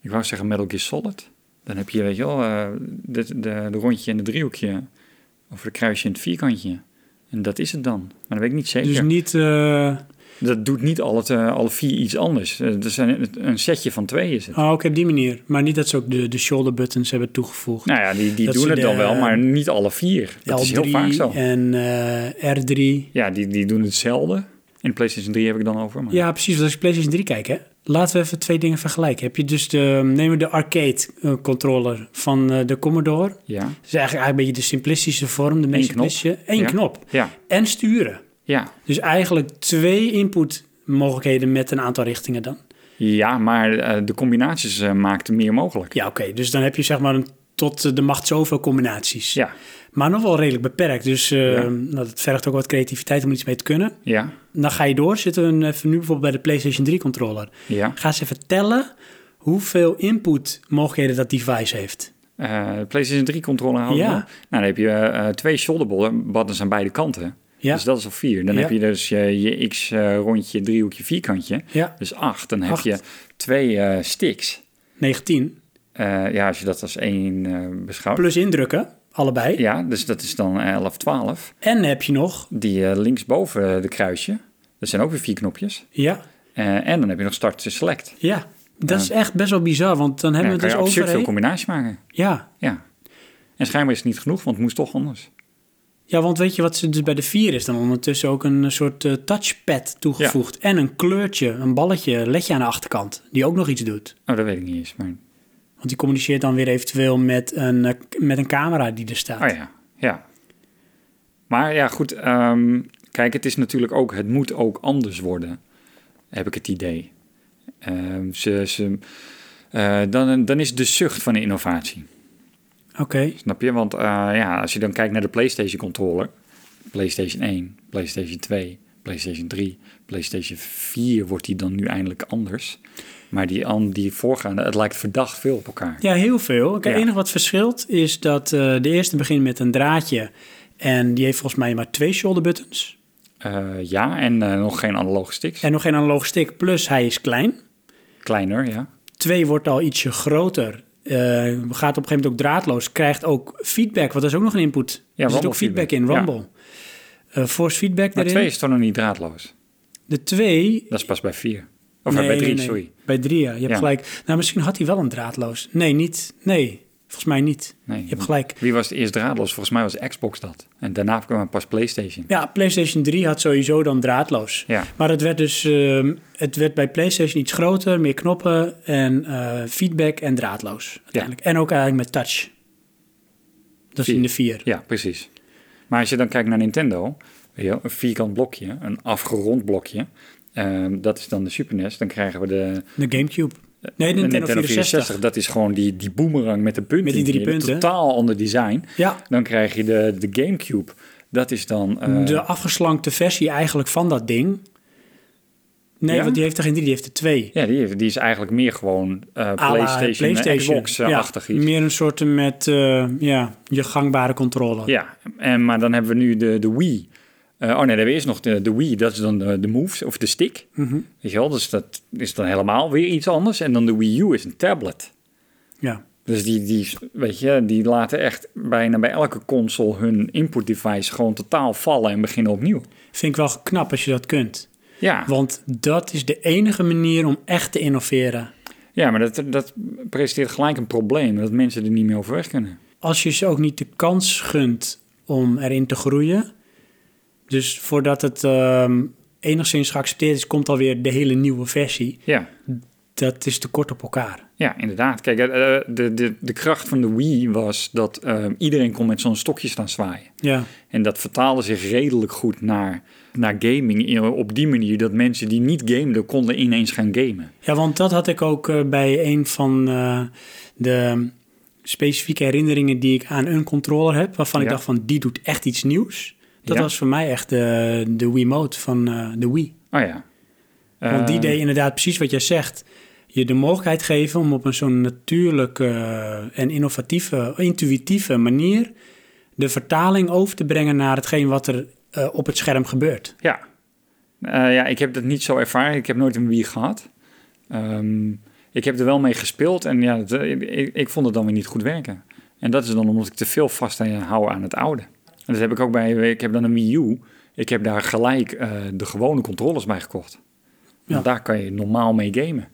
C: Ik wou zeggen Metal Gear Solid. Dan heb je, weet je wel, eh, de, de, de rondje en de driehoekje. Of de kruisje en het vierkantje. En dat is het dan. Maar dat weet ik niet zeker.
A: Dus niet... eh,
C: Dat doet niet alle, eh, alle vier iets anders. Eh, Er zijn een setje van twee is het.
A: oh, oké, op die manier. Maar niet dat ze ook de, de shoulder buttons hebben toegevoegd.
C: Nou ja, die, die
A: Dat
C: doen
A: ze
C: het dan
A: de, ehm,
C: wel, maar niet alle vier. Dat is heel
A: L3
C: vaak zo.
A: en eh, R3.
C: Ja, die, die doen hetzelfde. In de PlayStation 3 heb ik het dan over. Maar...
A: Ja, precies. Want als ik PlayStation 3 kijk, hè, laten we even twee dingen vergelijken. Heb je dus de, nemen we de arcade eh, controller van eh, de Commodore. Dat
C: Ja.
A: is eigenlijk, eigenlijk een beetje de simplistische vorm, de meest
C: knop.
A: simplistische. Eén
C: Ja.
A: knop.
C: Ja.
A: En sturen.
C: Ja.
A: Dus eigenlijk twee inputmogelijkheden met een aantal richtingen dan.
C: Ja, maar eh, de combinaties eh, maakten meer mogelijk.
A: Ja, oké. Dus dan heb je zeg maar een, tot eh, de macht zoveel combinaties.
C: Ja,
A: Maar nog wel redelijk beperkt. Dus eh,
C: Ja.
A: nou, dat vergt ook wat creativiteit om iets mee te kunnen.
C: ja,
A: Dan ga je door. Zitten we even nu bijvoorbeeld bij de PlayStation 3 controller.
C: ja.
A: Ga eens even tellen hoeveel input mogelijkheden dat device heeft.
C: Eh, de PlayStation 3 controller houden.
A: Ja.
C: Nou, dan heb je eh, eh, twee shoulder button- buttons aan beide kanten.
A: Ja.
C: Dus dat is al vier. Dan
A: Ja.
C: heb je dus je, je X eh, rondje, driehoekje, vierkantje.
A: Ja,
C: Dus acht. Dan
A: Acht.
C: heb je twee eh, sticks.
A: 19.
C: Eh, ja, als je dat als één eh, beschouwt.
A: Plus indrukken, allebei.
C: Ja, dus dat is dan 11, 12.
A: En heb je nog,
C: Die eh, linksboven eh, de kruisje. Dat zijn ook weer vier knopjes.
A: ja,
C: Eh, en dan heb je nog start en select.
A: ja. Dat is echt best wel bizar, want dan
C: Ja,
A: hebben
C: dan
A: we
C: kan
A: het
C: je
A: dus
C: absurd
A: over...
C: veel
A: hè?
C: combinaties maken.
A: Ja.
C: Ja. En schijnbaar is het niet genoeg, want het moest toch anders.
A: ja, want weet je wat ze dus bij de 4 is? Dan ondertussen ook een soort eh, touchpad toegevoegd. En een kleurtje, een balletje, ledje aan de achterkant, die ook nog iets doet.
C: Oh, dat weet ik niet eens. Maar...
A: Want die communiceert dan weer eventueel met een, eh, k- met een camera die er staat.
C: Oh ja, ja. Maar ja, goed. ehm, kijk, het is natuurlijk ook... Het moet ook anders worden, heb ik het idee. Ehm, ze, ze, eh, dan, dan is de zucht van de innovatie.
A: Oké,
C: Snap je? Want eh, ja, als je dan kijkt naar de PlayStation controller, PlayStation 1, PlayStation 2, PlayStation 3, PlayStation 4 wordt die dan nu eindelijk anders. Maar die, an- die voorgaande, het lijkt verdacht veel op elkaar.
A: ja, heel veel. Kijk, Het
C: Ja.
A: enige wat verschilt is dat eh, de eerste begint met een draadje. En die heeft volgens mij maar twee shoulder buttons.
C: Eh, ja, en eh, nog geen analoge sticks.
A: En nog geen analoge stick, plus hij is klein.
C: Kleiner, ja.
A: Twee wordt al ietsje groter. Eh, gaat op een gegeven moment ook draadloos. Krijgt ook feedback, want dat is ook nog een input.
C: Ja,
A: er zit
C: rumble
A: ook feedback,
C: feedback,
A: in, rumble. Eh, force feedback
C: Maar
A: erin.
C: twee is toch nog niet draadloos?
A: De twee...
C: Dat is pas bij vier. Of eh,
A: Nee,
C: bij drie,
A: nee, nee.
C: sorry.
A: Bij drie, ja. Je hebt
C: Ja.
A: gelijk. Nou, misschien had hij wel een draadloos. Nee, niet. Nee, volgens mij niet.
C: Nee.
A: Je hebt gelijk.
C: Wie was het eerst draadloos? Volgens mij was Xbox dat. En daarna kwam pas PlayStation.
A: Ja, PlayStation 3 had sowieso dan draadloos.
C: Ja.
A: Maar het werd dus... ehm, het werd bij PlayStation iets groter, meer knoppen en eh, feedback en draadloos. Uiteindelijk. En ook eigenlijk met touch. Dat is
C: Vier.
A: in de vier.
C: Ja, precies. Maar als je dan kijkt naar Nintendo, weet je wel, een vierkant blokje, een afgerond blokje, ehm, dat is dan de Super NES. Dan krijgen we de,
A: De Gamecube. Nee,
C: de
A: de Nintendo 64.
C: Dat is gewoon die, die boomerang met de punten.
A: Met die drie
C: in. Een
A: punten.
C: Totaal ander design.
A: Ja,
C: Dan krijg je de, de GameCube. Dat is dan... eh,
A: de afgeslankte versie eigenlijk van dat ding. Nee,
C: Ja?
A: want die heeft er geen drie, die heeft er twee.
C: Ja, die, heeft- die is eigenlijk meer gewoon eh,
A: À la
C: PlayStation,
A: PlayStation.
C: Xbox-achtig
A: ja,
C: iets.
A: Meer een soort met eh, ja, je gangbare controle.
C: Ja, en, maar dan hebben we nu de, de Wii. Eh, oh nee, dan hebben we eerst nog de, de Wii. Dat is dan de, de moves of de stick. Weet je wel, dus dat is dan helemaal weer iets anders. En dan de Wii U is een tablet.
A: Ja.
C: Dus die, die, weet je, die laten echt bijna bij elke console hun input device gewoon totaal vallen en beginnen opnieuw.
A: Vind ik wel knap als je dat kunt.
C: Ja,
A: Want dat is de enige manier om echt te innoveren.
C: ja maar dat, dat presenteert gelijk een probleem. Dat mensen er niet meer over weg kunnen.
A: Als je ze ook niet de kans gunt om erin te groeien. Dus voordat het ehm, enigszins geaccepteerd is, komt alweer de hele nieuwe versie.
C: Ja,
A: Dat is te kort op elkaar.
C: ja inderdaad. Kijk, eh, eh, de, de, de kracht van de Wii was dat eh, iedereen kon met zo'n stokje staan zwaaien.
A: Ja.
C: En dat vertaalde zich redelijk goed naar, naar gaming. in- Op die manier dat mensen die niet gameden konden ineens gaan gamen.
A: ja, want dat had ik ook eh, bij een van eh, de specifieke herinneringen die ik aan een controller heb, waarvan ik
C: Ja.
A: dacht van die doet echt iets nieuws. Dat
C: Ja.
A: was voor mij echt de, de Wiimote van eh, de Wii.
C: Oh ja.
A: Want die
C: Eh,
A: deed inderdaad precies wat jij zegt. Je de mogelijkheid geven om op een zo'n natuurlijke en innovatieve, intuïtieve manier de vertaling over te brengen naar hetgeen wat er eh, op het scherm gebeurt.
C: Ja. Eh, ja, ik heb dat niet zo ervaren. Ik heb nooit een Wii gehad. Ehm, ik heb er wel mee gespeeld en ja, het, eh, ik, ik vond het dan weer niet goed werken. En dat is dan omdat ik te veel vast hou aan het oude. En dat heb ik ook bij, ik heb dan een Wii U. Ik heb daar gelijk eh, de gewone controllers bij gekocht.
A: Ja.
C: Want daar kan je normaal mee gamen.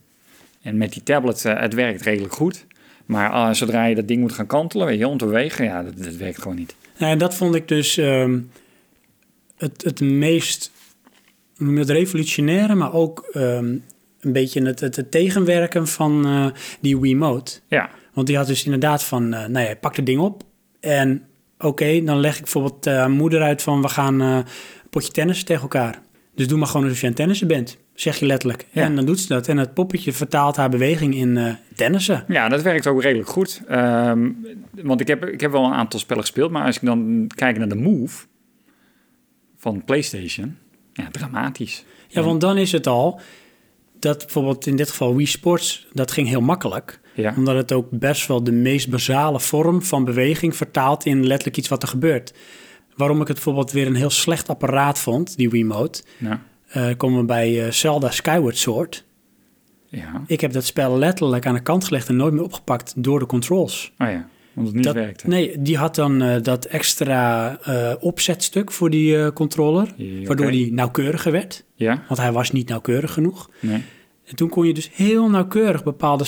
C: En met die tablet, eh, het werkt redelijk goed. Maar ah, zodra je dat ding moet gaan kantelen, weet je, om te bewegen, ja, dat, dat werkt gewoon niet.
A: Nou, en dat vond ik dus ehm, het, het meest hoe noem je dat, revolutionaire, maar ook ehm, een beetje het, het, het tegenwerken van eh die Wiimote.
C: Ja,
A: Want die had dus inderdaad van, eh nou ja, pak het ding op. En oké, dan leg ik bijvoorbeeld eh, aan moeder uit van we gaan eh, potje tennis tegen elkaar. Dus doe maar gewoon alsof je aan tennissen bent. Zeg je letterlijk.
C: Ja.
A: En dan doet ze dat. En het poppetje vertaalt haar beweging in eh tennissen.
C: Ja, dat werkt ook redelijk goed. Ehm, want ik heb, ik heb wel een aantal spellen gespeeld, maar als ik dan kijk naar de Move van PlayStation, ja, dramatisch.
A: Ja, want dan is het al dat bijvoorbeeld in dit geval Wii Sports, dat ging heel makkelijk.
C: Ja.
A: Omdat het ook best wel de meest basale vorm van beweging vertaalt in letterlijk iets wat er gebeurt. Waarom ik het bijvoorbeeld weer een heel slecht apparaat vond, die Wiimote,
C: Ja,
A: eh komen we bij eh, Zelda Skyward Sword.
C: ja.
A: Ik heb dat spel letterlijk aan de kant gelegd en nooit meer opgepakt door de controls.
C: Oh ja, omdat het niet
A: dat,
C: werkte.
A: Nee, die had dan eh, dat extra eh, opzetstuk voor die eh, controller,
C: Ja, oké.
A: waardoor die nauwkeuriger werd.
C: Ja,
A: Want hij was niet nauwkeurig genoeg.
C: nee.
A: En toen kon je dus heel nauwkeurig bepaalde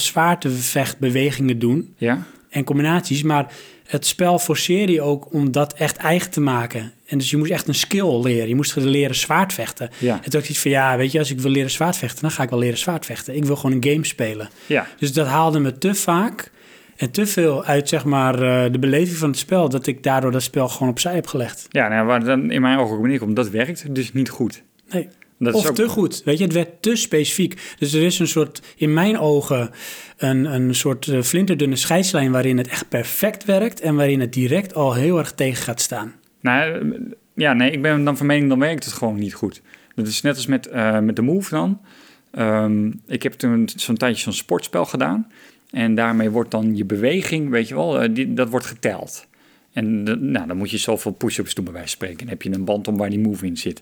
A: zwaartevechtbewegingen doen
C: Ja,
A: en combinaties. Maar het spel forceerde je ook om dat echt eigen te maken. En dus je moest echt een skill leren. Je moest leren zwaardvechten.
C: Ja.
A: En toen dacht ik van ja, weet je, als ik wil leren zwaardvechten, dan ga ik wel leren zwaardvechten. Ik wil gewoon een game spelen.
C: ja.
A: Dus dat haalde me te vaak en te veel uit zeg maar eh, de beleving van het spel, dat ik daardoor dat spel gewoon opzij heb gelegd.
C: ja nou, waar het dan in mijn ogen ook neerkomt, dat werkt dus niet goed.
A: Nee.
C: Dat
A: of
C: is ook-
A: te goed. Weet je, het werd te specifiek. Dus er is een soort, in mijn ogen, een, een soort eh, flinterdunne scheidslijn waarin het echt perfect werkt en waarin het direct al heel erg tegen gaat staan.
C: Nou, eh, ja, nee, ik ben dan van mening, dan werkt het gewoon niet goed. Dat is net als met, eh, met de Move dan. Ehm, ik heb toen zo'n tijdje zo'n sportspel gedaan. En daarmee wordt dan je beweging, weet je wel, eh, die, dat wordt geteld. En de- nou, dan moet je zoveel push-ups doen bij wijze van spreken. En dan heb je een band om waar die move in zit.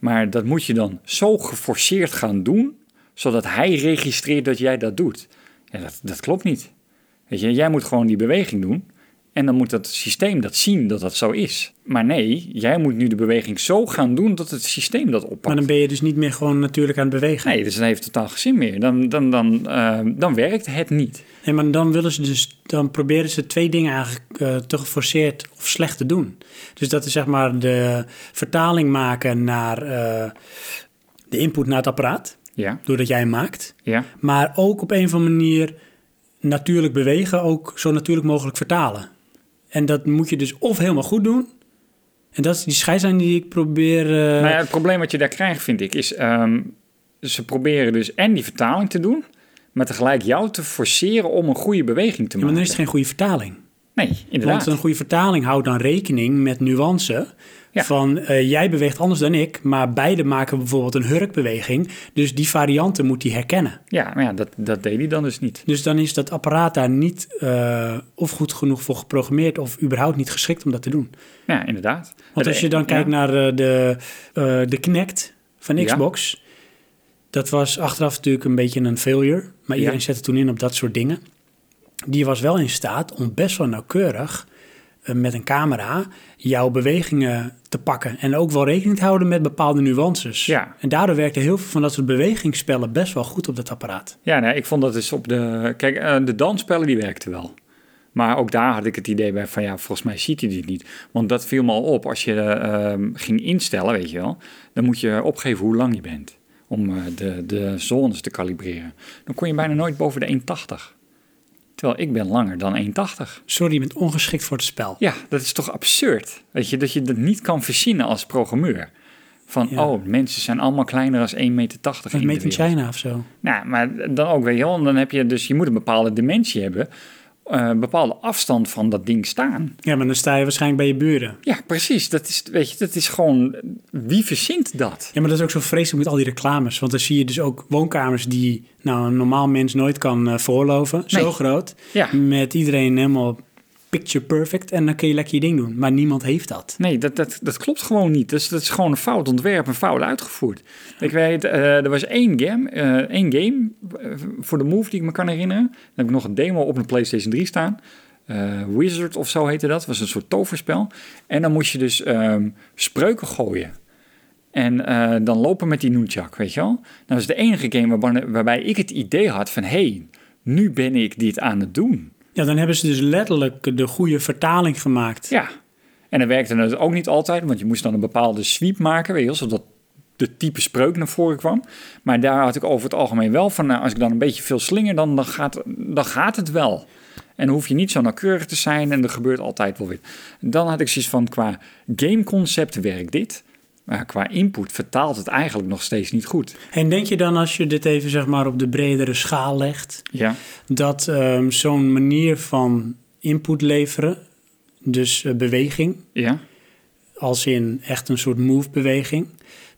C: Maar dat moet je dan zo geforceerd gaan doen, zodat hij registreert dat jij dat doet. Ja, dat, dat klopt niet. Weet je, jij moet gewoon die beweging doen. En dan moet dat systeem dat zien dat dat zo is. Maar nee, jij moet nu de beweging zo gaan doen dat het systeem dat oppakt.
A: Maar dan ben je dus niet meer gewoon natuurlijk aan het bewegen.
C: Nee, dus dan heeft het totaal geen zin meer. Dan, dan, dan, eh, dan werkt het niet.
A: Nee, maar dan willen ze dus, dan proberen ze twee dingen eigenlijk eh, te geforceerd of slecht te doen. Dus dat is zeg maar de vertaling maken naar eh, de input naar het apparaat,
C: Ja,
A: doordat jij hem maakt.
C: ja,
A: Maar ook op een of andere manier natuurlijk bewegen, ook zo natuurlijk mogelijk vertalen. En dat moet je dus of helemaal goed doen. En dat is die scheidslijn die ik probeer. eh,
C: Nou ja, het probleem wat je daar krijgt, vind ik, is ehm, ze proberen dus en die vertaling te doen, maar tegelijk jou te forceren om een goede beweging te
A: ja, maar
C: maken.
A: dan is het geen goede vertaling.
C: Nee, inderdaad.
A: Want eh, een goede vertaling houdt dan rekening met nuance.
C: Ja.
A: Van eh, jij beweegt anders dan ik, maar beide maken bijvoorbeeld een hurkbeweging. Dus die varianten moet hij herkennen.
C: Ja, maar ja, dat, dat deed hij dan dus niet.
A: Dus dan is dat apparaat daar niet eh, of goed genoeg voor geprogrammeerd of überhaupt niet geschikt om dat te doen.
C: Ja, inderdaad.
A: Want als je dan kijkt naar eh, de, eh, de Kinect van
C: Ja.
A: Xbox, dat was achteraf natuurlijk een beetje een failure. Maar
C: Ja.
A: iedereen zette toen in op dat soort dingen. Die was wel in staat om best wel nauwkeurig eh, met een camera jouw bewegingen te pakken. En ook wel rekening te houden met bepaalde nuances.
C: Ja.
A: En daardoor werkte heel veel van dat soort bewegingsspellen best wel goed op dat apparaat.
C: Ja, nee, ik vond dat dus op de... Kijk, eh, de dansspellen die werkten wel. Maar ook daar had ik het idee bij van ja, volgens mij ziet hij dit niet. Want dat viel me al op. Als je ehm, ging instellen, weet je wel, dan moet je opgeven hoe lang je bent. Om eh, de, de zones te kalibreren. Dan kon je bijna nooit boven de 1,80. Terwijl ik ben langer dan 1,80.
A: Sorry, je bent ongeschikt voor het spel.
C: Ja, dat is toch absurd? Weet je, dat je dat niet kan verzinnen als programmeur. Van,
A: Ja.
C: oh, mensen zijn allemaal kleiner dan 1,80 meter.
A: Met
C: in de
A: Made in
C: wereld.
A: China of zo.
C: Nou, maar dan ook weer heel. Dan heb je dus, je moet een bepaalde dimensie hebben. eh, Een bepaalde afstand van dat ding staan.
A: Ja, maar dan sta je waarschijnlijk bij je buren.
C: Ja, precies. Dat is, weet je, dat is gewoon. Wie verzint dat?
A: Ja, maar dat is ook zo vreselijk met al die reclames. Want dan zie je dus ook woonkamers die nou, een normaal mens nooit kan eh, voorloven. Zo
C: Nee.
A: groot.
C: Ja.
A: Met iedereen helemaal picture perfect. En dan kun je lekker je ding doen. Maar niemand heeft dat.
C: Nee, dat, dat, dat klopt gewoon niet. Dus Dat is, dat is gewoon een fout ontwerp en fout uitgevoerd. Ik weet, eh, er was één game, eh, één game eh, voor de Move die ik me kan herinneren. Dan heb ik nog een demo op een PlayStation 3 staan. Eh, Wizard of zo heette dat. was een soort toverspel. En dan moest je dus ehm, spreuken gooien. En eh, dan lopen met die nunchak, weet je wel. Dat is de enige game waarbij, waarbij ik het idee had van... hé, hey, nu ben ik dit aan het doen.
A: Ja, dan hebben ze dus letterlijk de goede vertaling gemaakt.
C: Ja. En dat werkte het ook niet altijd, want je moest dan een bepaalde sweep maken, weet je wel, zodat de type spreuk naar voren kwam. Maar daar had ik over het algemeen wel van, nou, als ik dan een beetje veel slinger, dan, dan, gaat, dan gaat het wel. En dan hoef je niet zo nauwkeurig te zijn en er gebeurt altijd wel weer. Dan had ik zoiets van, qua gameconcept werkt dit. Maar qua input vertaalt het eigenlijk nog steeds niet goed.
A: En denk je dan als je dit even zeg maar op de bredere schaal legt,
C: Ja.
A: dat ehm, zo'n manier van input leveren, dus eh, beweging,
C: Ja.
A: als in echt een soort move-beweging,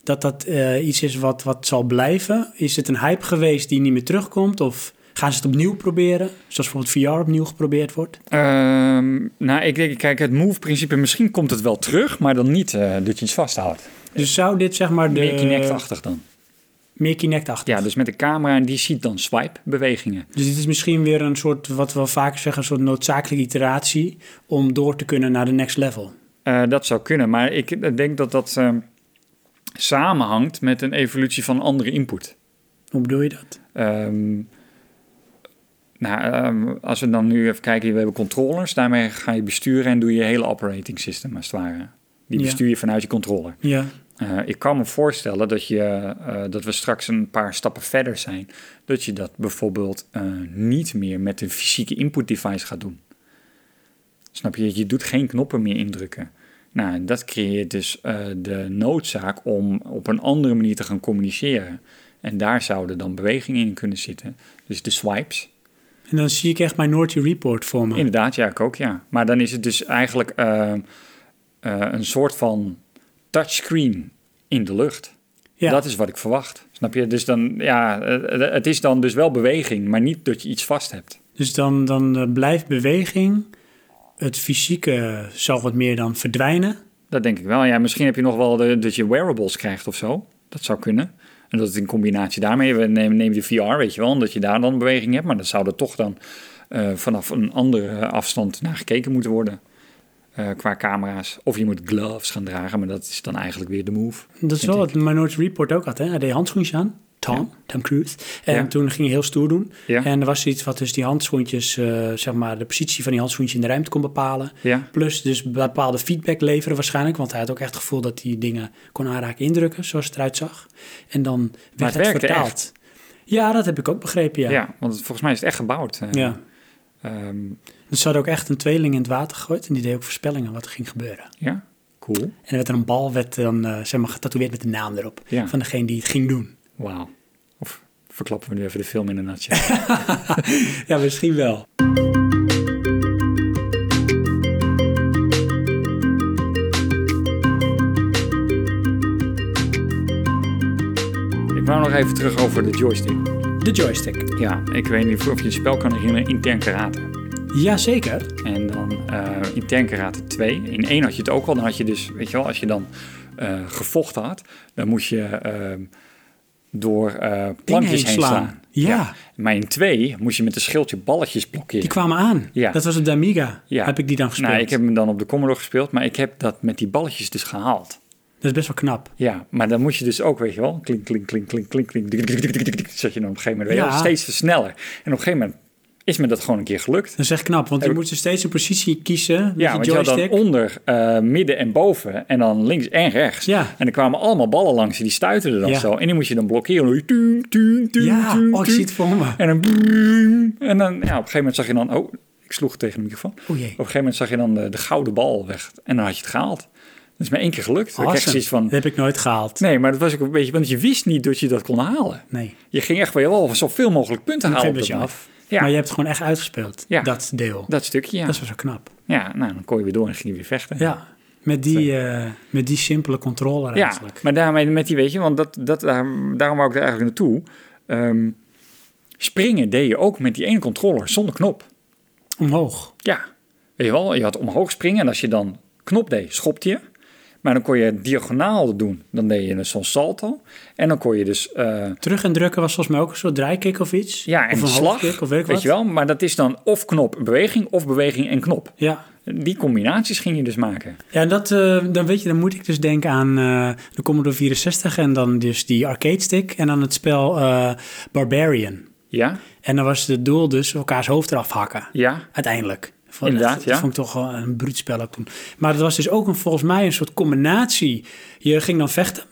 A: dat dat eh, iets is wat, wat zal blijven? Is het een hype geweest die niet meer terugkomt? Of gaan ze het opnieuw proberen? Zoals bijvoorbeeld VR opnieuw geprobeerd wordt?
C: Ehm, nou, ik denk, kijk, het move-principe, misschien komt het wel terug, maar dan niet eh, dat je iets vasthoudt.
A: Dus zou dit zeg maar de...
C: Meer Kinect-achtig dan.
A: Meer Kinect-achtig.
C: Ja, dus met de camera en die ziet dan swipe-bewegingen.
A: Dus dit is misschien weer een soort, wat we vaak zeggen, een soort noodzakelijke iteratie om door te kunnen naar de next level.
C: Eh, dat zou kunnen, maar ik denk dat dat ehm, samenhangt met een evolutie van andere input.
A: Hoe bedoel je dat?
C: Ehm, nou, ehm, als we dan nu even kijken, we hebben controllers. Daarmee ga je besturen en doe je hele operating system, als het ware. Die
A: Ja.
C: bestuur je vanuit je controller.
A: Ja.
C: Eh, ik kan me voorstellen dat, je, eh, dat we straks een paar stappen verder zijn. Dat je dat bijvoorbeeld eh, niet meer met een fysieke input device gaat doen. Snap je? Je doet geen knoppen meer indrukken. Nou, en dat creëert dus eh, de noodzaak om op een andere manier te gaan communiceren. En daar zouden dan bewegingen in kunnen zitten. Dus de swipes.
A: En dan zie ik echt mijn Naughty Report voor me.
C: Inderdaad, ja, ik ook, ja. Maar dan is het dus eigenlijk eh, eh, een soort van touchscreen in de lucht.
A: ja.
C: Dat is wat ik verwacht. Snap je? Dus dan, ja, eh, het is dan dus wel beweging, maar niet dat je iets vast hebt.
A: Dus dan, dan eh, blijft beweging. Het fysieke zal wat meer dan verdwijnen.
C: Dat denk ik wel. Ja, misschien heb je nog wel de, dat je wearables krijgt of zo. Dat zou kunnen. En dat het in combinatie daarmee, we nemen, nemen de VR, weet je wel, omdat je daar dan beweging hebt. Maar dat zou er toch dan eh, vanaf een andere afstand naar gekeken moeten worden. eh, qua camera's. Of je moet gloves gaan dragen, maar dat is dan eigenlijk weer de move.
A: Dat is
C: Vind
A: wel wat Minority Report ook had. Hè? Hij deed handschoentjes aan. Tom, Tom Cruise. En
C: Ja.
A: toen ging hij heel stoer doen.
C: Ja.
A: En er was iets wat dus die handschoentjes, eh, zeg maar, de positie van die handschoentjes in de ruimte kon bepalen.
C: Ja.
A: Plus dus bepaalde feedback leveren waarschijnlijk. Want hij had ook echt het gevoel dat hij dingen kon aanraken, indrukken, zoals het eruit zag. En dan werd het,
C: het werkte
A: vertaald.
C: echt.
A: Ja, dat heb ik ook begrepen, ja.
C: Ja, want het- volgens mij is het echt gebouwd. eh.
A: Ja.
C: Ehm,
A: Dus ze hadden ook echt een tweeling in het water gegooid. En die deed ook voorspellingen wat er ging gebeuren.
C: ja, cool.
A: En er werd er een bal werd dan, eh, zeg maar, getatoeëerd met de naam erop.
C: Ja.
A: Van degene die het ging doen.
C: Wauw. Of verklappen we nu even de film in een nutshell?
A: Ja, misschien wel.
C: ik wou nog even terug over de joystick.
A: De joystick.
C: Ja, ik weet niet of je het spel kan herinneren, intern karate.
A: Jazeker.
C: En dan eh intern karate 2. In 1 had je het ook al. Dan had je dus, weet je wel, als je dan eh, gevochten had, dan moest je ehm, door eh plankjes
A: heen
C: heen slaan.
A: slaan. Ja.
C: Maar in 2 moest je met een schildje balletjes blokkeren.
A: Die kwamen aan.
C: Ja.
A: Dat was op de Amiga.
C: Ja.
A: Heb ik die dan gespeeld?
C: Nou, ik heb hem dan op de Commodore gespeeld, maar ik heb dat met die balletjes dus gehaald.
A: Dat is best wel knap.
C: Ja, maar dan moet je dus ook, weet je wel, klink, klink, klink, klink, klink, klink, dik, dik, dik, dik, dik, dik, zodat je dan op een gegeven moment weet je wel,
A: Ja.
C: steeds versneller. En op een gegeven moment is me dat gewoon een keer gelukt.
A: Dat is echt knap, want je
C: Heb ik-
A: moet dus steeds een positie kiezen met
C: Ja,
A: je
C: want je had
A: joystick.
C: dan onder, eh, midden en boven en dan links en rechts.
A: Ja.
C: En er kwamen allemaal ballen langs en die stuiterden dan
A: Ja.
C: zo. En die moest je dan blokkeren. Tung, tung, tung,
A: ja,
C: tung,
A: oh, ik
C: tung.
A: zie het voor me.
C: En dan... brrrm. En dan ja, op een gegeven moment zag je dan... Oh, ik sloeg tegen de microfoon.
A: O
C: Op een
A: Oh, jee.
C: gegeven moment zag je dan de, de gouden bal weg. En dan had je het gehaald. Dat is maar één keer gelukt. Dan kreeg je
A: Awesome.
C: zoiets van...
A: Dat heb ik nooit gehaald.
C: Nee, maar dat was ook een beetje... Want je wist niet dat je dat kon halen.
A: Nee.
C: Je ging echt wel zoveel mogelijk punten halen.
A: geef
C: op
A: het
C: dat
A: je
C: moment.
A: af.
C: Ja,
A: Maar je hebt het gewoon echt uitgespeeld,
C: Ja.
A: dat deel.
C: dat stukje, ja.
A: Dat is wel zo knap.
C: Ja, nou, dan kon je weer door en ging je weer vechten.
A: Ja, met die, eh, met die simpele controller
C: Ja,
A: eigenlijk.
C: maar daarmee met die, weet je, want dat, dat, daar, daarom wou ik er eigenlijk naartoe. Ehm, springen deed je ook met die ene controller, zonder knop.
A: Omhoog.
C: Ja, weet je wel, je had omhoog springen en als je dan knop deed, schopte je. Maar dan kon je diagonaal doen, dan deed je een zo'n salto. En dan kon je dus, eh,
A: Terug en drukken was volgens mij ook een soort draaikick of iets.
C: ja, en
A: of een
C: slag,
A: hoofdkick of weet ik wat.
C: je wel. Maar dat is dan of knop beweging, of beweging en knop.
A: Ja.
C: Die combinaties ging je dus maken.
A: Ja, en dat, eh, dan weet je, dan moet ik dus denken aan eh, de Commodore 64 en dan dus die arcade stick en dan het spel eh, Barbarian.
C: Ja,
A: En dan was het doel dus elkaars hoofd eraf hakken.
C: ja.
A: Uiteindelijk. Vond-
C: Inderdaad,
A: dat,
C: ja.
A: vond ik toch wel een bruut spel ook toen. Maar het was dus ook een, volgens mij een soort combinatie. Je ging dan vechten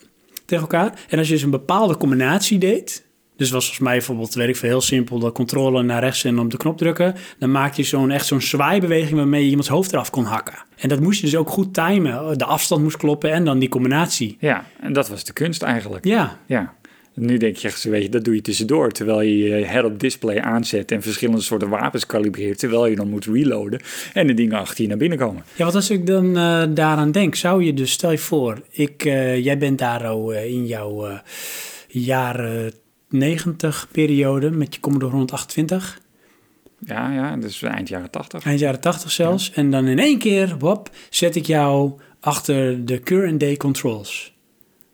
A: tegen elkaar. En als je dus een bepaalde combinatie deed, Dus was volgens mij bijvoorbeeld, weet ik veel, heel simpel... de controle naar rechts en op de knop drukken. Dan maak je zo'n echt zo'n zwaaibeweging... waarmee je iemands hoofd eraf kon hakken. En dat moest je dus ook goed timen. De afstand moest kloppen en dan die combinatie.
C: Ja, en dat was de kunst eigenlijk.
A: Ja,
C: Ja. Nu denk je, echt zo, weet je, dat doe je tussendoor. Terwijl je je head-up display aanzet en verschillende soorten wapens kalibreert. Terwijl je dan moet reloaden en de dingen achter je naar binnen komen.
A: Ja, want als ik dan eh, daaraan denk, zou je dus, stel je voor, ik, eh, jij bent daar al, eh, in jouw eh, jaren 90 periode met je Commodore 128,
C: Ja, ja, dus eind jaren tachtig.
A: eind jaren 80 zelfs, en dan in één keer, wop, zet ik jou achter de current day controls.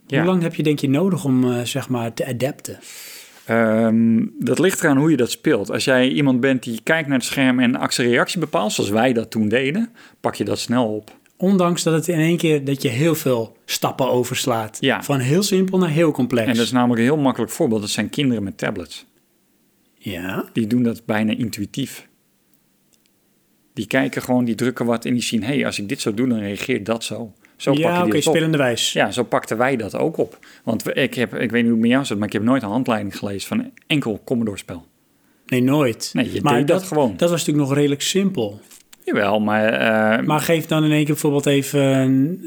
C: Ja.
A: Hoe lang heb je denk je nodig om, eh, zeg maar, te adapten?
C: Ehm, dat ligt eraan hoe je dat speelt. Als jij iemand bent die kijkt naar het scherm en actie-reactie bepaalt, zoals wij dat toen deden, pak je dat snel op.
A: Ondanks dat het in één keer, dat je heel veel stappen overslaat.
C: Ja.
A: Van heel simpel naar heel complex.
C: En dat is namelijk een heel makkelijk voorbeeld. Dat zijn kinderen met tablets.
A: Ja,
C: Die doen dat bijna intuïtief. Die kijken gewoon, die drukken wat en die zien, hé, hey, als ik dit zo doe, dan reageert dat zo. Zo
A: ja
C: pakken
A: oké,
C: die het op.
A: spelende wijs.
C: Ja, zo pakten wij dat ook op. Want we- ik, heb, ik weet niet hoe het met jou zit, maar ik heb nooit een handleiding gelezen van een enkel Commodore-spel.
A: Nee, nooit.
C: Nee, je deed dat gewoon.
A: Dat was natuurlijk nog redelijk simpel.
C: Jawel, maar, eh,
A: Maar geef dan in één keer bijvoorbeeld even...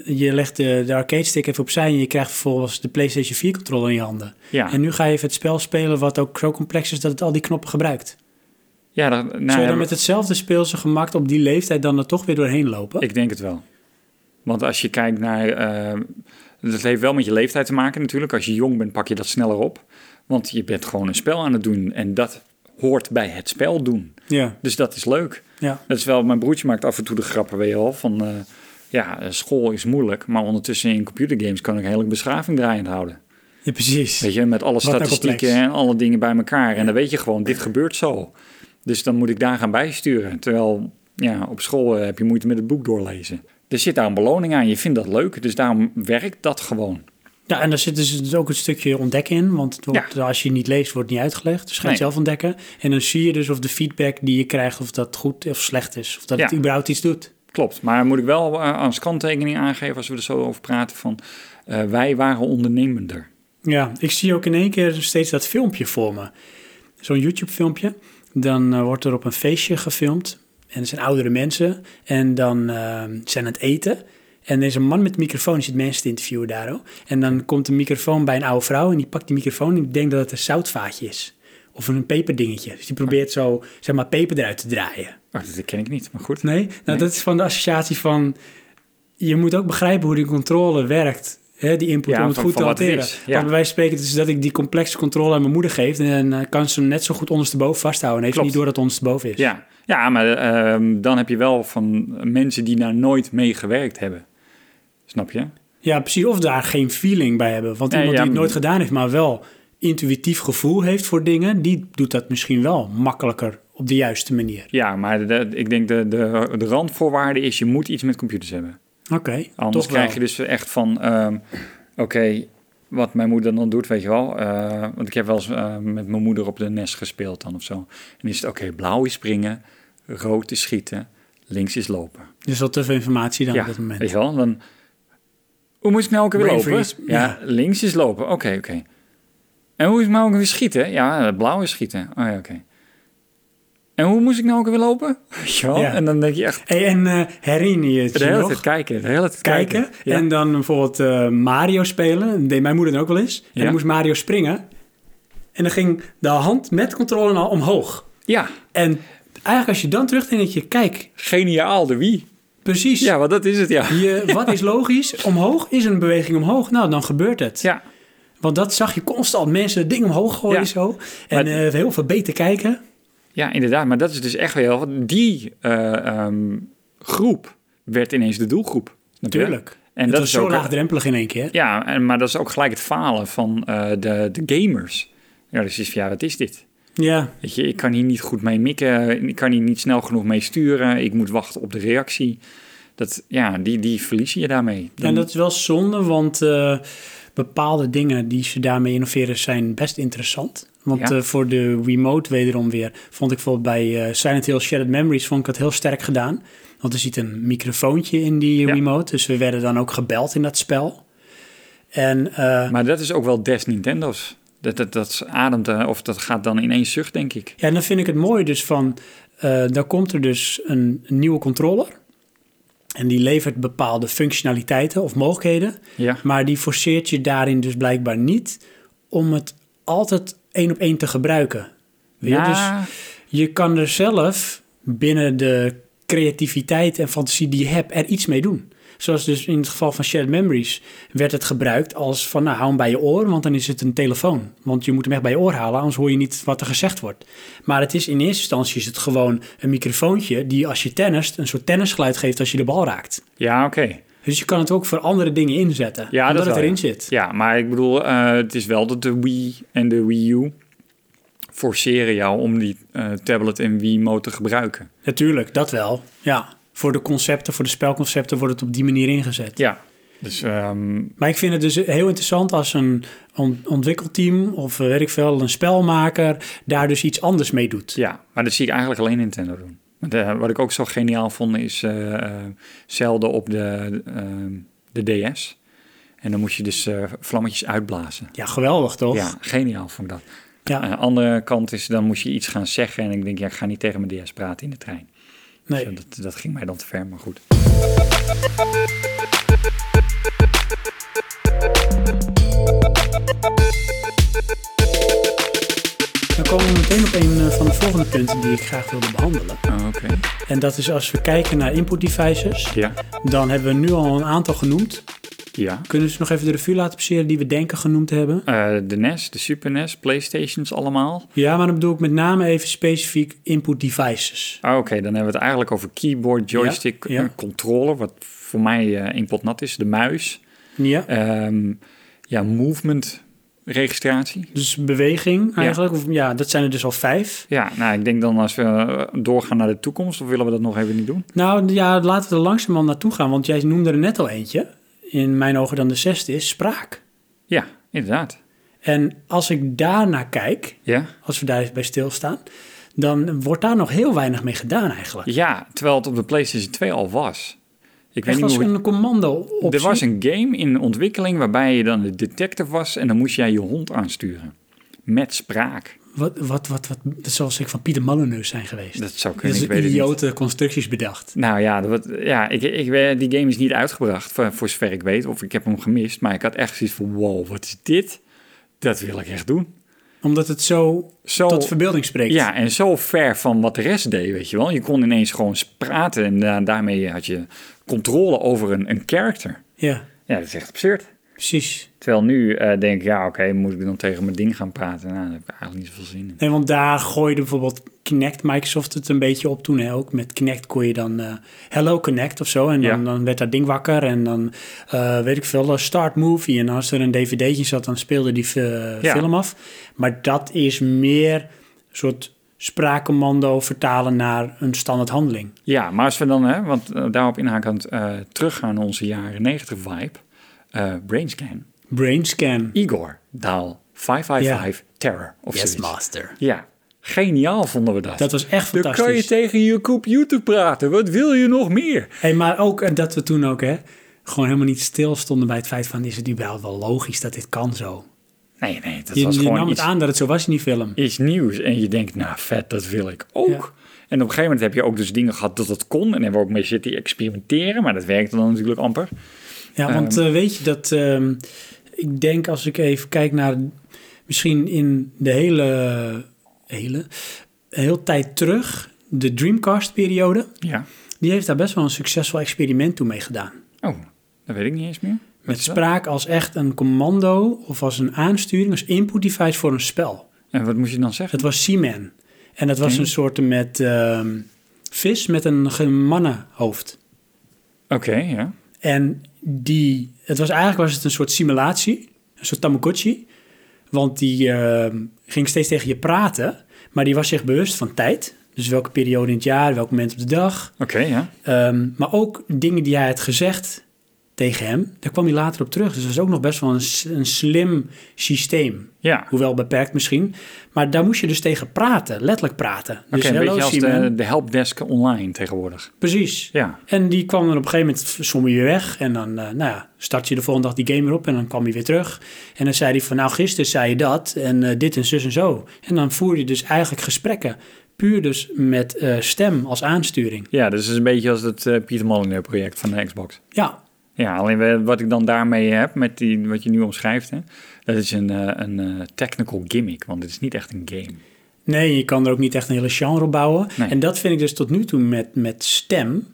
A: eh, Je legt de, de arcade stick even opzij... en je krijgt vervolgens de PlayStation 4 controller in je handen.
C: Ja.
A: En nu ga je even het spel spelen wat ook zo complex is... dat het al die knoppen gebruikt.
C: ja, dat, nou,
A: Zou je
C: ja,
A: dan met hetzelfde speelse gemak op die leeftijd... dan er toch weer doorheen lopen?
C: Ik denk het wel. Want als je kijkt naar. eh, dat heeft wel met je leeftijd te maken natuurlijk. Als je jong bent, pak je dat sneller op. Want je bent gewoon een spel aan het doen. En dat hoort bij het spel doen.
A: Ja,
C: Dus dat is leuk.
A: ja.
C: Dat is wel, mijn broertje maakt af en toe de grappen, weet je wel. Van eh, ja, eh, school is moeilijk. Maar ondertussen in computergames kan ik een hele beschaving draaiend houden.
A: ja precies.
C: Weet je, met alle
A: nou
C: statistieken
A: complex.
C: en alle dingen bij elkaar. En dan weet je gewoon, dit gebeurt zo. Dus dan moet ik daar gaan bijsturen. Terwijl, ja, op school eh, heb je moeite met het boek doorlezen. Er zit daar een beloning aan, je vindt dat leuk. Dus daarom werkt dat gewoon.
A: Ja, en daar zit dus dus ook een stukje ontdekken in. Want het wordt, als je niet leest, wordt het niet uitgelegd. Dus ga je het
C: Nee.
A: zelf ontdekken. En dan zie je dus of de feedback die je krijgt... of dat goed of slecht is. Of dat
C: Ja.
A: het überhaupt iets doet.
C: Klopt, maar moet ik wel eh, als kanttekening aangeven als we er zo over praten van... eh, wij waren ondernemender.
A: Ja, ik zie ook in één keer steeds dat filmpje voor me. Zo'n YouTube-filmpje. Dan eh, wordt er op een feestje gefilmd. En het zijn oudere mensen. En dan eh, zijn aan het eten. En er is een man met een microfoon. Die zit mensen te interviewen daar. hoor. En dan komt een microfoon bij een oude vrouw. En die pakt die microfoon. En die denkt dat het een zoutvaatje is. Of een peperdingetje. Dus die probeert zo, zeg maar, peper eruit te draaien.
C: Oh, dat ken ik niet, maar goed.
A: Nee? Nou, dat is van de associatie van... Je moet ook begrijpen hoe die controle werkt. Hè, die input
C: Ja,
A: om het
C: van-
A: goed
C: van
A: te
C: wat het
A: hanteren.
C: is, ja.
A: Maar bij wijze van spreken, dus dat ik die complexe controle aan mijn moeder geef... en eh, kan ze hem net zo goed ondersteboven vasthouden. En heeft
C: Klopt.
A: niet door dat het ondersteboven is.
C: Ja, ja maar ehm, dan heb je wel van mensen die daar nooit mee gewerkt hebben. Snap je?
A: Ja, precies. Of daar geen feeling bij hebben. Want
C: Nee,
A: iemand
C: ja,
A: die het nooit
C: maar-
A: gedaan heeft... maar wel intuïtief gevoel heeft voor dingen... die doet dat misschien wel makkelijker op de juiste manier.
C: Ja, maar de- ik denk de, de, de randvoorwaarde is, je moet iets met computers hebben.
A: Oké,
C: Anders
A: toch wel.
C: krijg je dus echt van, ehm, oké, wat mijn moeder dan doet, weet je wel. eh, want ik heb wel eens eh, met mijn moeder op de nest gespeeld dan of zo. En is het, oké, blauw is springen, rood is schieten, links is lopen.
A: Dus al te veel informatie dan
C: ja,
A: op dat moment.
C: weet je wel. Dan, hoe moet ik nou ook weer
A: Bravery
C: lopen?
A: is-
C: ja,
A: ja.
C: links is lopen, oké, oké. En hoe is het nou ook weer schieten? Ja, blauw is schieten. Oh ja, oké. En hoe moest ik nou ook weer lopen? Weet je wel?
A: Ja.
C: En dan denk je echt,
A: Hey, en eh, herinner je het
C: De
A: je
C: hele
A: nog?
C: tijd kijken, de hele tijd kijken.
A: kijken.
C: Ja.
A: En dan bijvoorbeeld eh, Mario spelen. Dat deed mijn moeder dan ook wel eens. En
C: Ja.
A: dan moest Mario springen. En dan ging de hand met controle al omhoog.
C: ja,
A: En eigenlijk als je dan terugdenkt, je kijk,
C: geniaal, de wie.
A: precies.
C: Ja, want dat is het, ja.
A: Je, wat is logisch? Omhoog is een beweging omhoog. Nou, dan gebeurt het.
C: Ja,
A: Want dat zag je constant. Mensen dingen omhoog gooien
C: Ja.
A: zo. En
C: Maar-
A: eh, heel veel beter kijken.
C: ja inderdaad. Maar dat is dus echt weer heel wat. Die eh, ehm, groep werd ineens de doelgroep. Snap je?
A: Tuurlijk.
C: En
A: het
C: dat
A: was
C: is
A: zo
C: ook...
A: laagdrempelig in één keer.
C: Ja, en, maar dat is ook gelijk het falen van eh, de, de gamers. Ja, dus is van, ja, wat is dit?
A: Ja.
C: Weet je, ik kan hier niet goed mee mikken. Ik kan hier niet snel genoeg mee sturen. Ik moet wachten op de reactie. Dat, ja, die, die verlies je daarmee.
A: En dat is wel zonde, want eh, bepaalde dingen die ze daarmee innoveren zijn best interessant. Want
C: Ja.
A: eh, voor de remote wederom weer vond ik bijvoorbeeld bij eh, Silent Hill Shattered Memories vond ik dat heel sterk gedaan. Want er zit een microfoontje in die eh,
C: Ja.
A: remote, dus we werden dan ook gebeld in dat spel. En eh,
C: Maar dat is ook wel des Nintendo's. Dat, dat, dat ademt, eh, of dat gaat dan in één zucht, denk ik.
A: Ja, en dan vind ik het mooi dus van, eh dan komt er dus een, een nieuwe controller. En die levert bepaalde functionaliteiten of mogelijkheden.
C: Ja.
A: Maar die forceert je daarin dus blijkbaar niet om het altijd één op één te gebruiken. Weet je, Dus
C: Ja,
A: je kan er zelf binnen de creativiteit en fantasie die je hebt er iets mee doen. Zoals dus in het geval van Shared Memories werd het gebruikt als van nou hou hem bij je oor, want dan is het een telefoon. Want je moet hem echt bij je oor halen, anders hoor je niet wat er gezegd wordt. Maar het is in eerste instantie is het gewoon een microfoontje die als je tennist een soort tennisgeluid geeft als je de bal raakt.
C: ja oké.
A: Dus je kan het ook voor andere dingen inzetten,
C: Ja,
A: omdat
C: dat
A: het
C: wel,
A: erin
C: ja.
A: zit.
C: Ja, maar ik bedoel, eh, het is wel dat de Wii en de Wii U forceren jou om die eh, tablet en Wii-mode te gebruiken.
A: Natuurlijk, dat wel. Ja, voor de concepten, voor de spelconcepten wordt het op die manier ingezet.
C: Ja. Dus ehm,
A: Maar ik vind het dus heel interessant als een on- ontwikkelteam of eh, weet ik veel, een spelmaker daar dus iets anders mee doet.
C: ja, maar dat zie ik eigenlijk alleen Nintendo doen. Want, eh, wat ik ook zo geniaal vond is eh, eh, Zelda op de, ehm, de DS. En dan moest je dus eh, vlammetjes uitblazen.
A: Ja, geweldig toch?
C: Ja, geniaal vond ik dat.
A: Ja.
C: Aan de andere kant is, dan moest je iets gaan zeggen. En ik denk, ja, ik ga niet tegen mijn DS praten in de trein.
A: nee.
C: Dus dat, dat ging mij dan te ver, maar goed.
A: Dan komen we meteen op een eh, van de volgende punten die ik graag wilde behandelen.
C: Oh, Oké.
A: En dat is als we kijken naar input devices,
C: Ja.
A: dan hebben we nu al een aantal genoemd.
C: Ja.
A: Kunnen we ze nog even de revue laten passeren die we denken genoemd hebben?
C: Eh, de NES, de Super NES, Playstations allemaal.
A: Ja, maar dan bedoel ik met name even specifiek input devices.
C: Ah, Oké, dan hebben we het eigenlijk over keyboard, joystick,
A: Ja, ja.
C: eh, controller, wat voor mij eh, één pot nat is, de muis.
A: Ja.
C: Ehm, ja, movement registratie.
A: Dus beweging eigenlijk. Ja. Of, ja, dat zijn er dus al vijf.
C: Ja, nou, ik denk dan als we eh, doorgaan naar de toekomst, of willen we dat nog even niet doen?
A: Nou ja, laten we er langzamerhand naartoe gaan. Want jij noemde er net al eentje. In mijn ogen dan de zesde is spraak.
C: Ja, inderdaad.
A: En als ik daarnaar kijk,
C: Ja?
A: als we daar bij stilstaan... dan wordt daar nog heel weinig mee gedaan eigenlijk.
C: Ja, terwijl het op de PlayStation 2 al was. Ik
A: Echt
C: weet
A: als
C: niet hoe...
A: een commando
C: het-
A: optie.
C: Er was een game in ontwikkeling waarbij je dan de detective was en dan moest jij je hond aansturen. Met spraak.
A: wat, wat, wat, wat, dat zal zeker van Pieter Molyneux zijn geweest.
C: Dat zou
A: Dat
C: kunnen,
A: is
C: ik weet het niet.
A: idiote constructies bedacht.
C: Nou ja, dat, ja ik, ik, weet- die game is niet uitgebracht, voor, voor zover ik weet. Of ik heb hem gemist, maar ik had echt zoiets van... Wow, wat is dit? Dat wil ik echt doen.
A: Omdat het zo,
C: Zo-
A: tot verbeelding spreekt.
C: Ja, en zo ver van wat de rest deed, weet je wel. Je kon ineens gewoon praten en da- daarmee had je controle over een, een character.
A: ja,
C: Ja, dat is echt absurd.
A: precies.
C: Terwijl nu eh, denk ik, ja oké, moet ik dan tegen mijn ding gaan praten? Nou, daar heb ik eigenlijk niet zoveel zin in.
A: Nee, want daar gooide bijvoorbeeld Kinect Microsoft het een beetje op toen hè, ook. Met Kinect kon je dan eh, Hello Connect of zo. En dan,
C: Ja.
A: dan werd dat ding wakker en dan eh, weet ik veel, eh, Start Movie. En als er een dvd'tje zat, dan speelde die eh,
C: Ja.
A: film af. Maar dat is meer een soort spraakcommando vertalen naar een standaard handeling.
C: Ja, maar als we dan, hè, want eh, daarop inhakend, eh teruggaan naar onze jaren 90 vibe. eh, Brainscan.
A: Brainscan.
C: Igor Daal 555 Terror of zoiets.
A: master.
C: Ja, geniaal vonden we dat.
A: Dat was echt
C: Dan kan je
A: fantastisch.
C: tegen je computer praten. Wat wil je nog meer?
A: Hey, maar ook eh, dat we toen ook hè, gewoon helemaal niet stil stonden bij het feit van... is het überhaupt wel logisch dat dit kan zo?
C: Nee, nee, dat
A: Je,
C: was
A: je
C: gewoon
A: nam
C: iets,
A: het aan dat het zo was in die film.
C: iets nieuws. En je denkt, nou vet, dat wil ik ook.
A: Ja.
C: En op een gegeven moment heb je ook dus dingen gehad dat dat kon. En hebben we ook mee zitten experimenteren. Maar dat werkte dan natuurlijk amper.
A: Ja, want eh, weet je dat... ehm, ik denk als ik even kijk naar... Misschien in de hele... hele heel tijd terug... De Dreamcast-periode...
C: Ja.
A: Die heeft daar best wel een succesvol experiment toe mee gedaan.
C: Oh, dat weet ik niet eens meer. Wat
A: Met
C: is dat?
A: spraak als echt een commando... of als een aansturing, als input device voor een spel.
C: En wat moest je dan zeggen?
A: Dat was Seaman. En dat was
C: Oké.
A: een soort met... ehm, vis met een ge- mannenhoofd.
C: Oké, ja.
A: En die, het was eigenlijk was het een soort simulatie, een soort Tamagotchi. Want die eh, ging steeds tegen je praten, maar die was zich bewust van tijd. Dus welke periode in het jaar, welk moment op de dag.
C: Oké, ja.
A: Ehm, maar ook dingen die hij had gezegd tegen hem. Daar kwam hij later op terug. Dus dat is ook nog best wel een, s- een slim systeem.
C: Ja.
A: Hoewel beperkt misschien. Maar daar moest je dus tegen praten, letterlijk praten. Dus
C: Oké, een beetje
A: hello
C: als
A: Simon.
C: de, de helpdesk online tegenwoordig.
A: Precies.
C: Ja.
A: En die kwam dan op een gegeven moment sommige je weg. En dan eh, nou ja, start je de volgende dag die game weer op en dan kwam hij weer terug. En dan zei hij van nou gisteren zei je dat en eh, dit en zus en zo. En dan voer je dus eigenlijk gesprekken. Puur dus met eh, stem als aansturing.
C: Ja, dus het is een beetje als het eh, Pieter Molyneux project van de Xbox.
A: Ja,
C: Ja, alleen we- wat ik dan daarmee heb, met die, wat je nu omschrijft, hè, dat is een, eh, een eh, technical gimmick, want het is niet echt een game.
A: nee, je kan er ook niet echt een hele genre op bouwen.
C: Nee.
A: En dat vind ik dus tot nu toe met, met stem...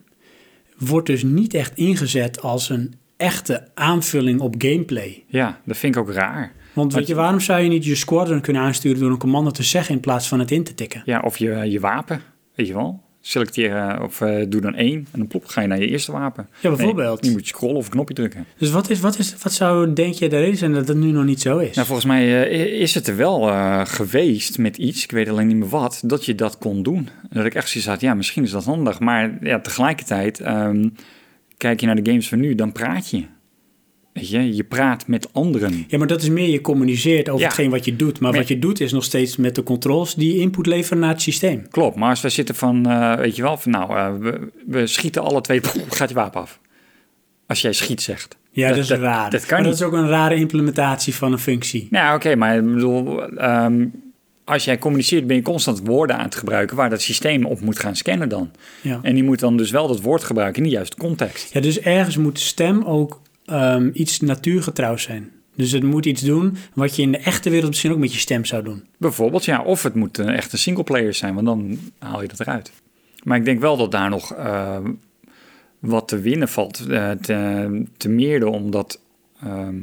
A: wordt dus niet echt ingezet als een echte aanvulling op gameplay.
C: Ja, dat vind ik ook raar.
A: Want weet je, waarom zou je niet je squadron kunnen aansturen... door een commando te zeggen in plaats van het in te tikken?
C: Ja, of je, eh, je wapen, weet je wel. Selecteer eh, of eh, doe dan één en dan plop, ga je naar je eerste wapen.
A: Ja, bijvoorbeeld.
C: nu moet je scrollen of een knopje drukken.
A: Dus wat, is, wat, is, wat zou, denk je, de reden zijn dat dat nu nog niet zo is?
C: Nou, volgens mij eh, is het er wel eh, geweest met iets, ik weet alleen niet meer wat, dat je dat kon doen. Dat ik echt zoiets had, ja, misschien is dat handig. Maar ja, tegelijkertijd, ehm, kijk je naar de games van nu, dan praat je. Weet je, je praat met anderen.
A: ja, maar dat is meer je communiceert over
C: Ja.
A: hetgeen wat je doet. Maar
C: Maar-
A: wat je doet is nog steeds met de controls die input leveren naar het systeem.
C: Klopt, maar als wij zitten van, eh, weet je wel, van nou, eh, we, we schieten alle twee, gaat je wapen af. Als jij schiet zegt.
A: Ja, dat, is raar.
C: Dat kan
A: maar dat
C: niet.
A: is ook een rare implementatie van een functie.
C: Nou, oké, maar ik bedoel, ehm, als jij communiceert ben je constant woorden aan het gebruiken waar dat systeem op moet gaan scannen dan.
A: Ja.
C: En die moet dan dus wel dat woord gebruiken in de juiste context.
A: Ja, dus ergens moet stem ook ehm, iets natuurgetrouw zijn. Dus het moet iets doen wat je in de echte wereld misschien ook met je stem zou doen.
C: Bijvoorbeeld, ja, of het moet een, echt een singleplayer zijn, want dan haal je dat eruit. Maar ik denk wel dat daar nog ehm, wat te winnen valt. eh, te, te meerde omdat ehm,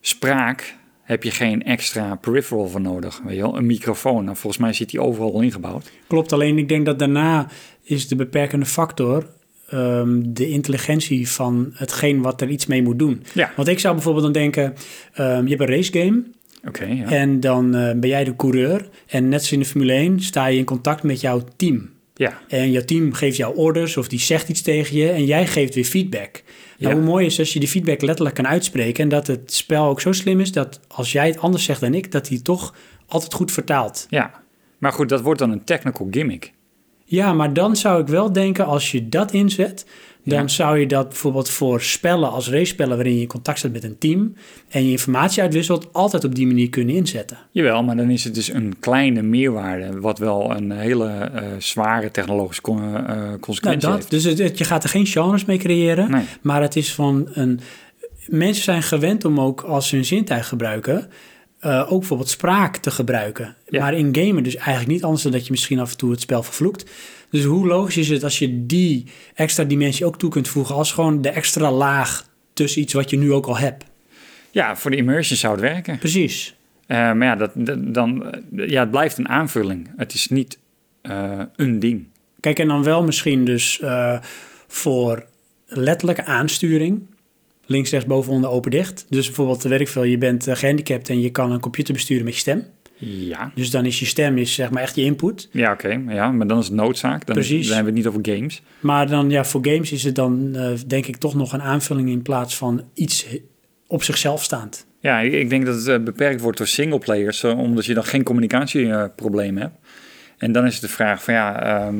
C: spraak heb je geen extra peripheral voor nodig. Weet je wel? Een microfoon, nou, volgens mij zit die overal al ingebouwd.
A: Klopt, alleen ik denk dat daarna is de beperkende factor ehm, de intelligentie van hetgeen wat er iets mee moet doen.
C: Ja.
A: Want ik zou bijvoorbeeld dan denken, ehm, je hebt een race game
C: Oké, ja.
A: en dan eh, ben jij de coureur en net als in de Formule 1 sta je in contact met jouw team.
C: ja.
A: En jouw team geeft jou orders of die zegt iets tegen je en jij geeft weer feedback. Nou,
C: Ja.
A: hoe mooi is als je die feedback letterlijk kan uitspreken en dat het spel ook zo slim is dat als jij het anders zegt dan ik, dat hij toch altijd goed vertaalt.
C: Ja, maar goed, dat wordt dan een technical gimmick.
A: Ja, maar dan zou ik wel denken, als je dat inzet, dan
C: Ja.
A: zou je dat bijvoorbeeld voor spellen als race-spellen waarin je in contact staat met een team en je informatie uitwisselt, altijd op die manier kunnen inzetten.
C: Jawel, maar dan is het dus een kleine meerwaarde, wat wel een hele eh, zware technologische con- eh,
A: Nou,
C: consequentie
A: dat,
C: heeft.
A: dus het, het- je gaat er geen genres mee creëren,
C: Nee.
A: maar het is van een. Mensen zijn gewend om ook als ze hun zintuig gebruiken, eh, ook bijvoorbeeld spraak te gebruiken.
C: Ja.
A: Maar in gamen dus eigenlijk niet, anders dan dat je misschien af en toe het spel vervloekt. Dus hoe logisch is het als je die extra dimensie ook toe kunt voegen als gewoon de extra laag tussen iets wat je nu ook al hebt?
C: Ja, voor de immersion zou het werken.
A: Precies.
C: Eh, maar ja, dat, dat- dan, eh, ja, het blijft een aanvulling. Het is niet eh, een ding.
A: Kijk, en dan wel misschien dus eh, voor letterlijke aansturing. Links, rechts, boven, onder, open, dicht. Dus bijvoorbeeld, weet ik veel, je bent eh, gehandicapt en je kan een computer besturen met je stem.
C: Ja,
A: Dus dan is je stem is, zeg maar echt je input.
C: ja oké. ja, maar dan is het noodzaak. Dan
A: Precies.
C: zijn we het niet over games.
A: Maar dan, ja, voor games is het dan eh, denk ik toch nog een aanvulling in plaats van iets op zichzelf staand.
C: Ja, ik ik denk dat het eh, beperkt wordt door singleplayers, eh, omdat je dan geen communicatieprobleem hebt. En dan is het de vraag van ja, ehm,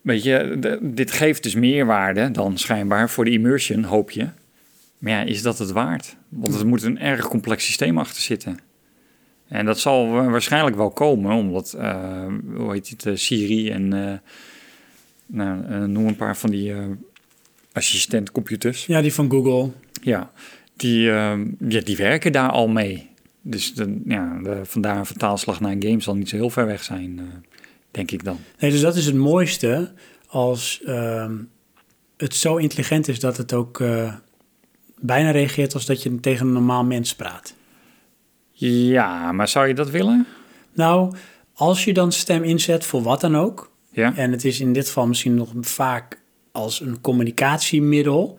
C: weet je, d- dit geeft dus meerwaarde dan schijnbaar voor de immersion, hoop je. Maar ja, is dat het waard? Want er moet een erg complex systeem achter zitten. En dat zal wa- waarschijnlijk wel komen, omdat, eh, hoe heet het, eh, Siri en eh, nou, eh, noem een paar van die eh assistentcomputers.
A: Ja, die van Google.
C: Ja, die, ehm, ja, die werken daar al mee. Dus de, ja, de- vandaar een vertaalslag naar een game zal niet zo heel ver weg zijn, eh, denk ik dan.
A: Nee, dus dat is het mooiste als ehm, het zo intelligent is dat het ook eh, bijna reageert als dat je tegen een normaal mens praat.
C: Ja, maar zou je dat willen?
A: Nou, als je dan stem inzet voor wat dan ook,
C: Ja,
A: en het is in dit geval misschien nog vaak als een communicatiemiddel,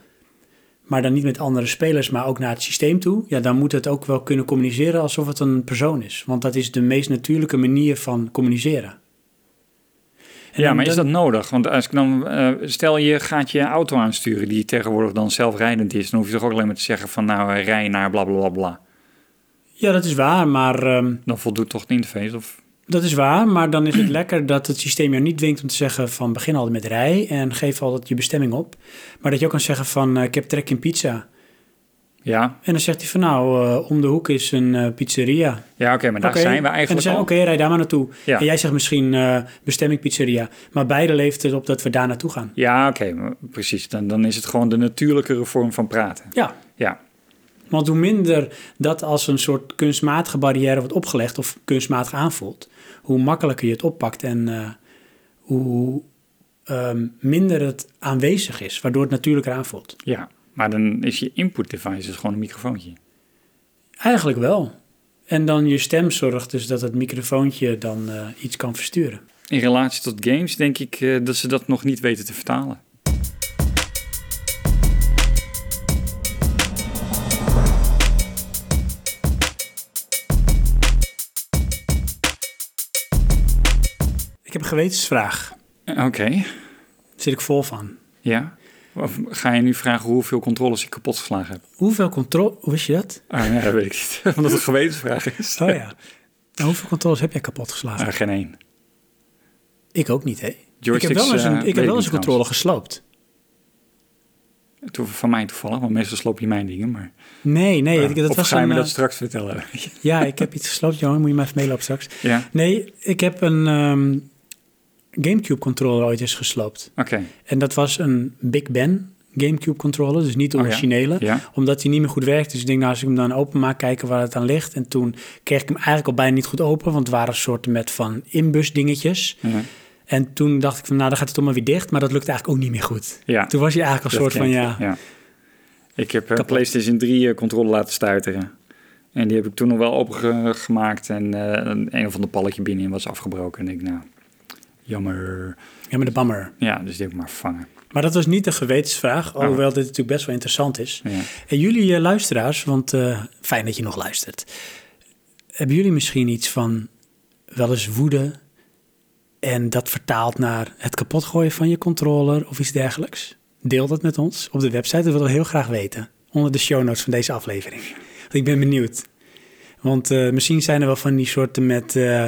A: maar dan niet met andere spelers, maar ook naar het systeem toe, ja, dan moet het ook wel kunnen communiceren alsof het een persoon is. Want dat is de meest natuurlijke manier van communiceren. En
C: ja,
A: dan-
C: maar is
A: dan-
C: dat nodig? Want als ik dan, eh, stel je gaat je auto aansturen die tegenwoordig dan zelfrijdend is, dan hoef je toch ook alleen maar te zeggen van nou eh, rij naar bla bla bla bla.
A: Ja, dat is waar, maar, ehm,
C: Dan voldoet toch de interface? Of,
A: dat is waar, maar dan is het lekker dat het systeem jou niet dwingt om te zeggen van begin altijd met rij en geef altijd je bestemming op. Maar dat je ook kan zeggen van eh, ik heb trek in pizza.
C: ja,
A: En dan zegt hij van nou, eh, om de hoek is een eh, pizzeria.
C: ja oké, maar daar
A: Oké,
C: zijn we
A: En dan
C: eigenlijk
A: zeggen
C: al.
A: oké, rij daar maar naartoe.
C: Ja.
A: En jij zegt misschien eh, bestemming pizzeria. Maar beide leeft het op dat we daar naartoe gaan.
C: Ja, oké, maar precies. Dan, dan is het gewoon de natuurlijkere vorm van praten.
A: Ja,
C: Ja,
A: want hoe minder dat als een soort kunstmatige barrière wordt opgelegd of kunstmatig aanvoelt, hoe makkelijker je het oppakt en eh, hoe ehm, minder het aanwezig is, waardoor het natuurlijker aanvoelt.
C: ja. Maar dan is je input device dus gewoon een microfoontje.
A: Eigenlijk wel. En dan je stem zorgt dus dat het microfoontje dan eh, iets kan versturen.
C: In relatie tot games denk ik eh, dat ze dat nog niet weten te vertalen.
A: Ik heb een gewetensvraag.
C: Eh, Oké,
A: Daar zit ik vol van.
C: ja. Of ga je nu vragen hoeveel controles ik kapot geslagen heb?
A: Hoeveel controle... Hoe wist je dat?
C: Ah, ja, dat weet ik niet. Omdat het een gewetensvraag is.
A: Oh ja. Nou, hoeveel controles heb jij kapotgeslagen?
C: Ah, geen één.
A: Ik ook niet, hè? Ik heb
C: Joysticks,
A: wel eens
C: eh,
A: een, ik
C: weet
A: heb
C: ik
A: wel eens een
C: niet
A: controle gesloopt.
C: Toen van mij toevallig, want meestal sloop je mijn dingen. Maar,
A: Nee, nee. ik- dat
C: of
A: was
C: ga je
A: een,
C: me
A: eh,
C: dat straks vertellen?
A: Ja, ik heb iets gesloopt, jongen. Moet je maar even meelopen straks.
C: ja,
A: Nee, ik heb een ehm, Gamecube-controller ooit eens gesloopt.
C: oké.
A: En dat was een Big Ben Gamecube-controller, dus niet de
C: Oh ja.
A: originele.
C: Ja.
A: Omdat die niet meer goed werkte. Dus ik denk, nou, als ik hem dan open maak, kijken waar het aan ligt. En toen kreeg ik hem eigenlijk al bijna niet goed open, want het waren soorten met van inbusdingetjes.
C: Ja.
A: En toen dacht ik van, nou, dan gaat hij toch maar weer dicht. Maar dat lukte eigenlijk ook niet meer goed.
C: Ja.
A: Toen was hij eigenlijk een
C: Dat
A: soort van,
C: ken ik,
A: ja,
C: Ik heb eh, PlayStation 3 eh, controle laten stuiteren. En die heb ik toen nog wel opengemaakt. En eh, een, een of ander palletje binnenin was afgebroken. En ik nou, jammer.
A: ja, met de bammer.
C: Ja, dus die heb ik maar vervangen.
A: Maar dat was niet de gewetensvraag,
C: Oh.
A: alhoewel dit natuurlijk best wel interessant is.
C: Ja.
A: En jullie eh, luisteraars, want eh, fijn dat je nog luistert. Hebben jullie misschien iets van wel eens woede en dat vertaalt naar het kapotgooien van je controller of iets dergelijks? Deel dat met ons op de website, dat willen we heel graag weten. Onder de show notes van deze aflevering. Want ik ben benieuwd. Want eh, misschien zijn er wel van die soorten met eh,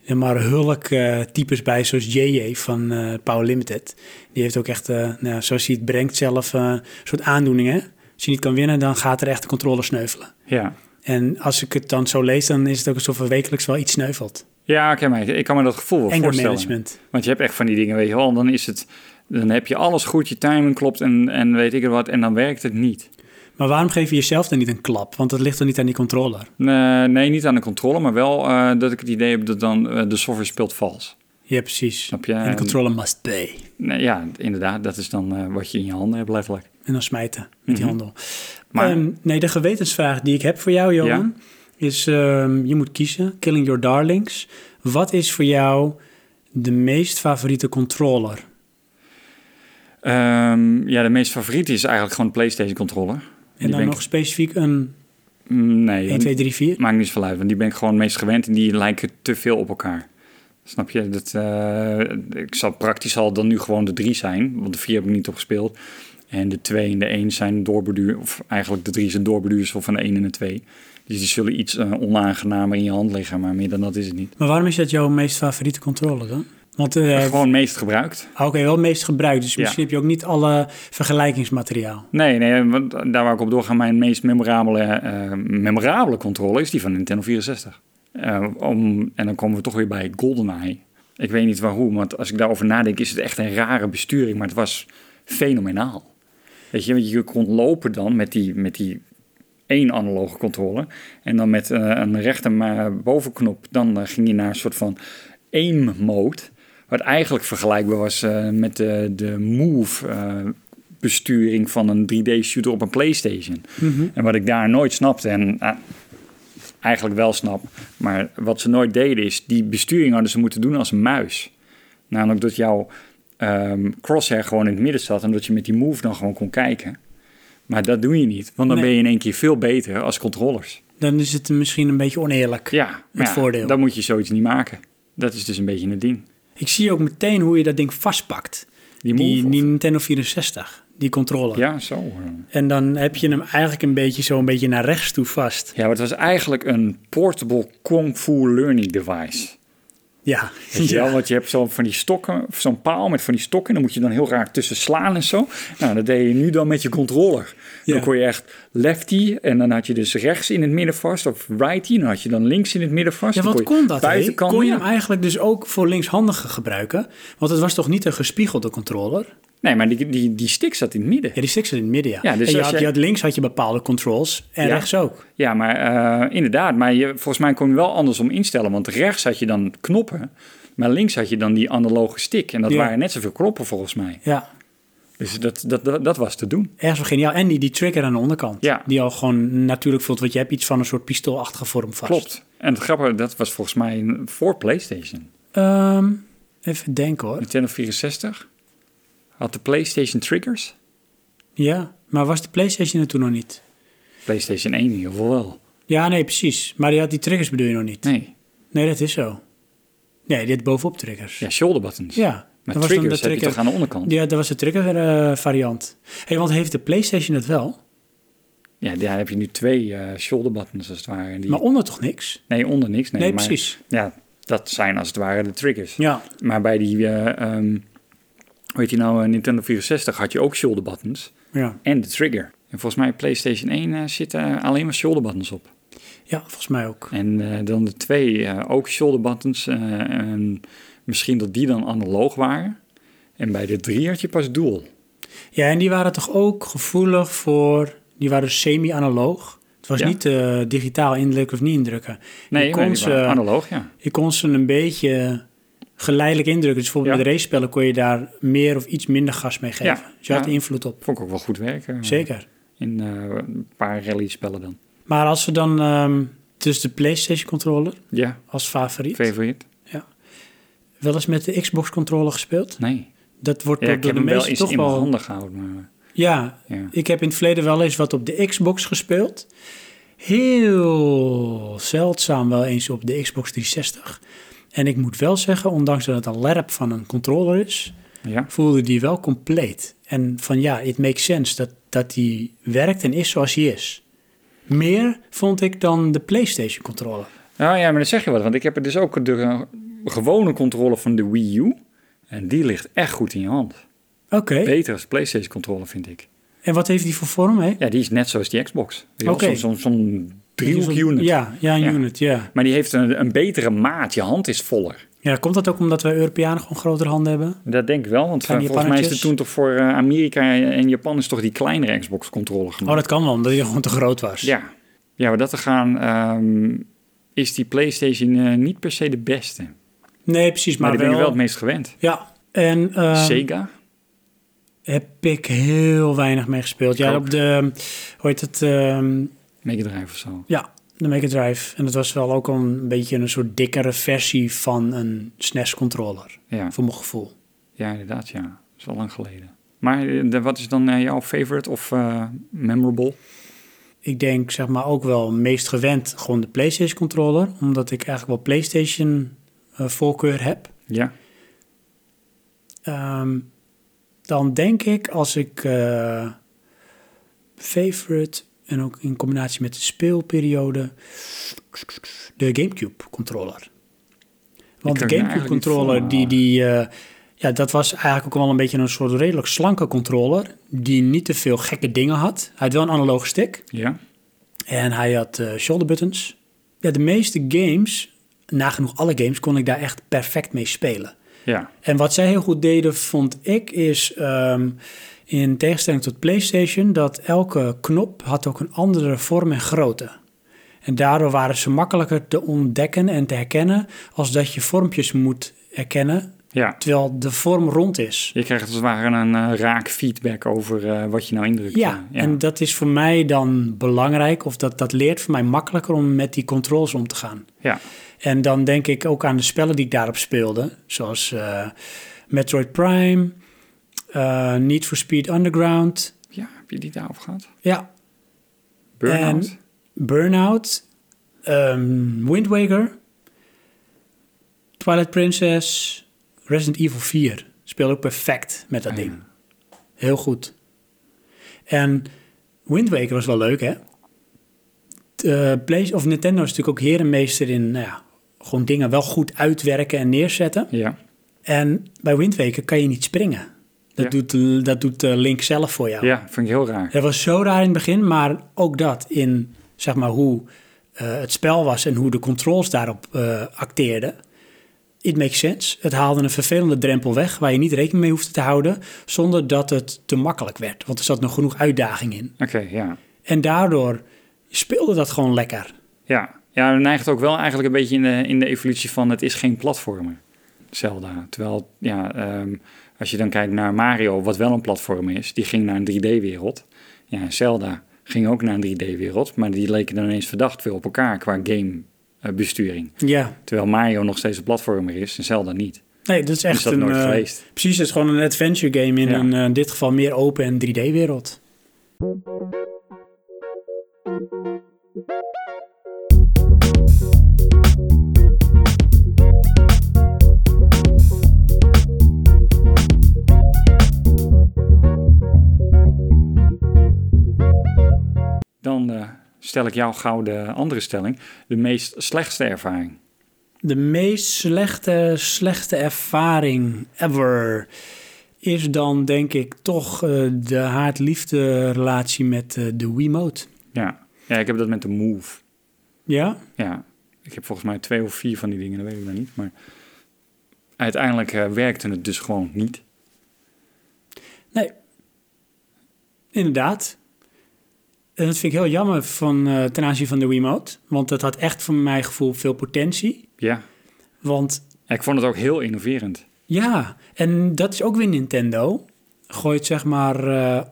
A: ja, maar hulk eh, types bij, zoals JJ van eh, Power Limited. Die heeft ook echt, eh, nou, ja, zoals hij het brengt zelf, eh, een soort aandoeningen. Als je niet kan winnen, dan gaat er echt de controle sneuvelen.
C: Ja,
A: En als ik het dan zo lees, dan is het ook alsof er wekelijks wel iets sneuvelt.
C: ja oké, maar ik kan me dat gevoel wel
A: Anger
C: voorstellen.
A: management.
C: Want je hebt echt van die dingen, weet je wel. En dan is het... Dan heb je alles goed, je timing klopt en, en weet ik het wat. En dan werkt het niet.
A: Maar waarom geef je jezelf dan niet een klap? Want dat ligt dan niet aan die controller.
C: Nee, nee, niet aan de controle, maar wel eh, dat ik het idee heb dat dan eh, de software speelt vals.
A: Ja, precies.
C: Snap je?
A: En de controller must pay.
C: Nee, ja, inderdaad, dat is dan eh, wat je in je handen hebt, letterlijk.
A: En dan smijten met die handel.
C: Maar-
A: Ehm, nee, de gewetensvraag die ik heb voor jou, Johan, is: ehm, je moet kiezen, Killing Your Darlings. Wat is voor jou de meest favoriete controller?
C: Ehm, ja, de meest favoriete is eigenlijk gewoon de PlayStation controller. Mm,
A: En dan nog specifiek een
C: Nee,
A: 1, 2, 3, 4.
C: maakt niet zoveel uit, want die ben ik gewoon het meest gewend en die lijken te veel op elkaar. Snap je? Dat, eh, ik zal praktisch al dan nu gewoon de drie zijn, want de vier heb ik niet op gespeeld. En de twee en de één zijn doorbeduur, of eigenlijk de drie zijn doorbeduursel van de één en de twee. Dus die zullen iets eh, onaangenamer in je hand liggen, maar meer dan dat is het niet.
A: Maar waarom is dat jouw meest favoriete controller dan? Want eh,
C: Gewoon meest gebruikt.
A: oké, wel het meest gebruikt. Dus
C: Ja.
A: misschien heb je ook niet alle vergelijkingsmateriaal.
C: Nee, nee, want daar waar ik op doorga, mijn meest memorabele, eh, memorabele controle is die van Nintendo 64. Eh, om, en dan komen we toch weer bij GoldenEye. Ik weet niet waarom, want als ik daarover nadenk, is het echt een rare besturing, maar het was fenomenaal. Weet je, want je kon lopen dan met die, met die één analoge controle en dan met eh, een rechter maar bovenknop, dan eh, ging je naar een soort van aim mode, wat eigenlijk vergelijkbaar was eh, met de, de move eh, besturing van een 3D-shooter op een PlayStation. En wat ik daar nooit snapte, en ah, eigenlijk wel snap, maar wat ze nooit deden, is die besturing hadden ze moeten doen als een muis. Namelijk dat jouw ehm, crosshair gewoon in het midden zat en dat je met die move dan gewoon kon kijken. Maar dat doe je niet, want dan
A: Nee.
C: ben je in één keer veel beter als controllers.
A: Dan is het misschien een beetje oneerlijk.
C: Ja, maar ja,
A: voordeel.
C: dan moet je zoiets niet maken. Dat is dus een beetje het ding.
A: Ik zie ook meteen hoe je dat ding vastpakt.
C: Die
A: Die,
C: move
A: die,
C: of-
A: Nintendo 64, die controller.
C: Ja, zo. eh.
A: En dan heb je hem eigenlijk een beetje zo een beetje naar rechts toe vast.
C: Ja, maar het was eigenlijk een portable kung fu learning device.
A: Ja.
C: Weet je wel,
A: ja.
C: want je hebt zo van die stokken, zo'n paal met van die stokken. En dan moet je dan heel raar tussen slaan en zo. Nou, dat deed je nu dan met je controller.
A: Ja.
C: Dan kon je echt lefty en dan had je dus rechts in het midden vast. Of righty, dan had je dan links in het midden vast.
A: Ja,
C: Dan
A: wat
C: je
A: kon dat? hè?
C: buitenkant-
A: Kon je
C: ja.
A: hem eigenlijk dus ook voor linkshandigen gebruiken? Want het was toch niet een gespiegelde controller?
C: Nee, maar die, die, die stick zat in het midden.
A: Ja, die sticks zat in het midden, ja.
C: Ja, dus
A: en je
C: als
A: had,
C: je-
A: je had links had je bepaalde controls en
C: Ja.
A: rechts ook.
C: Ja, maar eh, inderdaad. Maar je, volgens mij kon je wel andersom instellen. Want rechts had je dan knoppen. Maar links had je dan die analoge stick. En dat
A: Ja.
C: waren net zoveel knoppen volgens mij.
A: Ja,
C: Dus dat, dat, dat, dat was te doen.
A: ergens wel geniaal. En die, die trigger aan de onderkant.
C: Ja.
A: Die al gewoon natuurlijk voelt, want je hebt iets van een soort pistoolachtige vorm vast.
C: Klopt. En het grappige, dat was volgens mij voor PlayStation.
A: Ehm, even denken hoor.
C: Nintendo 64 had de PlayStation triggers.
A: Ja, maar was de PlayStation er toen nog niet?
C: PlayStation 1 in ieder geval wel.
A: Ja, nee, precies. Maar die had die triggers bedoel je nog niet?
C: Nee.
A: Nee, dat is zo. Nee, dit bovenop triggers.
C: Ja, shoulder buttons.
A: Ja,
C: Maar
A: dat was dan
C: triggers
A: de
C: heb je toch aan de onderkant? Ja,
A: Ja, dat was de trigger eh, variant. hey, want heeft de PlayStation het wel?
C: daar heb je nu twee eh, shoulder buttons als het ware. Die...
A: Maar onder toch niks?
C: Nee, onder niks. Nee,
A: Nee,
C: maar-
A: precies.
C: Ja, dat zijn als het ware de triggers.
A: Ja.
C: Maar bij die, eh, ehm, hoe heet die nou, eh, Nintendo 64 had je ook shoulder buttons
A: Ja,
C: en de trigger. En volgens mij PlayStation 1 eh, zitten alleen maar shoulder buttons op.
A: ja volgens mij ook.
C: En eh, dan de twee eh, ook shoulder buttons. eh, en misschien dat die dan analoog waren. En bij de drie had je pas dual.
A: Ja, en die waren toch ook gevoelig voor... Die waren dus semi-analoog. Het was
C: Ja.
A: niet eh, digitaal indrukken of niet indrukken.
C: Nee,
A: je
C: maar
A: kon,
C: die
A: ze,
C: waren analoog, ja.
A: je kon ze een beetje geleidelijk indrukken. Dus bijvoorbeeld
C: Ja.
A: bij de race-spellen kon je daar meer of iets minder gas mee geven.
C: Ja.
A: Dus je had
C: Ja.
A: invloed op.
C: Vond ik ook wel goed werken.
A: Zeker.
C: In eh, een paar rally spellen dan.
A: Maar als we dan... ehm, dus de PlayStation-controller
C: Ja,
A: als favoriet.
C: favoriet?
A: wel eens met de Xbox-controller gespeeld?
C: Nee.
A: Dat wordt
C: Ja,
A: door-
C: ik
A: door
C: heb
A: de
C: hem wel
A: meesten
C: eens
A: toch
C: in mijn
A: wel...
C: handen gehouden. Maar,
A: Ja,
C: ja.
A: ik heb in het verleden wel eens wat op de Xbox gespeeld. Heel zeldzaam wel eens op de Xbox 360. En ik moet wel zeggen, ondanks dat het een lerp van een controller is,
C: ja.
A: voelde die wel compleet. En van ja, it makes sense dat, dat die werkt en is zoals hij is. Meer vond ik dan de PlayStation controller.
C: Nou ja, maar dan zeg je wat. Want ik heb er dus ook de eh, gewone controle van de Wii U. En die ligt echt goed in je hand.
A: Oké,
C: Beter als de PlayStation controle, vind ik.
A: en wat heeft die voor vorm, hè?
C: Ja, die is net zoals die Xbox. Weet je wel,
A: Oké.
C: Zo'n zo'n zo'n driehoek unit.
A: Ja, ja, een
C: Ja.
A: unit, ja.
C: Maar die heeft een, een betere maat. Je hand is voller.
A: Ja, komt dat ook omdat wij Europeanen gewoon grotere handen hebben?
C: Dat denk ik wel, want
A: Van
C: eh,
A: die
C: volgens mij is het
A: pannetjes?
C: toen toch voor eh, Amerika en Japan is toch die kleinere Xbox-controle gemaakt.
A: Oh, dat kan wel, omdat die gewoon te groot was.
C: Ja. ja, maar dat te gaan ehm, is die PlayStation eh, niet per se de beste. Maar,
A: Nee, precies, maar,
C: die ben
A: wel...
C: je wel het meest gewend.
A: Ja, en eh,
C: Sega?
A: heb ik heel weinig mee gespeeld. Ja,
C: ook.
A: op de, hoe heet het, ehm,
C: Mega Drive of zo.
A: ja, de Mega Drive. En dat was wel ook al een beetje een soort dikkere versie van een SNES-controller,
C: Ja.
A: voor mijn gevoel.
C: Ja, inderdaad, ja. Dat is al lang geleden. Maar eh, de- wat is dan eh, jouw favorite of eh, memorable?
A: Ik denk, zeg maar, ook wel meest gewend gewoon de PlayStation-controller, omdat ik eigenlijk wel PlayStation-voorkeur heb.
C: Ja.
A: Ehm, dan denk ik als ik eh, favorite en ook in combinatie met de speelperiode de GameCube controller. Want
C: kan
A: de
C: me
A: GameCube
C: eigenlijk niet
A: controller die, die eh, ja, dat was eigenlijk ook wel een beetje een soort redelijk slanke controller die niet te veel gekke dingen had. Hij had wel een analoge stick
C: Ja.
A: en hij had eh, shoulder buttons. Ja, de meeste games, nagenoeg alle games, kon ik daar echt perfect mee spelen.
C: Ja.
A: En wat zij heel goed deden, vond ik, is ehm, in tegenstelling tot PlayStation, dat elke knop had ook een andere vorm en grootte. En daardoor waren ze makkelijker te ontdekken en te herkennen, als dat je vormpjes moet herkennen,
C: Ja.
A: terwijl de vorm rond is.
C: Je krijgt als het ware een eh, raak feedback over eh, wat je nou indrukt.
A: Ja,
C: Eh, ja.
A: en dat is voor mij dan belangrijk, of dat, dat leert voor mij makkelijker om met die controls om te gaan.
C: ja.
A: En dan denk ik ook aan de spellen die ik daarop speelde. Zoals eh, Metroid Prime, eh, Need for Speed Underground,
C: Ja, heb je die daarop gehad?
A: ja,
C: Burnout?
A: En- Burnout, ehm Wind Waker, Twilight Princess, Resident Evil 4 speelde ook perfect met dat
C: Ja.
A: ding. Heel goed. En Wind Waker was wel leuk, hè? T- eh, Play- of Nintendo is natuurlijk ook herenmeester in nou ja, gewoon dingen wel goed uitwerken en neerzetten.
C: Ja.
A: En bij Wind Waker kan je niet springen. Dat
C: Ja.
A: doet, dat doet eh, Link zelf voor jou.
C: ja, vind ik heel raar.
A: Dat was zo raar in het begin, maar ook dat in zeg maar, hoe eh, het spel was en hoe de controls daarop eh, acteerden. It makes sense. Het haalde een vervelende drempel weg waar je niet rekening mee hoefde te houden, zonder dat het te makkelijk werd. Want er zat nog genoeg uitdaging in.
C: Oké, ja.
A: En daardoor speelde dat gewoon lekker.
C: Ja, ja dat neigt ook wel eigenlijk een beetje in de, in de evolutie van het is geen platformer. Zelda. Terwijl, ja, ehm, als je dan kijkt naar Mario, wat wel een platform is, die ging naar een 3D-wereld. Ja, en Zelda ging ook naar een 3D-wereld, maar die leken dan ineens verdacht veel op elkaar qua gamebesturing.
A: Ja,
C: Terwijl Mario nog steeds een platformer is en Zelda niet.
A: nee, dat is echt
C: Is dat
A: een.
C: nooit
A: eh,
C: geweest?
A: Precies, het is gewoon een adventure game in
C: Ja.
A: een eh, in dit geval meer open en 3D-wereld.
C: Dan eh, stel ik jou gauw de andere stelling, de meest slechtste ervaring.
A: De meest slechte, slechte ervaring ever is dan denk ik toch eh, de haat-liefde relatie met eh, de Wiimote.
C: Ja. ja, ik heb dat met de Move.
A: Ja?
C: Ja, ik heb volgens mij twee of vier van die dingen, dat weet ik nog niet. Maar uiteindelijk eh, werkte het dus gewoon niet.
A: Nee. Inderdaad. En dat vind ik heel jammer van, eh, ten aanzien van de Wiimote. Want dat had echt voor mijn gevoel veel potentie.
C: Ja,
A: Want
C: En ik vond het ook heel innoverend.
A: ja, en dat is ook weer Nintendo. Gooit zeg maar eh,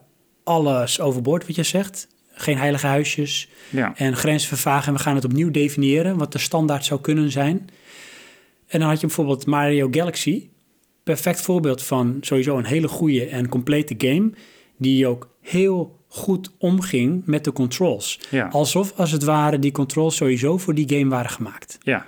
A: alles overboord wat je zegt. Geen heilige huisjes.
C: Ja,
A: en grenzen vervagen en we gaan het opnieuw definiëren wat de standaard zou kunnen zijn. En dan had je bijvoorbeeld Mario Galaxy, perfect voorbeeld van sowieso een hele goede en complete game die ook heel goed omging met de controls.
C: Ja.
A: Alsof als het ware die controls sowieso voor die game waren gemaakt.
C: ja.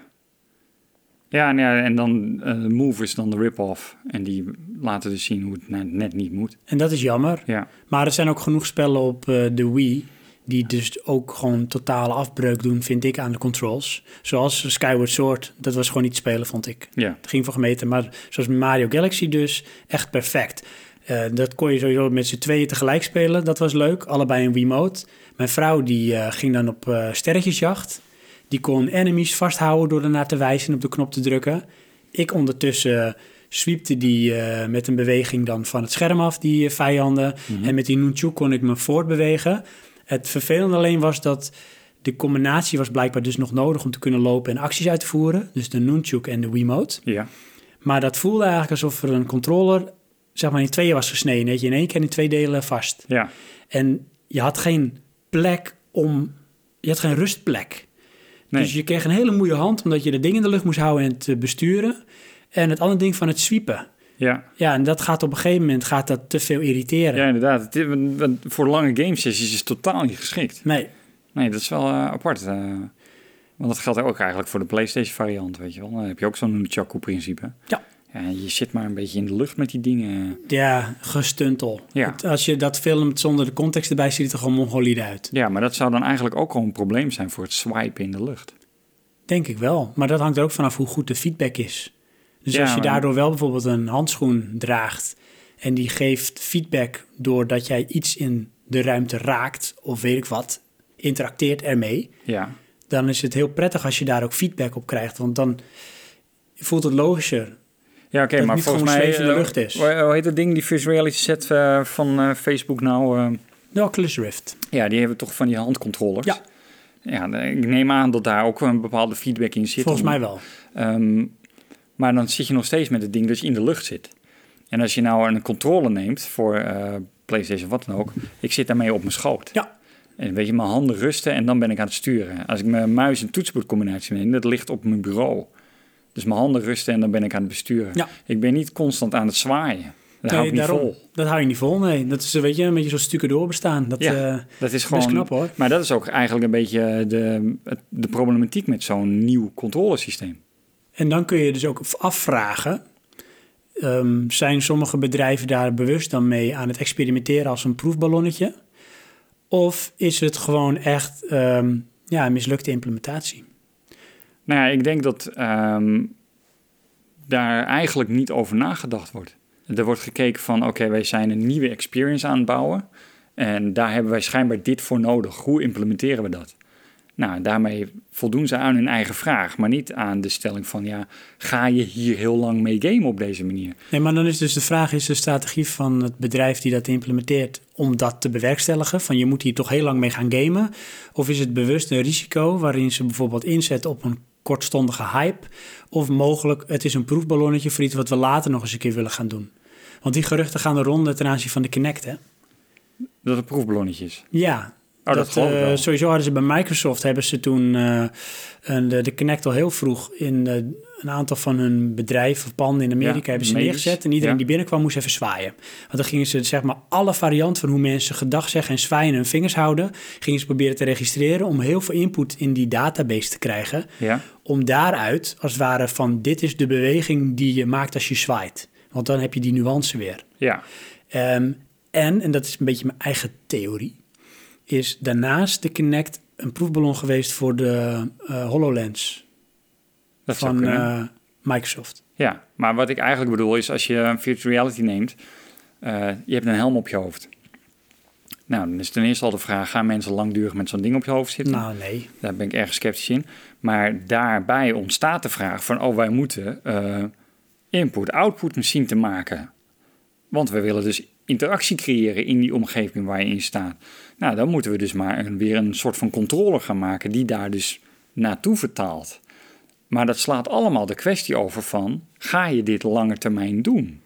C: Ja, en, ja, en dan eh Move is dan de rip-off. En die laten dus zien hoe het nou net niet moet.
A: En dat is jammer.
C: Ja,
A: Maar er zijn ook genoeg spellen op eh, de Wii die dus ook gewoon totale afbreuk doen, vind ik, aan de controls. Zoals Skyward Sword, dat was gewoon niet spelen, vond ik.
C: ja,
A: Het ging voor gemeten, maar zoals Mario Galaxy dus, echt perfect. Eh, dat kon je sowieso met z'n tweeën tegelijk spelen, dat was leuk. Allebei een Wiimote. Mijn vrouw die eh, ging dan op eh, sterretjesjacht. Die kon enemies vasthouden door ernaar te wijzen en op de knop te drukken. Ik ondertussen eh, sweepte die eh, met een beweging dan van het scherm af, die eh, vijanden. En met die nunchuk kon ik me voortbewegen. Het vervelende alleen was dat de combinatie was blijkbaar dus nog nodig om te kunnen lopen en acties uit te voeren. Dus de nunchuk en de Wiimote.
C: ja.
A: Maar dat voelde eigenlijk alsof er een controller zeg maar in tweeën was gesneden. Dat je in één keer in twee delen vast.
C: ja.
A: En je had geen plek om... Je had geen rustplek.
C: Nee.
A: Dus je kreeg een hele moeie hand omdat je dat ding in de lucht moest houden en het eh, besturen. En het andere ding van het sweepen.
C: ja.
A: Ja, en dat gaat op een gegeven moment gaat dat te veel irriteren.
C: ja, inderdaad. Het is- want- want voor lange gamesessies is het totaal niet geschikt.
A: Nee,
C: Nee, dat is wel eh, apart. eh. want dat geldt ook eigenlijk voor de PlayStation variant, weet je wel. Dan heb je ook zo'n Nunchaku-principe.
A: Ja.
C: ja. Je zit maar een beetje in de lucht met die dingen.
A: ja, gestuntel.
C: Ja.
A: Het- Als je dat filmt zonder de context erbij, ziet het er gewoon mongolied uit.
C: Ja, maar dat zou dan eigenlijk ook al een probleem zijn voor het swipen in de lucht.
A: Denk ik wel. Maar dat hangt er ook vanaf hoe goed de feedback is. Dus
C: Ja,
A: als je
C: maar-
A: daardoor wel bijvoorbeeld een handschoen draagt en die geeft feedback doordat jij iets in de ruimte raakt of weet ik wat, interacteert ermee,
C: Ja,
A: dan is het heel prettig als je daar ook feedback op krijgt. Want dan voelt het logischer.
C: ja oké,
A: het
C: maar
A: niet
C: volgens
A: gewoon
C: mij...
A: zweef in de
C: eh,
A: lucht is.
C: Hoe hoe heet dat ding, die virtual reality set eh, van eh, Facebook nou? eh,
A: De Oculus Rift.
C: ja, die hebben toch van die handcontrollers?
A: Ja.
C: Ja, eh, ik neem aan dat daar ook een bepaalde feedback in zit.
A: Volgens
C: Om-
A: mij wel.
C: Ehm, maar dan zit je nog steeds met het ding dat je in de lucht zit. En als je nou een controle neemt voor eh, PlayStation wat dan ook, ik zit daarmee op mijn schoot.
A: Ja.
C: En weet je, mijn handen rusten en dan ben ik aan het sturen. Als ik mijn muis- en toetsenbordcombinatie neem, dat ligt op mijn bureau. Dus mijn handen rusten en dan ben ik aan het besturen.
A: Ja.
C: Ik ben niet constant aan het zwaaien. Dat hou ik niet vol.
A: Dat hou je niet vol, nee. Dat is weet je, een beetje zo'n stukken doorbestaan. Dat,
C: Ja,
A: eh,
C: dat is gewoon...
A: knap, hoor.
C: Maar dat is ook eigenlijk een beetje de, de problematiek met zo'n nieuw controlesysteem.
A: En dan kun je dus ook afvragen ehm, zijn sommige bedrijven daar bewust dan mee aan het experimenteren als een proefballonnetje? Of is het gewoon echt ehm, ja, een mislukte implementatie?
C: Nou ja, ik denk dat ehm, daar eigenlijk niet over nagedacht wordt. Er wordt gekeken van, oké, wij zijn een nieuwe experience aan het bouwen. En daar hebben wij schijnbaar dit voor nodig. Hoe implementeren we dat? Nou, daarmee voldoen ze aan hun eigen vraag. Maar niet aan de stelling van, ja, ga je hier heel lang mee gamen op deze manier?
A: Nee, maar dan is dus de vraag, is de strategie van het bedrijf die dat implementeert om dat te bewerkstelligen? Van je moet hier toch heel lang mee gaan gamen? Of is het bewust een risico waarin ze bijvoorbeeld inzet op een kortstondige hype? Of mogelijk, het is een proefballonnetje voor iets wat we later nog eens een keer willen gaan doen? Want die geruchten gaan de ronde ten aanzien van de Kinect, hè?
C: Dat het proefballonnetjes.
A: Ja.
C: Oh, dat geloof ik
A: eh,
C: wel.
A: Sowieso hadden ze bij Microsoft, hebben ze toen eh, een- de, de Kinect al heel vroeg in eh, een aantal van hun bedrijven of panden in Amerika
C: Ja,
A: hebben ze
C: medisch,
A: neergezet. En iedereen
C: ja.
A: die binnenkwam moest even zwaaien. Want dan gingen ze zeg maar alle varianten van hoe mensen gedag zeggen en zwaaien en hun vingers houden, gingen ze proberen te registreren om heel veel input in die database te krijgen.
C: Ja?
A: Om daaruit, als het ware, van dit is de beweging die je maakt als je zwaait. Want dan heb je die nuance weer.
C: Ja.
A: Ehm, en, en dat is een beetje mijn eigen theorie, is daarnaast de Kinect een proefballon geweest voor de eh, HoloLens
C: Dat zou
A: van
C: kunnen.
A: eh, Microsoft.
C: Ja, maar wat ik eigenlijk bedoel is, als je een virtual reality neemt, eh, je hebt een helm op je hoofd. Nou, dan is ten eerste al de vraag, gaan mensen langdurig met zo'n ding op je hoofd zitten?
A: Nou, nee.
C: Daar ben ik erg sceptisch in. Maar daarbij ontstaat de vraag van, oh, wij moeten eh, input-output machine te maken. Want we willen dus interactie creëren in die omgeving waar je in staat. Nou, dan moeten we dus maar een, weer een soort van controller gaan maken die daar dus naartoe vertaalt. Maar dat slaat allemaal de kwestie over van, ga je dit lange termijn doen?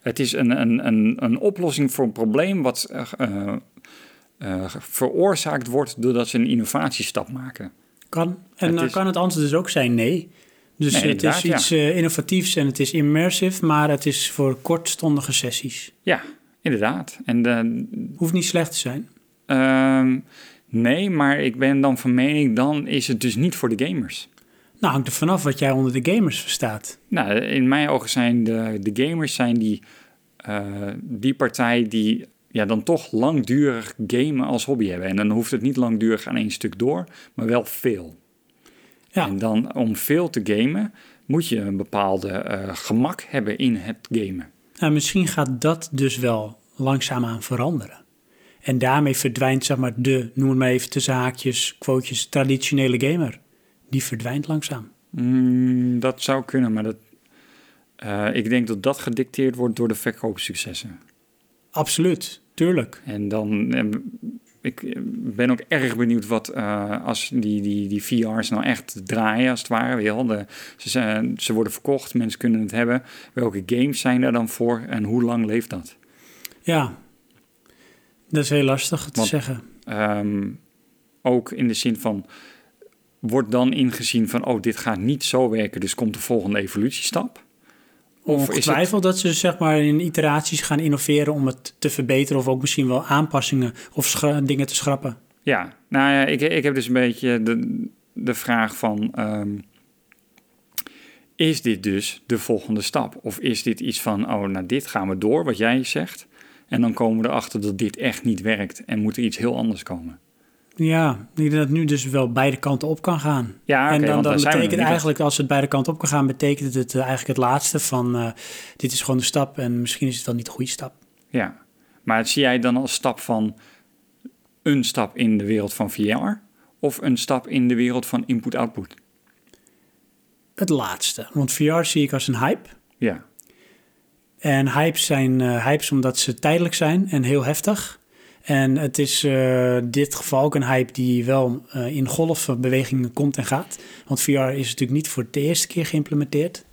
C: Het is een, een, een, een oplossing voor een probleem wat eh, eh, eh, veroorzaakt wordt doordat ze een innovatiestap maken.
A: Kan. En
C: Het
A: dan
C: is-
A: kan het antwoord dus ook zijn nee. Dus
C: Nee,
A: het is
C: inderdaad, ja.
A: iets eh, innovatiefs en het is immersive, maar het is voor kortstondige sessies.
C: Ja, inderdaad. En eh,
A: Hoeft niet slecht te zijn.
C: Ehm, nee, maar ik ben dan van mening, dan is het dus niet voor de gamers.
A: Nou, hangt er vanaf wat jij onder de gamers verstaat.
C: Nou, in mijn ogen zijn de, de gamers zijn die, eh, die partij die ja, dan toch langdurig gamen als hobby hebben. En dan hoeft het niet langdurig aan één stuk door, maar wel veel.
A: Ja.
C: En dan om veel te gamen moet je een bepaalde eh, gemak hebben in het gamen.
A: Nou, misschien gaat dat dus wel langzaamaan veranderen. En daarmee verdwijnt, zeg maar, de, noem het maar even tussen haakjes, quotejes, traditionele gamer. Die verdwijnt langzaam.
C: Mm, dat zou kunnen, maar dat, eh, ik denk dat dat gedicteerd wordt door de verkoopsuccessen.
A: Absoluut, tuurlijk.
C: En dan, eh, ik eh, ben ook erg benieuwd wat eh, als die, die, die VR's nou echt draaien, als het ware. Weet je wel. De- ze, zijn, ze worden verkocht, mensen kunnen het hebben. Welke games zijn daar dan voor en hoe lang leeft dat?
A: Ja, dat is heel lastig te
C: Want-
A: zeggen.
C: Ehm, ook in de zin van, wordt dan ingezien van, oh, dit gaat niet zo werken, dus komt de volgende evolutiestap? Of is het,
A: Ongetwijfeld dat ze zeg maar in iteraties gaan innoveren om het te verbeteren of ook misschien wel aanpassingen of schra- dingen te schrappen.
C: Ja, nou ja, ik, ik heb dus een beetje de, de vraag van... ehm, is dit dus de volgende stap? Of is dit iets van, oh, nou dit gaan we door, wat jij zegt... en dan komen we erachter dat dit echt niet werkt... en moet er iets heel anders komen?
A: Ja, ik denk dat het nu dus wel beide kanten op kan gaan.
C: Ja, oké,
A: en dan,
C: want
A: dan
C: daar zijn we dus. nog
A: betekent
C: niet.
A: eigenlijk, als het beide kanten op kan gaan, betekent het eh, eigenlijk het laatste van eh, dit is gewoon de stap en misschien is het wel niet de goede stap.
C: Ja, maar zie jij dan als stap van een stap in de wereld van VR... of een stap in de wereld van input-output?
A: Het laatste, want VR zie ik als een hype.
C: Ja,
A: En hypes zijn eh, hypes omdat ze tijdelijk zijn en heel heftig. En het is eh, in dit geval ook een hype die wel eh, in golfbewegingen komt en gaat. Want VR is natuurlijk niet voor de eerste keer geïmplementeerd.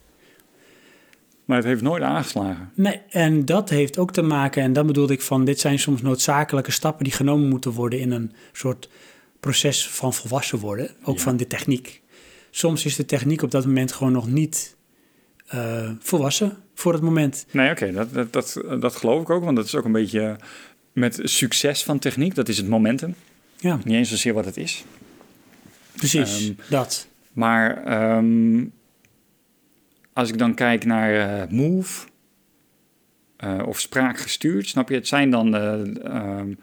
C: maar het heeft nooit aangeslagen.
A: Nee, en dat heeft ook te maken, en dan bedoelde ik van, dit zijn soms noodzakelijke stappen die genomen moeten worden in een soort proces van volwassen worden, ook
C: Ja.
A: van de techniek. Soms is de techniek op dat moment gewoon nog niet eh, volwassen voor het moment.
C: Nee, oké, dat, dat, dat, dat geloof ik ook. Want dat is ook een beetje met succes van techniek. Dat is het momentum.
A: Ja,
C: Niet eens zozeer wat het is.
A: precies, dat.
C: Maar ehm, Als ik dan kijk naar eh, move eh, of spraakgestuurd, snap je? Het zijn dan... eh, ehm,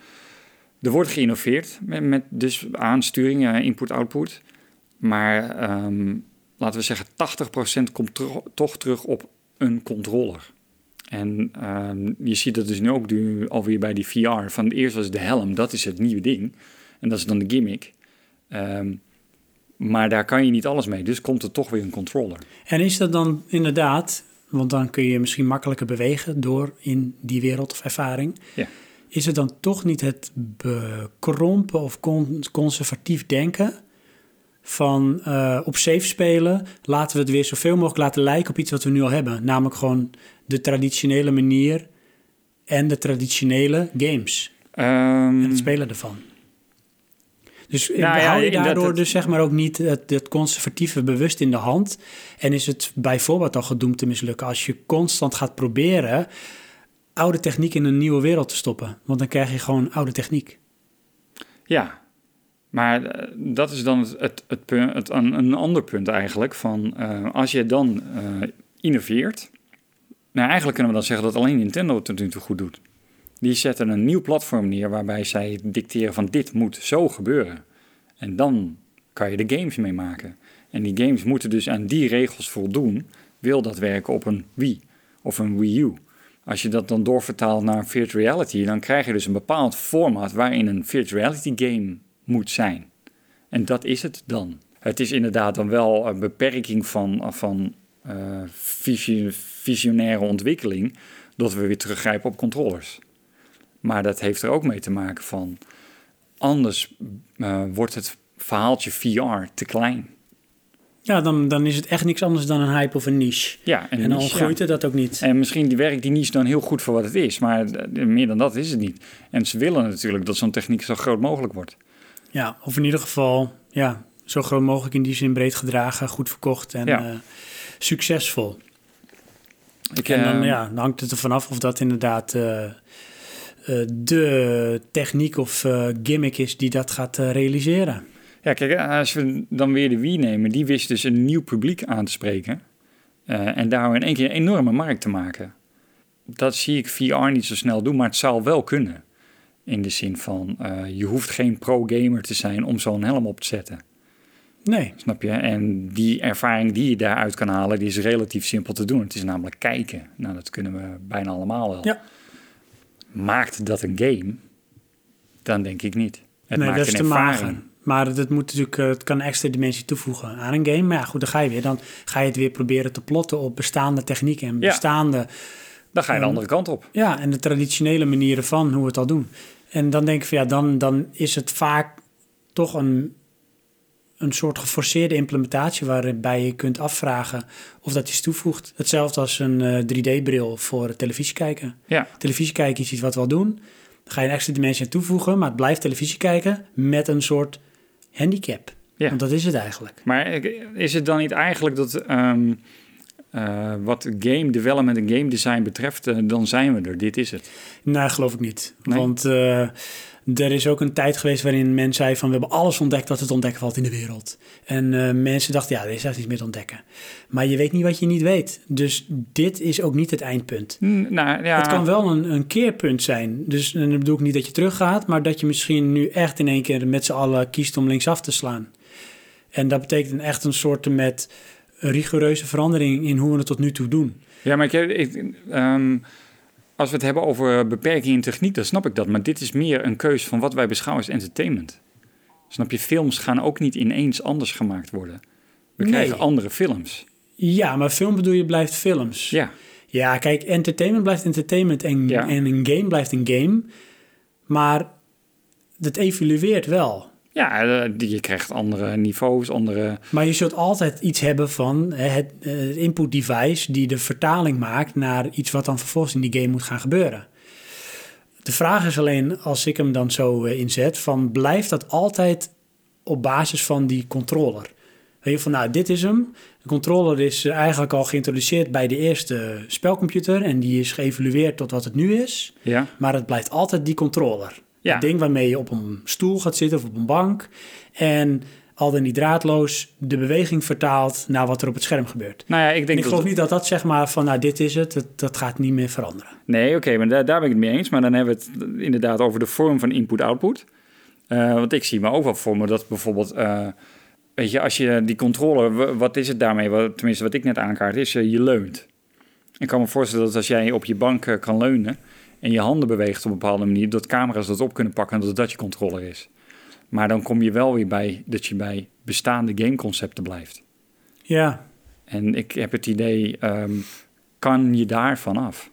C: er wordt geïnnoveerd met, met dus aansturing, eh, input-output. Maar ehm, laten we zeggen 80% komt tro- toch terug op een controller. En ehm, je ziet dat dus nu ook nu alweer bij die VR. Van eerst was het de helm, dat is het nieuwe ding. En dat is dan de gimmick. Ehm, maar daar kan je niet alles mee, dus komt er toch weer een controller.
A: En is dat dan inderdaad, want dan kun je misschien makkelijker bewegen door in die wereld of ervaring.
C: Ja.
A: Is het dan toch niet het bekrompen of con- conservatief denken van eh, op safe spelen, laten we het weer zoveel mogelijk laten lijken op iets wat we nu al hebben. Namelijk gewoon de traditionele manier en de traditionele games en
C: Ehm,
A: het spelen ervan. Dus eh,
C: Nou ja,
A: hou je
C: inderdaad,
A: daardoor
C: het-
A: dus zeg maar ook niet het, het conservatieve bewust in de hand? En is het bijvoorbeeld al gedoemd te mislukken als je constant gaat proberen oude techniek in een nieuwe wereld te stoppen? Want dan krijg je gewoon oude techniek.
C: Ja, maar eh, dat is dan het, het, het, punt, het, een, een ander punt eigenlijk. Van, eh, als je dan eh, innoveert, nou eigenlijk kunnen we dan zeggen dat alleen Nintendo het tot nu toe goed doet. Die zetten een nieuw platform neer waarbij zij dicteren van dit moet zo gebeuren. En dan kan je de games mee maken. En die games moeten dus aan die regels voldoen. Wil dat werken op een Wii of een Wii U? Als je dat dan doorvertaalt naar virtual reality, dan krijg je dus een bepaald format waarin een virtual reality game moet zijn. En dat is het dan. Het is inderdaad dan wel een beperking van, van eh, visie- visionaire ontwikkeling dat we weer teruggrijpen op controllers. Maar dat heeft er ook mee te maken van anders eh, wordt het verhaaltje VR te klein.
A: Ja, dan, dan is het echt niks anders dan een hype of een niche.
C: Ja,
A: en dan
C: is- ja.
A: groeit het dat ook niet.
C: En misschien die werkt die niche dan heel goed voor wat het is, maar eh, meer dan dat is het niet. En ze willen natuurlijk dat zo'n techniek zo groot mogelijk wordt.
A: Ja, of in ieder geval ja, zo groot mogelijk in die zin breed gedragen, goed verkocht en
C: Ja.
A: eh, succesvol.
C: Ik,
A: En dan,
C: eh,
A: ja, dan hangt het er vanaf of dat inderdaad eh, eh, de techniek of eh, gimmick is die dat gaat eh, realiseren.
C: ja, kijk, eh, als we dan weer de Wii nemen, die wist dus een nieuw publiek aan te spreken. eh, en daar in één keer een enorme markt te maken. Dat zie ik VR niet zo snel doen, maar het zou wel kunnen. In de zin van, eh, je hoeft geen pro-gamer te zijn om zo'n helm op te zetten.
A: Nee,
C: Snap je? En die ervaring die je daaruit kan halen, die is relatief simpel te doen. Het is namelijk kijken. Nou, dat kunnen we bijna allemaal wel.
A: Ja.
C: Maakt dat een game? Dan denk ik niet. Het
A: nee
C: maakt
A: dat is
C: een
A: te
C: ervaring.
A: mager. Maar het, het moet natuurlijk, eh, het kan extra dimensie toevoegen aan een game. Maar ja, goed, dan ga je weer. Dan ga je het weer proberen te plotten op bestaande technieken en
C: Ja.
A: bestaande...
C: Dan
A: Mm.
C: ga je de andere kant op.
A: Ja, en de traditionele manieren van hoe we het al doen. En dan denk ik van ja, dan, dan is het vaak toch een, een soort geforceerde implementatie waarbij je kunt afvragen of dat iets toevoegt. Hetzelfde als een eh, 3D-bril voor televisie kijken.
C: Ja,
A: Televisie kijken is iets wat we al doen. Daar ga je een extra dimensie aan toevoegen, maar het blijft televisie kijken met een soort handicap.
C: Ja.
A: Want dat is het eigenlijk.
C: maar ik- is het dan niet eigenlijk dat ehm, eh, wat game development en game design betreft, eh, dan zijn we er. Dit is het.
A: Nee, geloof ik niet.
C: Nee?
A: Want eh, er is ook een tijd geweest waarin men zei van... we hebben alles ontdekt wat het ontdekken valt in de wereld. En eh, mensen dachten, ja, er is echt niets meer te ontdekken. Maar je weet niet wat je niet weet. Dus dit is ook niet het eindpunt.
C: Hm, nou, ja,
A: Het kan wel een, een keerpunt zijn. Dus en dan bedoel ik niet dat je teruggaat... maar dat je misschien nu echt in één keer met z'n allen kiest om linksaf te slaan. En dat betekent echt een soort met rigoureuze verandering... in hoe we het tot nu toe doen.
C: Ja, maar ik, ik, ehm, als we het hebben over beperkingen in techniek, dan snap ik dat. Maar dit is meer een keus van wat wij beschouwen als entertainment. Snap je, films gaan ook niet ineens anders gemaakt worden. We
A: Nee.
C: krijgen andere films.
A: Ja, maar film bedoel je blijft films.
C: Ja,
A: Ja, kijk, entertainment blijft entertainment en,
C: Ja.
A: en een game blijft een game. Maar dat evolueert wel.
C: ja eh, je krijgt andere niveaus, andere...
A: Maar je zult altijd iets hebben van hè, het, eh, het input device die de vertaling maakt naar iets wat dan vervolgens in die game moet gaan gebeuren. De vraag is alleen, als ik hem dan zo eh, inzet, van blijft dat altijd op basis van die controller? Weet je, van nou, dit is hem. De controller is eh, eigenlijk al geïntroduceerd bij de eerste spelcomputer en die is geëvolueerd tot wat het nu is.
C: Ja,
A: Maar het blijft altijd die controller.
C: Ja.
A: Het ding waarmee je op een stoel gaat zitten of op een bank. En al dan niet draadloos de beweging vertaalt naar wat er op het scherm gebeurt.
C: Nou ja, ik
A: En
C: denk
A: ik geloof niet dat dat zeg maar van nou dit is het, dat, dat gaat niet meer veranderen.
C: Nee, oké, maar daar, daar ben ik het mee eens. Maar dan hebben we het inderdaad over de vorm van input-output. Eh, want ik zie me ook wel voor me dat bijvoorbeeld... eh, weet je, als je die controller... wa- Wat is het daarmee? Wat, tenminste, wat ik net aankaart is, eh, je leunt. Ik kan me voorstellen dat als jij op je bank eh, kan leunen... en je handen beweegt op een bepaalde manier... dat camera's dat op kunnen pakken en dat dat je controller is. Maar dan kom je wel weer bij dat je bij bestaande gameconcepten blijft.
A: Ja,
C: En ik heb het idee, ehm, kan je daar vanaf?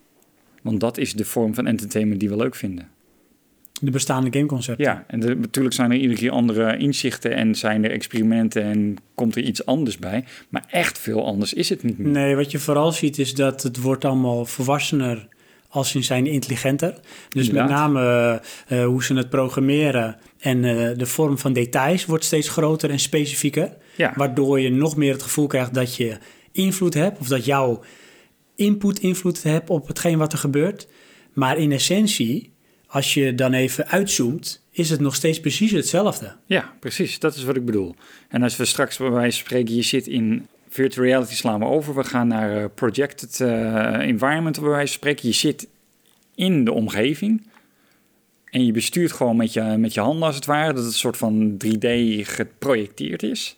C: Want dat is de vorm van entertainment die we leuk vinden.
A: de bestaande gameconcepten.
C: Ja, en de- natuurlijk zijn er iedere keer andere inzichten en zijn er experimenten en komt er iets anders bij. Maar echt veel anders is het niet meer.
A: Nee, wat je vooral ziet is dat het wordt allemaal volwassener als in zijn intelligenter. Dus
C: Inderdaad.
A: met name eh, eh, hoe ze het programmeren en eh, de vorm van details wordt steeds groter en specifieker.
C: Ja.
A: Waardoor je nog meer het gevoel krijgt dat je invloed hebt of dat jouw input invloed hebt op hetgeen wat er gebeurt. Maar in essentie, als je dan even uitzoomt, is het nog steeds precies hetzelfde.
C: Ja, precies. Dat is wat ik bedoel. En als we straks bij wijze van spreken, je zit in virtual reality slaan we over. We gaan naar eh, projected eh, environment bij wijze van spreken. Je zit in de omgeving. En je bestuurt gewoon met je, met je handen als het ware. Dat het een soort van 3D geprojecteerd is.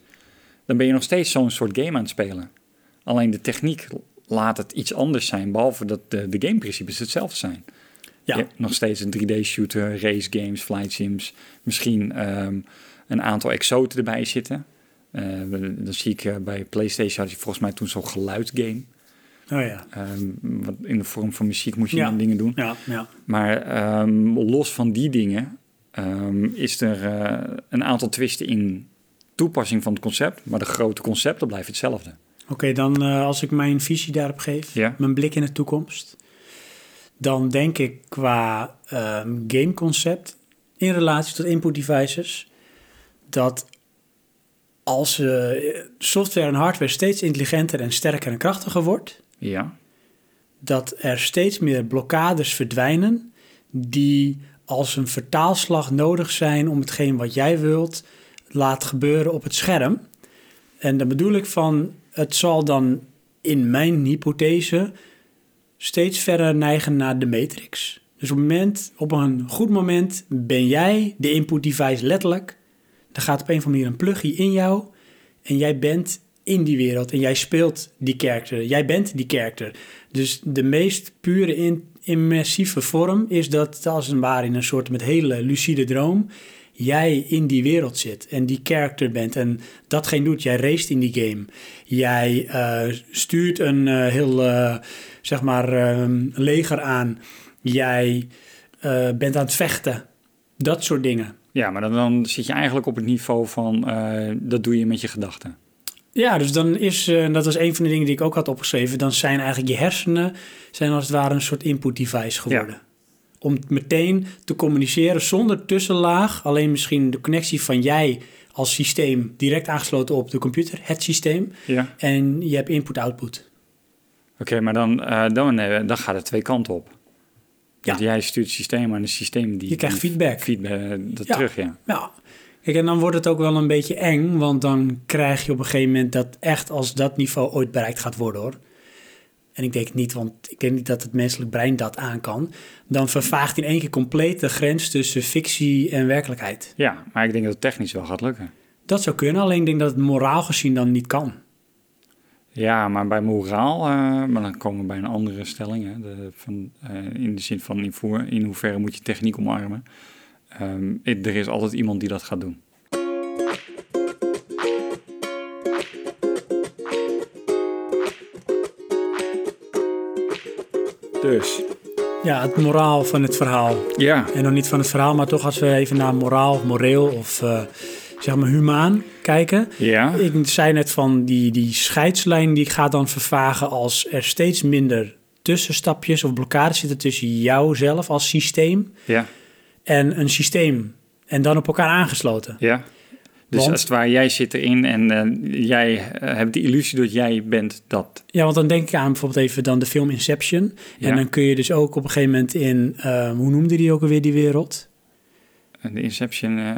C: Dan ben je nog steeds zo'n soort game aan het spelen. Alleen de techniek laat het iets anders zijn. Behalve dat de, de gameprincipes hetzelfde zijn.
A: Ja.
C: Je hebt nog steeds een 3D-shooter, race games, flight sims. Misschien ehm, een aantal exoten erbij zitten. Eh, we- dan zie ik eh, bij PlayStation had je volgens mij toen zo'n geluidgame.
A: Oh ja.
C: Ehm, wat in de vorm van muziek moet je
A: Ja.
C: dan dingen doen.
A: Ja, ja.
C: Maar ehm, los van die dingen ehm, is er eh, een aantal twisten in toepassing van het concept. Maar de grote concepten blijven hetzelfde.
A: Oké, dan eh, als ik mijn visie daarop geef,
C: Ja.
A: mijn blik in de toekomst, dan denk ik qua ehm, gameconcept in relatie tot input devices, dat als eh, software en hardware steeds intelligenter en sterker en krachtiger wordt,
C: Ja.
A: dat er steeds meer blokkades verdwijnen die als een vertaalslag nodig zijn om hetgeen wat jij wilt laat gebeuren op het scherm. En daar bedoel ik van, het zal dan in mijn hypothese steeds verder neigen naar de matrix. Dus op, een moment, op een goed moment ben jij de input device letterlijk. Er gaat op een of andere manier een plugje in jou en jij bent in die wereld en jij speelt die karakter. Jij bent die karakter. Dus de meest pure in- immersieve vorm is dat als een ware in een soort met hele lucide droom jij in die wereld zit en die karakter bent en datgene doet. Jij raced in die game. Jij eh, stuurt een eh, heel, eh, zeg maar, ehm, leger aan. Jij eh, bent aan het vechten. Dat soort dingen.
C: Ja, maar dan, dan zit je eigenlijk op het niveau van eh, dat doe je met je gedachten.
A: Ja, dus dan is, eh, en dat was een van de dingen die ik ook had opgeschreven, dan zijn eigenlijk je hersenen, zijn als het ware een soort input device geworden. Om meteen te communiceren zonder tussenlaag, alleen misschien de connectie van jij als systeem direct aangesloten op de computer, het systeem,
C: Ja.
A: en je hebt input-output.
C: Oké, maar dan, eh, dan, eh, dan gaat het twee kanten op. Want
A: Ja.
C: jij stuurt het systeem aan het systeem die...
A: Je krijgt
C: die
A: feedback.
C: feedback, eh, dat
A: Ja.
C: terug, ja.
A: Ja. Kijk, en dan wordt het ook wel een beetje eng, want dan krijg je op een gegeven moment dat echt als dat niveau ooit bereikt gaat worden hoor. En ik denk niet, want ik denk niet dat het menselijk brein dat aan kan. Dan vervaagt in één keer compleet de grens tussen fictie en werkelijkheid.
C: Ja, maar ik denk dat het technisch wel gaat lukken.
A: Dat zou kunnen, alleen ik denk dat het moraal gezien dan niet kan.
C: Ja, maar bij moraal, eh, maar dan komen we bij een andere stelling. Hè, de, van, eh, in de zin van in, voor- in hoeverre moet je techniek omarmen. Ehm, het- er is altijd iemand die dat gaat doen. Dus,
A: Ja, het moraal van het verhaal.
C: ja,
A: En nog niet van het verhaal, maar toch als we even naar moraal of moreel of eh, zeg maar humaan kijken.
C: ja.
A: Ik zei net van die, die scheidslijn die gaat dan vervagen als er steeds minder tussenstapjes of blokkades zitten tussen jouzelf als systeem
C: Ja,
A: en een systeem. En dan op elkaar aangesloten.
C: ja. Dus
A: Want-
C: als het ware, jij zit erin en eh, jij eh, hebt de illusie dat jij bent dat.
A: Ja, want dan denk ik aan bijvoorbeeld even dan de film Inception.
C: Ja.
A: En dan kun je dus ook op een gegeven moment in, eh, hoe noemde die ook alweer die wereld?
C: De Inception, eh,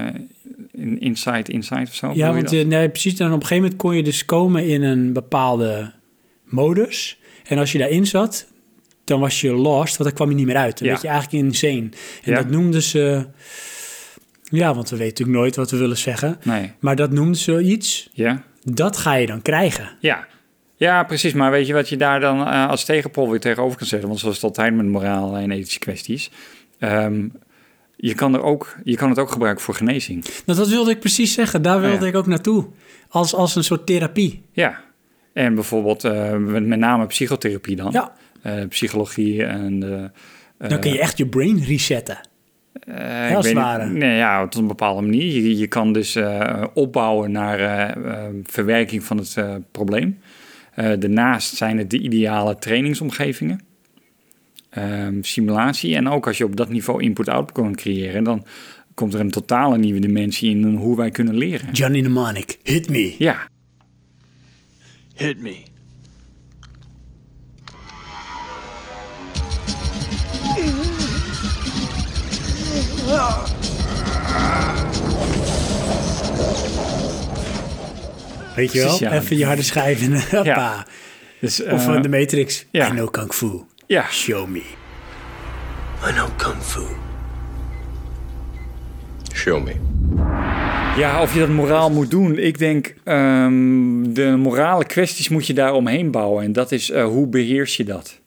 C: in Inside Inside of zo? Hoe
A: Ja,
C: doe
A: want
C: je
A: eh, nee, precies. Dan op een gegeven moment kon je dus komen in een bepaalde modus. En als je daarin zat, dan was je lost, want dan kwam je niet meer uit. Dan
C: Ja.
A: werd je eigenlijk insane. En
C: Ja.
A: dat noemden ze... Ja, want we weten natuurlijk nooit wat we willen zeggen.
C: dat? Nee.
A: Maar dat noemden ze iets.
C: Ja?
A: Dat ga je dan krijgen.
C: Ja. Ja, precies. Maar weet je wat je daar dan eh, als tegenpol weer tegenover kan zetten? Want zoals het altijd met moraal en ethische kwesties. Ehm, je, kan er ook, je kan het ook gebruiken voor genezing.
A: Nou, dat wilde ik precies zeggen. Daar wilde
C: Oh ja.
A: ik ook naartoe. Als, als een soort therapie.
C: Ja. En bijvoorbeeld eh, met met name psychotherapie dan.
A: Ja.
C: Eh, psychologie en... de
A: Dan kun je echt je brain resetten.
C: Eh,
A: Heel
C: ik weet niet-
A: zware.
C: nee, ja, tot een bepaalde manier. Je, je kan dus eh, opbouwen naar eh, eh, verwerking van het eh, probleem. Eh, daarnaast zijn het de ideale trainingsomgevingen. Ehm, simulatie. En ook als je op dat niveau input-output kan creëren, dan komt er een totale nieuwe dimensie in hoe wij kunnen leren.
A: Johnny Mnemonic, hit me.
C: Ja,
E: Hit me.
A: Weet je wel?
C: Precies, ja.
A: Even je harde schijven. Hoppa.
C: Ja. dus, eh,
A: Of van de Matrix.
C: ja.
A: I know Kung Fu.
C: ja.
A: Show me.
E: I know kung fu.
D: Show me.
C: Ja, of je dat moraal moet doen. Ik denk, ehm, de morale kwesties moet je daar omheen bouwen. En dat is, eh, hoe beheers je dat?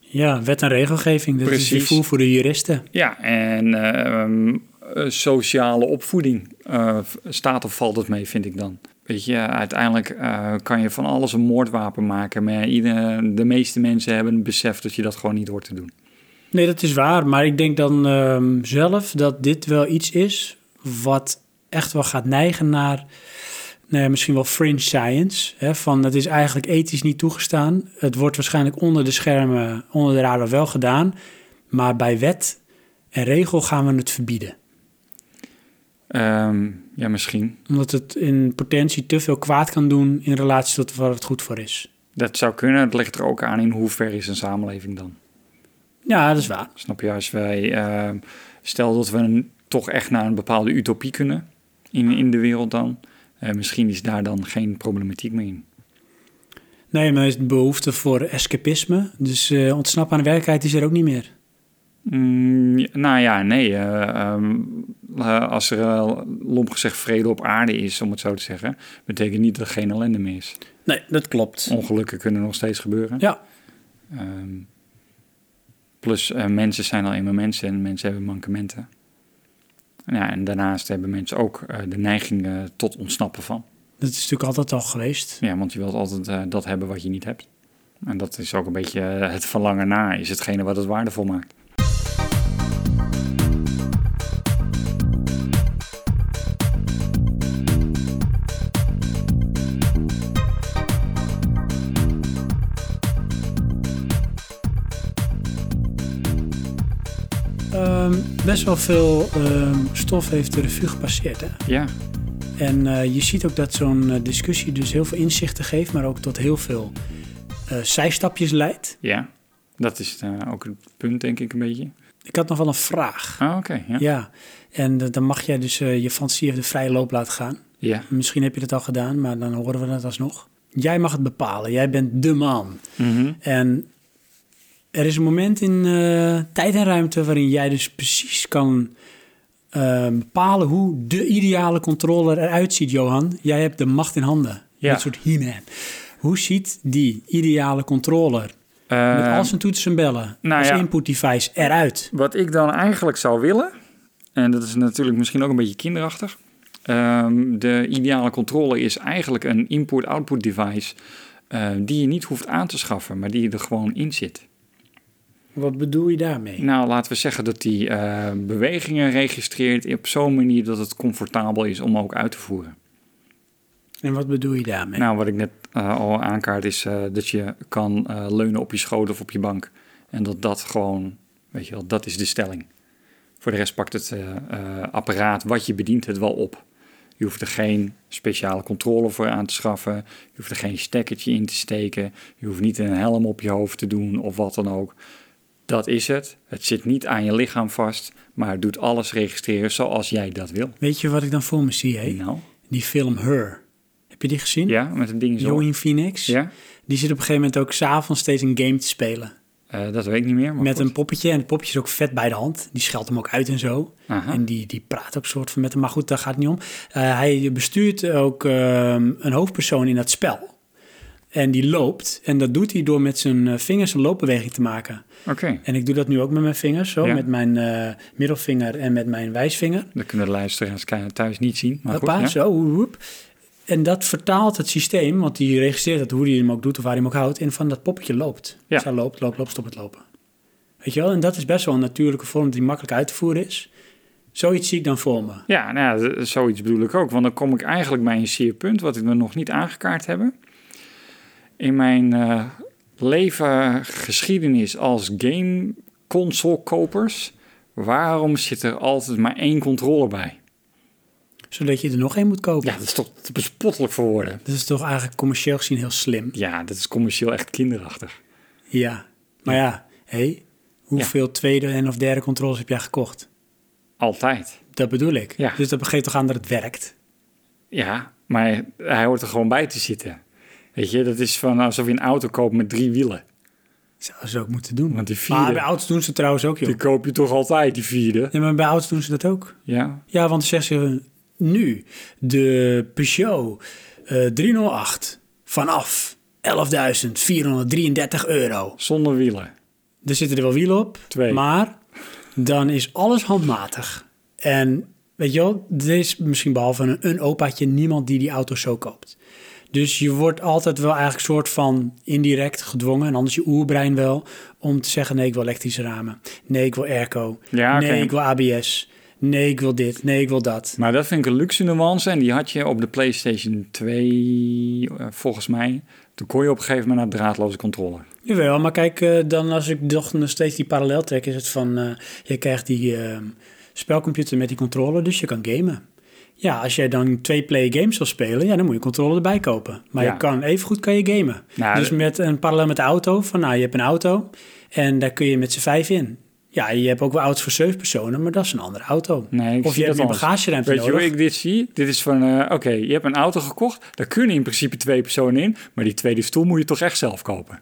A: Ja, wet en regelgeving. Dat is
C: Precies.
A: die voer voor de juristen.
C: Ja, en ehm, eh, sociale opvoeding eh, v- staat of valt het mee, vind ik dan. Weet je, uiteindelijk eh, kan je van alles een moordwapen maken, maar ieder, de meeste mensen hebben het besef dat je dat gewoon niet hoort te doen.
A: Nee, dat is waar. Maar ik denk dan ehm, zelf dat dit wel iets is wat echt wel gaat neigen naar nou ja, misschien wel fringe science. Hè, van het is eigenlijk ethisch niet toegestaan. Het wordt waarschijnlijk onder de schermen, onder de radar wel gedaan. Maar bij wet en regel gaan we het verbieden.
C: Ehm, ja, misschien.
A: Omdat het in potentie te veel kwaad kan doen in relatie tot waar het goed voor is.
C: Dat zou kunnen. Het ligt er ook aan in hoeverre is een samenleving dan.
A: Ja, dat is waar.
C: Snap je, als wij, ehm, stel dat we een, toch echt naar een bepaalde utopie kunnen in, in de wereld dan. eh, misschien is daar dan geen problematiek meer in.
A: Nee, maar er is behoefte voor escapisme. Dus eh ontsnappen aan de werkelijkheid is er ook niet meer.
C: Mm, ja, nou ja, nee. eh, ehm, eh, als er eh, lomp gezegd vrede op aarde is, om het zo te zeggen, betekent niet dat er geen ellende meer is.
A: Nee, dat klopt.
C: Ongelukken kunnen nog steeds gebeuren.
A: Ja,
C: Ehm, plus eh, mensen zijn al eenmaal mensen en mensen hebben mankementen. Nou Ja, en daarnaast hebben mensen ook eh, de neiging eh, tot ontsnappen van.
A: dat is natuurlijk altijd al geweest.
C: Ja, want je wilt altijd eh, dat hebben wat je niet hebt. En dat is ook een beetje eh, het verlangen naar, is hetgene wat het waardevol maakt.
A: Ehm, best wel veel ehm, stof heeft de revue gepasseerd. Hè?
C: Ja,
A: En eh, je ziet ook dat zo'n eh, discussie dus heel veel inzichten geeft, maar ook tot heel veel eh, zijstapjes leidt.
C: Ja, dat is eh, ook het punt, denk ik, een beetje.
A: Ik had nog wel een vraag.
C: Ah, oké. ja. Ja.
A: Ja, en eh, dan mag jij dus eh, je fantasie even de vrije loop laten gaan. Misschien heb je dat al gedaan, maar dan horen we dat alsnog. Jij mag het bepalen. Jij bent de man.
C: Mhm.
A: En er is een moment in eh, tijd en ruimte waarin jij dus precies kan eh, bepalen hoe de ideale controller eruit ziet, Johan. Jij hebt de macht in handen.
C: Ja.
A: Een soort He-Man. Hoe ziet die ideale controller met
C: Eh,
A: al zijn toetsen en bellen
C: nou
A: als
C: ja.
A: input device eruit?
C: Wat ik dan eigenlijk zou willen, en dat is natuurlijk misschien ook een beetje kinderachtig. ehm, de ideale controle is eigenlijk een input-output device eh, die je niet hoeft aan te schaffen, maar die er gewoon in zit.
A: Wat bedoel je daarmee?
C: Nou, laten we zeggen dat die eh, bewegingen registreert op zo'n manier dat het comfortabel is om ook uit te voeren.
A: En wat bedoel je daarmee?
C: Nou, wat ik net eh, al aankaart is eh, dat je kan eh, leunen op je schouder of op je bank. En dat dat gewoon, weet je wel, dat is de stelling. Voor de rest pakt het eh, eh, apparaat wat je bedient het wel op. Je hoeft er geen speciale controle voor aan te schaffen. Je hoeft er geen stekkertje in te steken. Je hoeft niet een helm op je hoofd te doen of wat dan ook. Dat is het. Het zit niet aan je lichaam vast, maar het doet alles registreren zoals jij dat wil.
A: Weet je wat ik dan voor me zie, hè?
C: Nou,
A: Die film Her. Heb je die gezien?
C: ja, met een ding zo.
A: Joaquin Phoenix.
C: Ja,
A: Die zit op een gegeven moment ook s'avonds steeds een game te spelen.
C: Eh, dat weet ik niet meer. Maar
A: met
C: goed.
A: een poppetje. En het poppetje is ook vet bij de hand. Die scheldt hem ook uit en zo.
C: Aha.
A: En die, die praat ook soort van met hem. Maar goed, daar gaat het niet om. Eh, hij bestuurt ook ehm, een hoofdpersoon in dat spel. En die loopt. En dat doet hij door met zijn eh, vingers een loopbeweging te maken.
C: Oké,
A: En ik doe dat nu ook met mijn vingers. Zo,
C: Ja.
A: met mijn eh, middelvinger en met mijn wijsvinger.
C: dat kunnen de luisteraars thuis niet zien. Maar goed,
A: Hoppa,
C: ja.
A: zo, woep, woep. En dat vertaalt het systeem, want die registreert dat hoe die hem ook doet of waar hij hem ook houdt. En van dat poppetje loopt.
C: Ja.
A: Dus hij loopt, loopt, loopt, stop het lopen. Weet je wel? En dat is best wel een natuurlijke vorm die makkelijk uit te voeren is. Zoiets zie ik dan voor me.
C: Ja, nou ja, d- zoiets bedoel ik ook. Want dan kom ik eigenlijk bij een zeer punt, wat we nog niet aangekaart hebben. In mijn eh, leven geschiedenis als game console kopers, waarom zit er altijd maar één controller bij?
A: Zodat je er nog één moet kopen.
C: Ja, dat is toch te bespottelijk voor woorden.
A: Dat is toch eigenlijk commercieel gezien heel slim.
C: Ja, dat is commercieel echt kinderachtig.
A: Ja. Maar ja, hé, hoeveel tweede en of derde controles heb jij gekocht?
C: Altijd.
A: Dat bedoel ik.
C: Ja.
A: Dus dat begeeft toch aan dat het werkt?
C: Ja, maar hij hoort er gewoon bij te zitten. Weet je, dat is van alsof je een auto koopt met drie wielen.
A: Zouden ze ook moeten doen.
C: Want die vierde-
A: Maar bij auto's doen ze trouwens ook,
C: Die
A: joh.
C: koop je toch altijd, die vierde?
A: Ja, maar bij auto's doen ze dat ook.
C: Ja,
A: Ja, want dan zeggen ze nu de Peugeot eh, 308 vanaf 11.433 euro.
C: zonder wielen.
A: Er zitten er wel wielen op,
C: Twee.
A: maar dan is alles handmatig. En weet je wel, er is misschien behalve een, een opaatje niemand die die auto zo koopt. Dus je wordt altijd wel eigenlijk soort van indirect gedwongen, en anders je oerbrein wel, om te zeggen nee, ik wil elektrische ramen. Nee, ik wil airco.
C: Ja, oké.
A: Nee, ik wil ABS. Nee, ik wil dit. Nee, ik wil dat.
C: Maar dat vind ik een luxe nuance. En die had je op de PlayStation 2, eh, volgens mij. Toen kon je op een gegeven moment naar draadloze controller.
A: Jawel, maar kijk, eh, dan als ik toch nog steeds die parallel trek, is het van eh, je krijgt die eh, spelcomputer met die controller, dus je kan gamen. Ja, als jij dan twee-player games wil spelen, ja, dan moet je een controller erbij kopen. Maar
C: Ja.
A: je kan even goed kan je gamen.
C: Nou,
A: dus
C: dat-
A: met een parallel met de auto, van nou, je hebt een auto en daar kun je met z'n vijf in. Ja, je hebt ook wel auto's voor zeven personen, maar dat is een andere auto.
C: Nee, ik
A: of
C: zie
A: je hebt
C: dat
A: een
C: anders.
A: bagageruimte
C: Weet je
A: nodig.
C: hoe ik dit zie? Dit is van, eh, oké, je hebt een auto gekocht. Daar kunnen in principe twee personen in. Maar die tweede stoel moet je toch echt zelf kopen.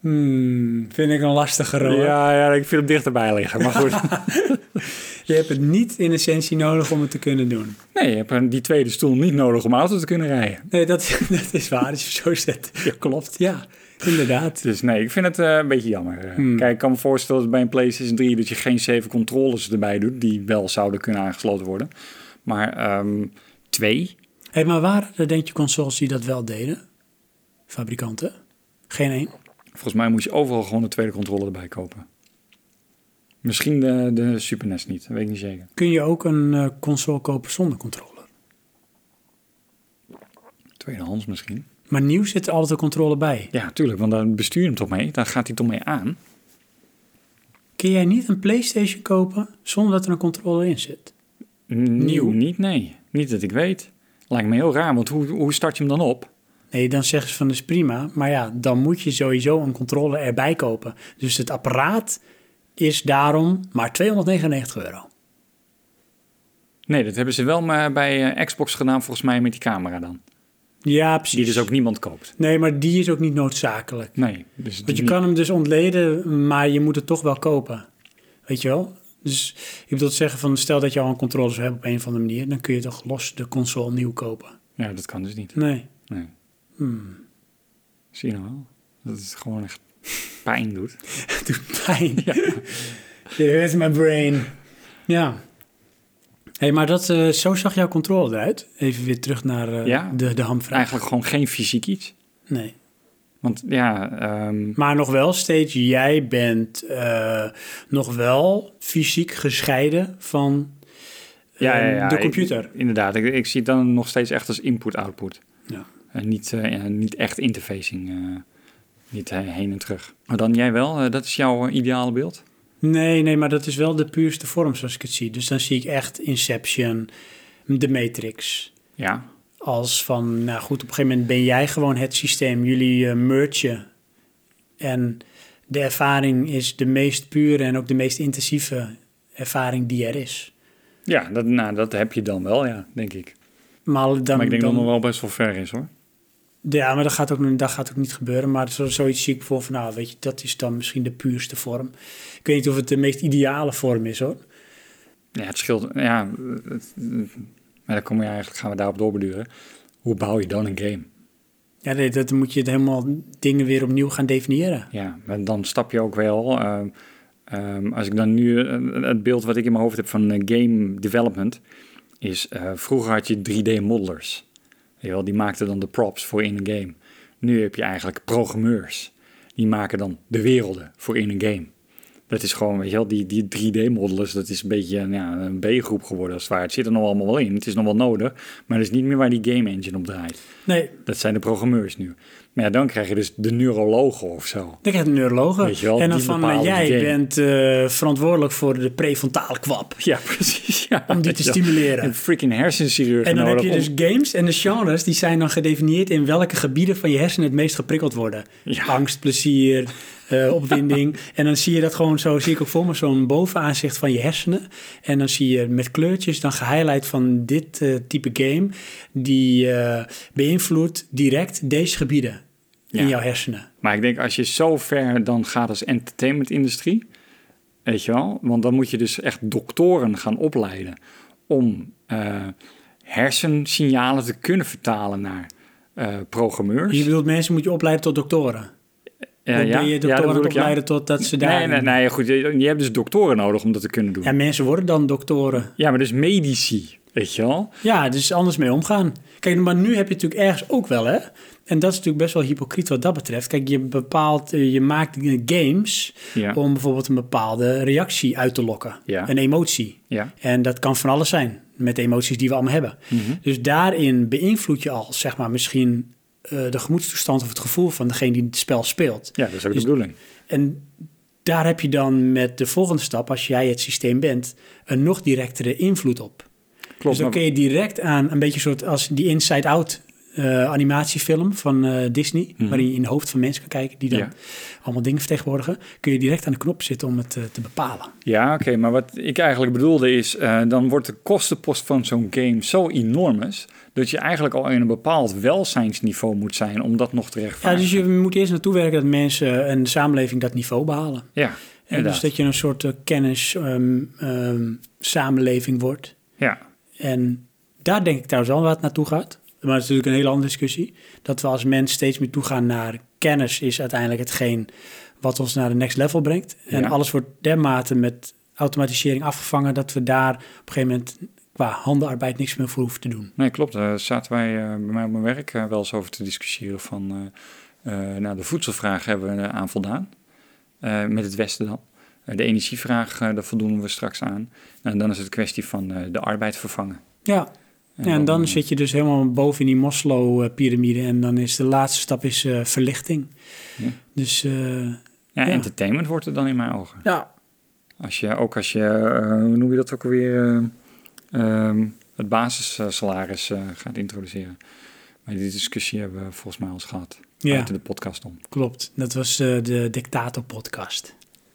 A: Hmm, vind ik een lastige hoor.
C: Ja, ja, ik vind hem dichterbij liggen. Maar goed.
A: Je hebt het niet in essentie nodig om het te kunnen doen.
C: Nee, je hebt een- die tweede stoel niet nodig om auto te kunnen rijden.
A: Nee, dat, dat is waar. Als je zo zet, klopt. Ja, inderdaad.
C: Dus nee, ik vind het eh, een beetje jammer. Eh, Kijk, ik kan me voorstellen dat bij een PlayStation 3 dat je geen zeven controllers erbij doet, die wel zouden kunnen aangesloten worden. Maar ehm, twee?
A: Hey, maar waren er denk je consoles die dat wel deden? Fabrikanten? Geen één?
C: Volgens mij moest je overal gewoon een tweede controller erbij kopen. Misschien de, de Super NES niet, dat weet ik niet zeker.
A: Kun je ook een eh, console kopen zonder controller?
C: Tweedehands misschien.
A: Maar nieuw zit er altijd een controller bij.
C: Ja, tuurlijk, want dan bestuur je hem toch mee. Dan gaat hij toch mee aan.
A: Kun jij niet een PlayStation kopen zonder dat er een controller in zit?
C: Nieuw? Niet, nee. Niet dat ik weet. Lijkt me heel raar, want hoe, hoe start je hem dan op?
A: Nee, dan zeggen ze van dat is prima. Maar ja, dan moet je sowieso een controller erbij kopen. Dus het apparaat is daarom maar 299 euro.
C: Nee, dat hebben ze wel maar bij eh, Xbox gedaan, volgens mij met die camera dan.
A: Ja, precies.
C: Die dus ook niemand koopt.
A: Nee, maar die is ook niet noodzakelijk.
C: Nee, dus die
A: Want je
C: niet-
A: kan hem dus ontleden, maar je moet het toch wel kopen. Weet je wel? Dus ik bedoel te zeggen van stel dat je al een controller zou hebben op een of andere manier, dan kun je toch los de console nieuw kopen.
C: Ja, dat kan dus niet.
A: Nee.
C: Nee.
A: Hmm.
C: Zie je nou wel? Dat het gewoon echt pijn doet.
A: Het doet pijn. It hurts my brain. Ja. hey, maar dat, eh, zo zag jouw controller eruit. Even weer terug naar eh,
C: Ja.
A: de, de hamvraag.
C: Eigenlijk gewoon geen fysiek iets.
A: Nee.
C: Want ja, ehm,
A: Maar nog wel steeds, jij bent eh, nog wel fysiek gescheiden van eh,
C: ja, ja, ja,
A: de
C: ik-
A: computer.
C: inderdaad, ik, ik zie het dan nog steeds echt als input-output.
A: Ja.
C: En niet, eh, ja, niet echt interfacing. eh, niet eh, heen en terug. Maar dan jij wel, eh, dat is jouw eh, ideale beeld?
A: Nee, nee, maar dat is wel de puurste vorm zoals ik het zie. Dus dan zie ik echt Inception, de Matrix.
C: Ja.
A: Als van, nou goed, op een gegeven moment ben jij gewoon het systeem. Jullie eh mergen. En de ervaring is de meest pure en ook de meest intensieve ervaring die er is.
C: Ja, dat, nou, dat heb je dan wel, ja, denk ik.
A: Maar, dan,
C: Maar ik denk dat
A: dan-
C: het nog wel best wel ver is, hoor.
A: Ja, maar dat gaat, ook, dat gaat ook niet gebeuren. Maar zo, zoiets zie ik bijvoorbeeld van, nou, weet je, dat is dan misschien de puurste vorm. Ik weet niet of het de meest ideale vorm is, hoor.
C: Ja, het scheelt. Ja, het- maar dan komen we eigenlijk, gaan we daarop doorbeduren. Hoe bouw je dan een game?
A: Ja, nee, dat moet je helemaal dingen weer opnieuw gaan definiëren.
C: Ja, maar dan stap je ook wel. ehm, ehm, als ik dan nu eh, het beeld wat ik in mijn hoofd heb van eh, game development, is eh, vroeger had je 3D-modelers. Weet je wel, die maakten dan de props voor in een game. Nu heb je eigenlijk programmeurs. Die maken dan de werelden voor in een game. Dat is gewoon, weet je wel, die, die 3D-modelers, dat is een beetje nou ja, een B-groep geworden als het ware. Het zit er nog allemaal wel in, het is nog wel nodig, maar dat is niet meer waar die game engine op draait.
A: Nee,
C: Dat zijn de programmeurs nu. Maar ja, dan krijg je dus de neurologen of zo.
A: dan krijg je een neurologe.
C: Weet je wel,
A: en dan
C: die
A: van,
C: bepalen
A: eh, jij
C: die game.
A: bent eh, verantwoordelijk voor de prefrontale kwap.
C: Ja, precies. Ja.
A: Om die te stimuleren.
C: Een freaking hersenchirurg
A: En dan heb
C: nodig
A: je dus
C: om-
A: games en de genres, die zijn dan gedefinieerd in welke gebieden van je hersenen het meest geprikkeld worden.
C: Ja.
A: Angst, plezier, eh, opwinding. en dan zie je dat gewoon zo, zie ik ook voor me zo'n bovenaanzicht van je hersenen. En dan zie je met kleurtjes dan gehighlight van dit eh, type game, die eh, beïnvloedt direct deze gebieden
C: Ja.
A: in jouw hersenen.
C: Maar ik denk, als je zo ver dan gaat als entertainmentindustrie, weet je wel, want dan moet je dus echt doktoren gaan opleiden om eh, hersensignalen te kunnen vertalen naar eh, programmeurs.
A: Je bedoelt, mensen moet je opleiden tot doktoren.
C: Eh,
A: dan ben je
C: dat
A: doktoren
C: bedoel ik,
A: opleiden totdat ze
C: Nee,
A: daar...
C: nee, nee, goed, je, je hebt dus doktoren nodig om dat te kunnen doen.
A: Ja,
C: Ja,
A: mensen worden dan doktoren.
C: maar dus medici, weet je wel.
A: Ja, dus anders mee omgaan. Kijk, maar nu heb je natuurlijk ergens ook wel, hè? En dat is natuurlijk best wel hypocriet wat dat betreft. Kijk, je bepaalt, eh, je maakt eh, games
C: Ja.
A: om bijvoorbeeld een bepaalde reactie uit te lokken.
C: Ja.
A: Een emotie.
C: Ja.
A: En dat kan van alles zijn, met de emoties die we allemaal hebben.
C: Mhm.
A: Dus daarin beïnvloed je al, zeg maar, misschien eh, de gemoedstoestand of het gevoel van degene die het spel speelt.
C: ja, dat is ook
A: Dus-
C: de bedoeling.
A: En daar heb je dan met de volgende stap, als jij het systeem bent, een nog directere invloed op.
C: Klopt,
A: Dus dan
C: maar-
A: kun je direct aan een beetje soort als die Inside Out eh, animatiefilm van eh, Disney, waarin je in het hoofd van mensen kan kijken die dan
C: Mhm. Ja.
A: allemaal dingen vertegenwoordigen, kun je direct aan de knop zitten om het eh, te bepalen.
C: Ja, oké, maar wat ik eigenlijk bedoelde is, eh, dan wordt de kostenpost van zo'n game zo enormes, dat je eigenlijk al in een bepaald welzijnsniveau moet zijn om dat nog te
A: Ja,
C: rechtvaardigen.
A: dus je moet eerst naartoe werken dat mensen en de samenleving dat niveau behalen.
C: Ja,
A: En dus
C: inderdaad.
A: dat je een soort kennis-samenleving ehm, wordt.
C: ja.
A: En daar denk ik trouwens al wat naartoe gaat. Maar dat is natuurlijk een hele andere discussie. Dat we als mens steeds meer toegaan naar kennis is uiteindelijk hetgeen wat ons naar de next level brengt. En
C: Ja.
A: alles wordt dermate met automatisering afgevangen dat we daar op een gegeven moment qua handenarbeid niks meer voor hoeven te doen.
C: Nee, klopt. Daar zaten wij eh, bij mij op mijn werk eh, wel eens over te discussiëren van... eh, eh, nou, de voedselvraag hebben we eh, aan voldaan. Eh, met het Westen dan. Eh, de energievraag, eh, daar voldoen we straks aan. Nou, en dan is het kwestie van eh, de arbeid vervangen.
A: Ja. Ja, en dan zit je dus helemaal boven in die Moslow-pyramide. En dan is de laatste stap is eh, verlichting.
C: Ja.
A: Dus eh,
C: Ja,
A: ja.
C: entertainment wordt het dan in mijn ogen.
A: ja,
C: Als je, ook als je, eh, hoe noem je dat ook alweer, eh, ehm, het basissalaris eh, gaat introduceren. Maar die discussie hebben we volgens mij al eens gehad.
A: Ja.
C: Buiten de podcast om.
A: klopt. Dat was eh, de Dictator-podcast.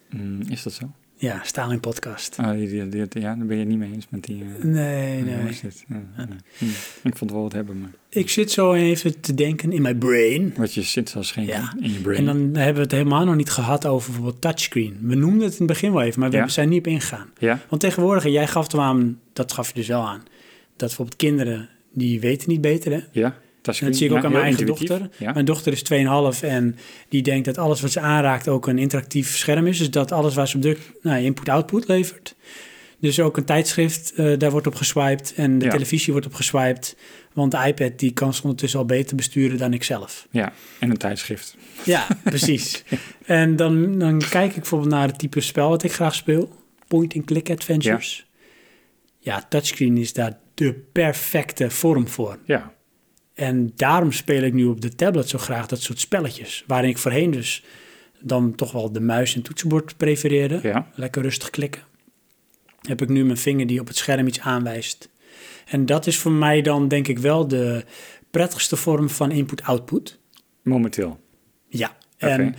C: Mm, is dat zo?
A: Ja, Stalin-podcast.
C: Ah, die, die, die- ja, daar ben je het niet mee eens met die... eh,
A: Nee,
C: ja, hoe
A: nee.
C: is dit? Ja, ja. Hm. Ik vond het wel wat hebben, maar
A: Ik zit zo even te denken in mijn brain.
C: wat je zit als geen
A: Ja.
C: in je brain.
A: En dan hebben we het helemaal nog niet gehad over bijvoorbeeld touchscreen. We noemden het in het begin wel even, maar we
C: Ja.
A: zijn er niet op ingegaan.
C: ja?
A: Want tegenwoordig, en jij gaf er aan, dat gaf je dus wel aan, dat bijvoorbeeld kinderen, die weten niet beter hè.
C: Ja, dat, is
A: En dat zie ik ook
C: ja,
A: aan mijn
C: heel
A: eigen
C: intuïtief.
A: dochter.
C: Ja.
A: Mijn dochter is 2,5 en die denkt dat alles wat ze aanraakt ook een interactief scherm is. Dus dat alles waar ze op drukt nou, input-output levert. Dus ook een tijdschrift, eh, daar wordt op geswiped en de
C: Ja.
A: televisie wordt op geswiped. Want de iPad die kan ze ondertussen al beter besturen dan ik zelf.
C: ja, en een tijdschrift.
A: Ja, precies. En dan, dan kijk ik bijvoorbeeld naar het type spel wat ik graag speel. Point-and-click adventures. ja, touchscreen is daar de perfecte vorm voor.
C: Ja,
A: En daarom speel ik nu op de tablet zo graag dat soort spelletjes. Waarin ik voorheen dus dan toch wel de muis en toetsenbord prefereerde.
C: Ja.
A: Lekker rustig klikken. Heb ik nu mijn vinger die op het scherm iets aanwijst. En dat is voor mij dan denk ik wel de prettigste vorm van input-output.
C: momenteel.
A: Ja.
C: Oké.
A: En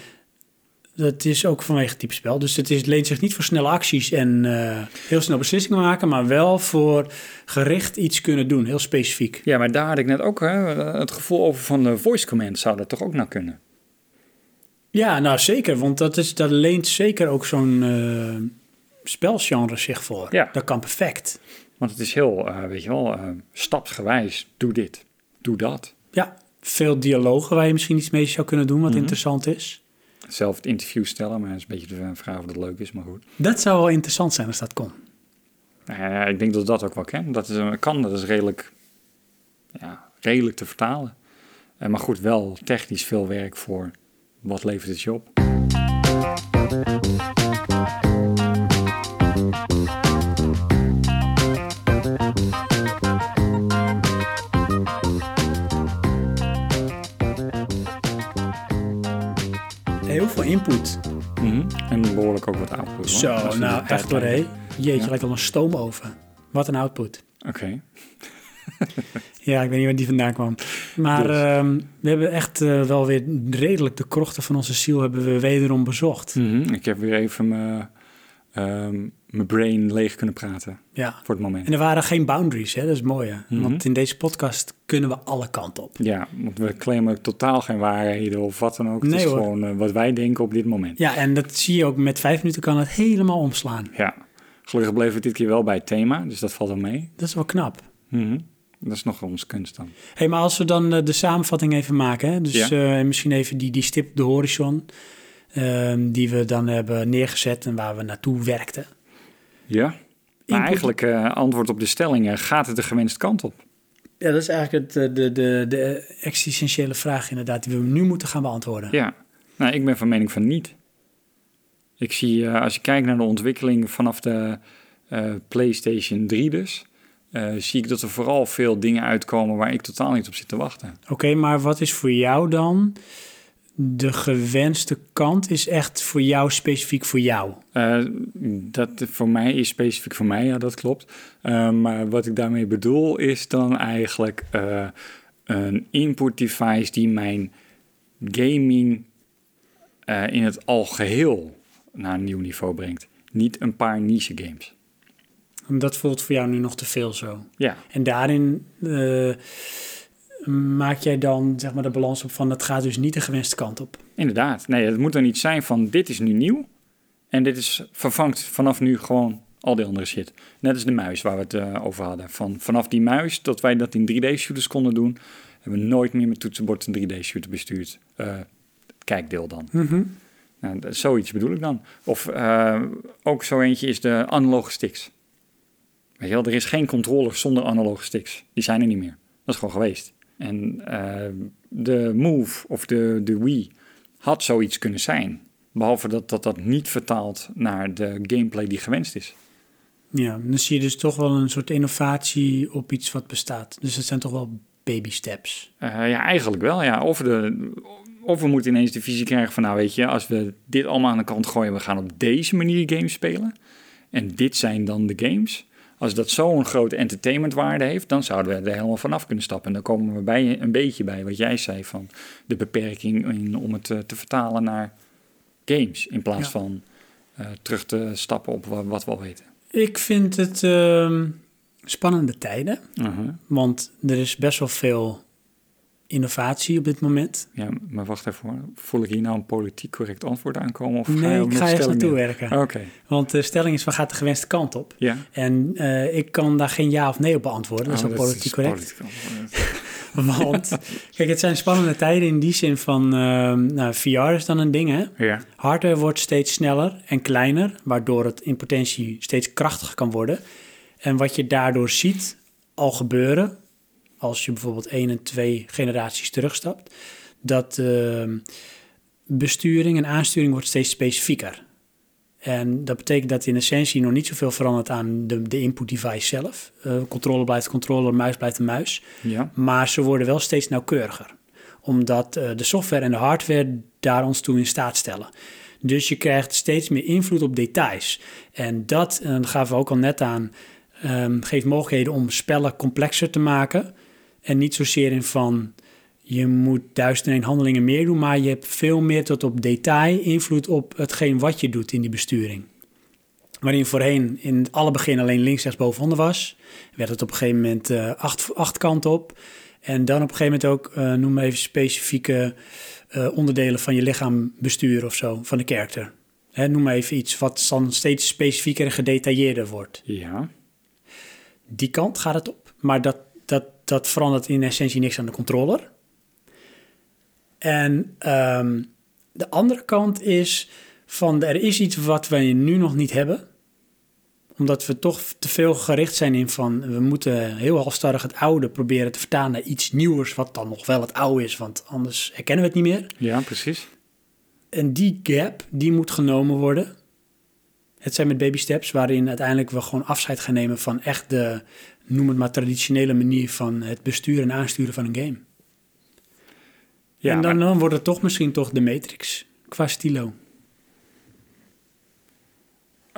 A: Dat is ook vanwege het type spel. Dus het is, leent zich niet voor snelle acties en eh, heel snel beslissingen maken, maar wel voor gericht iets kunnen doen, heel specifiek.
C: Ja, maar daar had ik net ook hè, het gevoel over van de voice command zou dat toch ook nou kunnen.
A: Ja, nou zeker, want dat, is, dat leent zeker ook zo'n eh, spelgenre zich voor.
C: Ja.
A: Dat kan perfect.
C: Want het is heel, eh, weet je wel, eh, stapsgewijs. Doe dit, doe dat.
A: Ja, veel dialogen waar je misschien iets mee zou kunnen doen wat
C: Mhm.
A: interessant is.
C: Zelf het interview stellen, maar dat is een beetje de vraag of dat leuk is, maar goed.
A: Dat zou wel interessant zijn als dat kon.
C: Nou ja, ik denk dat dat ook wel kan. Dat is, eh, kan, dat is redelijk, ja, redelijk te vertalen. Eh, maar goed, wel technisch veel werk voor wat levert het je op.
A: Heel veel input.
C: En behoorlijk ook wat output. hoor. Als
A: Mhm. Zo,
C: we
A: nou
C: de
A: echt hoor, hé.
C: tijdlijn-
A: Jeetje,
C: Ja.
A: lijkt al een stoomoven. Wat een output.
C: Oké.
A: Ja, ik weet niet waar die vandaan kwam. Maar
C: Dus.
A: ehm, we hebben echt eh, wel weer redelijk de krochten van onze ziel hebben we wederom bezocht.
C: Mhm, Ik heb weer even mijn ehm, mijn brain leeg kunnen praten
A: Ja.
C: voor het moment.
A: En er waren geen boundaries, hè? dat is mooi. Hè?
C: Mhm.
A: Want in deze podcast kunnen we alle kanten op.
C: Ja, want we claimen totaal geen waarheden of wat dan ook. het
A: Nee,
C: is
A: hoor.
C: gewoon eh, wat wij denken op dit moment. Ja.
A: Ja, en dat zie je ook met vijf minuten kan het helemaal omslaan.
C: Gelukkig bleven we dit keer wel bij het thema, dus dat valt wel mee.
A: Dat is wel knap.
C: Mhm. Dat is nog ons kunst dan.
A: Hé, maar als we dan eh, de samenvatting even maken, hè? dus
C: Ja.
A: eh, misschien even die, die stip op de horizon, ehm, die we dan hebben neergezet en waar we naartoe werkten.
C: Ja. Maar
A: Input.
C: eigenlijk, eh, antwoord op de stelling, eh, gaat het de gewenste kant op?
A: Ja, dat is eigenlijk het, eh, de, de, de existentiële vraag inderdaad, die we nu moeten gaan beantwoorden.
C: Ja. Nou, ik ben van mening van niet. Ik zie, eh, als je kijkt naar de ontwikkeling vanaf de eh, PlayStation 3 dus, eh, zie ik dat er vooral veel dingen uitkomen waar ik totaal niet op zit te wachten.
A: Oké, maar wat is voor jou dan de gewenste kant? Is echt voor jou specifiek voor jou?
C: Eh, dat voor mij is specifiek voor mij, ja, dat klopt. Eh, maar wat ik daarmee bedoel is dan eigenlijk eh, een input device die mijn gaming eh, in het algeheel naar een nieuw niveau brengt. Niet een paar niche games.
A: Dat voelt voor jou nu nog te veel zo.
C: Ja,
A: En daarin eh, maak jij dan zeg maar, de balans op van het gaat dus niet de gewenste kant op.
C: inderdaad. Nee, het moet dan niet zijn van dit is nu nieuw en dit is vervangt vanaf nu gewoon al die andere shit. Net als de muis waar we het eh, over hadden. Van, vanaf die muis dat wij dat in 3D-shooters konden doen, hebben we nooit meer met toetsenbord een 3D-shooter bestuurd. Eh, het kijkdeel dan. Nou, dat- zoiets bedoel ik dan. Of eh, ook zo eentje is de analoge sticks. Weet je wel, er is geen controller zonder analoge sticks. Die zijn er niet meer. Dat is gewoon geweest. En eh, de Move of de, de Wii had zoiets kunnen zijn. Behalve dat, dat dat niet vertaalt naar de gameplay die gewenst is.
A: Ja, dan zie je dus toch wel een soort innovatie op iets wat bestaat. Dus dat zijn toch wel baby steps.
C: Eh, ja, eigenlijk wel. Ja. Of, de, of we moeten ineens de visie krijgen van, nou weet je, als we dit allemaal aan de kant gooien, we gaan op deze manier games spelen. En dit zijn dan de games. Als dat zo'n grote entertainmentwaarde heeft, dan zouden we er helemaal vanaf kunnen stappen. En dan komen we bij, een beetje bij wat jij zei van de beperking in, om het eh, te vertalen naar games. In plaats
A: Ja.
C: van eh, terug te stappen op wa- wat we al weten.
A: Ik vind het ehm, spannende tijden,
C: Uh-huh.
A: want er is best wel veel innovatie op dit moment.
C: Ja, maar wacht even hoor. Voel ik hier nou een politiek correct antwoord aankomen? Of ga
A: Nee,
C: je
A: ik
C: met
A: ga echt
C: stelling
A: naartoe
C: in?
A: werken.
C: Oké,
A: Want de stelling is, van gaat de gewenste kant op?
C: ja.
A: En eh, ik kan daar geen ja of nee op beantwoorden. Dat is
C: Oh,
A: ook politiek
C: is
A: correct.
C: politiek correct.
A: Want, kijk, het zijn spannende tijden in die zin van... ehm, nou, VR is dan een ding, hè?
C: ja.
A: Hardware wordt steeds sneller en kleiner... waardoor het in potentie steeds krachtiger kan worden. En wat je daardoor ziet al gebeuren... als je bijvoorbeeld één en twee generaties terugstapt... dat ehm, besturing en aansturing wordt steeds specifieker. En dat betekent dat in essentie nog niet zoveel verandert aan de, de input device zelf. Eh, controller blijft controller, muis blijft een muis.
C: Ja.
A: Maar ze worden wel steeds nauwkeuriger. Omdat eh, de software en de hardware daar ons toe in staat stellen. Dus je krijgt steeds meer invloed op details. En dat, en dat gaven we ook al net aan, ehm, geeft mogelijkheden om spellen complexer te maken. En niet zozeer in van Je moet duizend en één handelingen meer doen, maar je hebt veel meer tot op detail invloed op hetgeen wat je doet in die besturing. Waarin voorheen in het alle begin alleen links, rechts, boven, onder was, werd het op een gegeven moment eh, acht, acht kanten op. En dan op een gegeven moment ook, eh, noem maar even specifieke eh, onderdelen van je lichaam besturen of zo, van de karakter. Hè, noem maar even iets wat dan steeds specifieker en gedetailleerder wordt
C: Ja.
A: die kant gaat het op. Maar dat, dat, dat verandert in essentie niks aan de controller. En ehm, de andere kant is van er is iets wat wij nu nog niet hebben omdat we toch te veel gericht zijn in van we moeten heel halstarrig het oude proberen te vertalen naar iets nieuws, wat dan nog wel het oude is, want anders herkennen we het niet meer.
C: Ja, precies.
A: En die gap, die moet genomen worden. Het zijn met baby steps waarin uiteindelijk we gewoon afscheid gaan nemen van echt de, noem het maar, traditionele manier van het besturen en aansturen van een game.
C: Ja,
A: en dan,
C: maar-
A: dan wordt het toch misschien toch de Matrix qua stilo.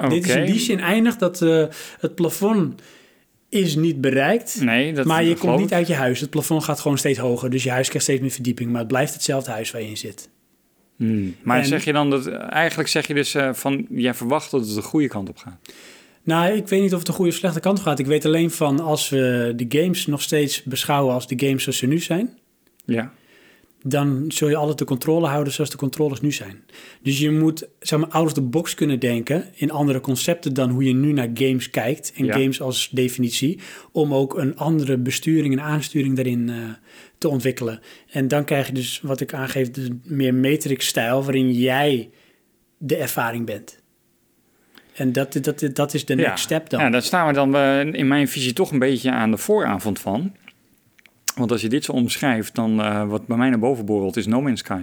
A: Dit is
C: oké.
A: in die zin eindig dat eh, het plafond is niet bereikt.
C: Nee, Mm, dat
A: maar je
C: dat
A: komt
C: geloof
A: niet
C: ik.
A: uit je huis. Het plafond gaat gewoon steeds hoger. Dus je huis krijgt steeds meer verdieping. Maar het blijft hetzelfde huis waar je in zit.
C: Hmm. Maar
A: En-
C: zeg je dan dat... Eigenlijk zeg je dus eh, van... Jij verwacht dat het de goede kant op gaat.
A: Nou, ik weet niet of het de goede of slechte kant op gaat. Ik weet alleen van als we de games nog steeds beschouwen als de games zoals ze nu zijn,
C: Ja.
A: dan zul je altijd de controle houden zoals de controllers nu zijn. Dus je moet zeg maar, out of the box kunnen denken in andere concepten dan hoe je nu naar games kijkt en
C: Ja.
A: games als definitie, om ook een andere besturing en aansturing daarin eh, te ontwikkelen. En dan krijg je dus wat ik aangeef, dus meer Matrix-stijl, waarin jij de ervaring bent. En dat, dat, dat is de
C: ja.
A: next step dan.
C: Ja, daar staan we dan eh, in mijn visie toch een beetje aan de vooravond van. Want als je dit zo omschrijft, dan eh, wat bij mij naar boven borrelt is No Man's Sky.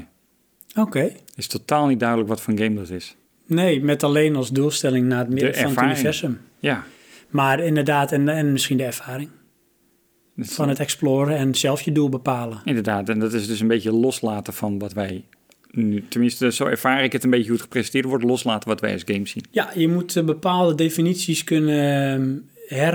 A: Oké.
C: is totaal niet duidelijk wat voor een game dat is.
A: Nee, met alleen als doelstelling naar het midden van
C: ervaring.
A: het universum.
C: Ja.
A: Maar inderdaad, en, en misschien de ervaring
C: Dat is-
A: van het exploren en zelf je doel bepalen.
C: Inderdaad, en dat is dus een beetje loslaten van wat wij nu, tenminste zo ervaar ik het een beetje hoe het gepresenteerd wordt, loslaten wat wij als game zien.
A: Ja, je moet eh, bepaalde definities kunnen eh,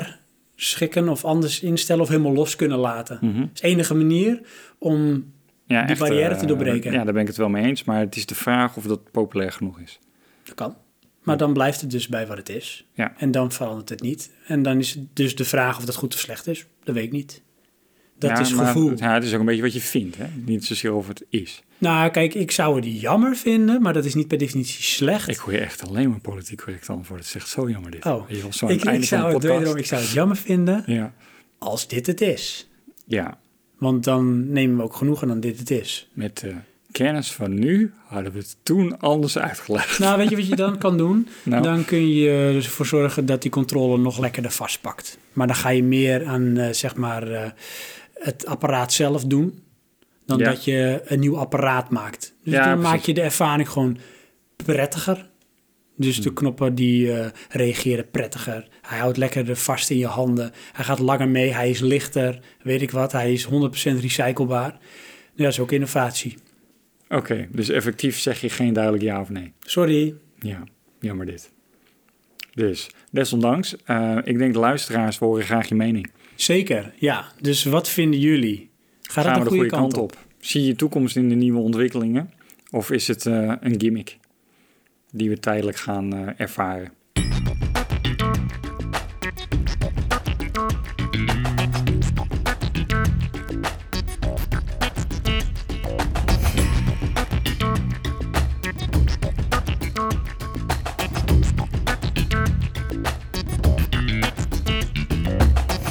A: herschikken of anders instellen of helemaal los kunnen laten.
C: Hm.
A: Dat is de enige manier om...
C: Ja,
A: Mhm. Die barrière te
C: eh,
A: doorbreken.
C: Ja, daar ben ik het wel mee eens, maar het is de vraag of dat populair genoeg is.
A: Dat kan. Maar dan blijft het dus bij wat het is.
C: Ja.
A: En dan verandert het niet. En dan is het dus de vraag of dat goed of slecht is. Dat weet ik niet. Dat
C: Ja,
A: is
C: maar
A: gevoel.
C: het- Ja, het is ook een beetje wat je vindt, hè? niet zozeer of het is.
A: Nou, kijk, ik zou het jammer vinden, maar dat is niet per definitie slecht.
C: Ik hoor je echt alleen maar politiek correct antwoord. Het is echt zo jammer dit.
A: Oh,
C: Weet je wel, zo aan
A: ik,
C: het einde
A: ik, zou
C: van
A: het
C: de podcast.
A: wederom, ik zou het jammer vinden
C: Ja,
A: als dit het is.
C: ja.
A: Want dan nemen we ook genoegen aan dit het is.
C: met de kennis van nu hadden we het toen anders uitgelegd.
A: Nou, weet je wat je dan kan doen?
C: Nou.
A: Dan kun je dus ervoor zorgen dat die controle nog lekkerder vastpakt. Maar dan ga je meer aan, eh, zeg maar, eh, het apparaat zelf doen... dan
C: Ja.
A: dat je een nieuw apparaat maakt. Dus
C: Ja,
A: dan
C: precies.
A: maak je de ervaring gewoon prettiger. Dus
C: Hm.
A: de knoppen die eh, reageren prettiger. Hij houdt lekkerder vast in je handen. Hij gaat langer mee. Hij is lichter. Weet ik wat. Hij is 100% recyclebaar. Nou, dat is ook innovatie.
C: Oké, dus effectief zeg je geen duidelijk ja of nee.
A: Sorry.
C: Ja, jammer dit. Dus, desondanks, eh, ik denk de luisteraars horen graag je mening.
A: Zeker, ja. Dus wat vinden jullie? Gaat het
C: Gaan
A: de,
C: we
A: goede kant, op?
C: Zie je toekomst in de nieuwe ontwikkelingen? Of is het eh, een gimmick die we tijdelijk gaan eh, ervaren?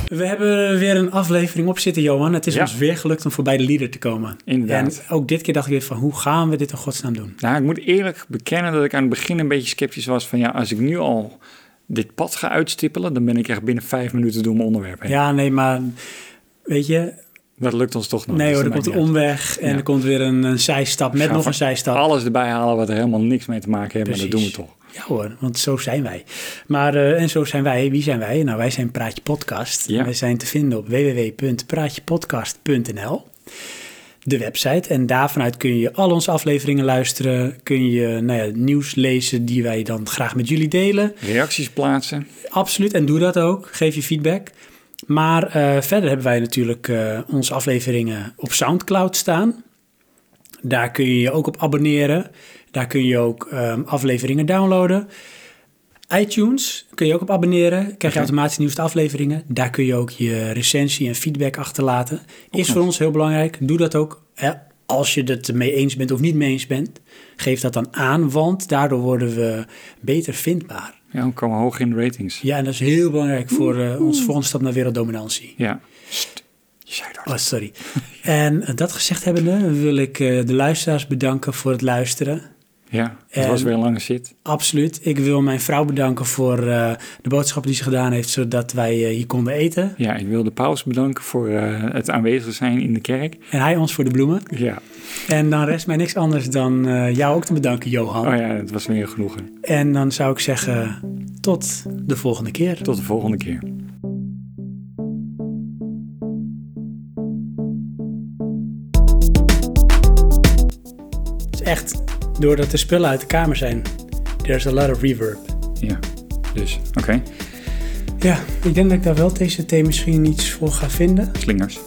A: We hebben weer een aflevering op zitten, Johan. Het is
C: Ja.
A: ons weer gelukt om voorbij de leader te komen.
C: Inderdaad.
A: En ook dit keer dacht ik weer van, hoe gaan we dit in godsnaam doen?
C: Nou, ik moet eerlijk bekennen dat ik aan het begin een beetje sceptisch was van... ja, als ik nu al dit pad ga uitstippelen, dan ben ik echt binnen vijf minuten door mijn onderwerp heen.
A: Ja, nee, maar weet je,
C: Dat lukt ons toch nog.
A: nee
C: Oh, dus
A: hoor, er
C: dat
A: komt een
C: maakt niet uit.
A: omweg en
C: Ja.
A: er komt weer een, een zijstap met
C: Gaan
A: nog
C: we
A: een zijstap.
C: Alles erbij halen wat er helemaal niks mee te maken heeft, maar dat doen we
A: Precies.
C: toch.
A: Ja hoor, want zo zijn wij. Maar, eh, en zo zijn wij. Wie zijn wij? Nou, wij zijn Praatje Podcast.
C: Ja.
A: Wij zijn te vinden op www.praatjepodcast.nl. De website. En daarvanuit kun je al onze afleveringen luisteren. Kun je nou ja, nieuws lezen die wij dan graag met jullie delen.
C: Reacties plaatsen.
A: Absoluut. En doe dat ook. Geef je feedback. Maar eh, verder hebben wij natuurlijk eh, onze afleveringen op Soundcloud staan. Daar kun je je ook op abonneren. Daar kun je ook eh, afleveringen downloaden. iTunes kun je ook op abonneren. Krijg je automatisch de nieuwste afleveringen. Daar kun je ook je recensie en feedback achterlaten. Is voor ons heel belangrijk. Doe dat ook. Hè? Als je het mee eens bent of niet mee eens bent, geef dat dan aan, want daardoor worden we beter vindbaar.
C: Ja, we komen hoog in de ratings.
A: Ja, en dat is heel belangrijk voor eh, onze volgende stap naar werelddominantie.
C: Ja. Sst, je zei dat.
A: Oh, sorry. En eh, dat gezegd hebbende wil ik eh, de luisteraars bedanken voor het luisteren.
C: Ja, het
A: En-
C: was weer een lange shit.
A: Absoluut. Ik wil mijn vrouw bedanken voor eh, de boodschappen die ze gedaan heeft, zodat wij eh, hier konden eten.
C: Ja, ik wil de paus bedanken voor eh, het aanwezig zijn in de kerk.
A: En hij ons voor de bloemen.
C: Ja.
A: En dan rest mij niks anders dan eh, jou ook te bedanken, Johan.
C: Oh ja, het was weer een genoegen.
A: En dan zou ik zeggen, tot de volgende keer.
C: Tot de volgende keer.
A: Het is echt, doordat de spullen uit de kamer zijn, there's a lot of reverb.
C: Ja. Dus, oké.
A: Ja, ik denk dat ik daar wel TCT misschien iets voor ga vinden.
C: Slingers.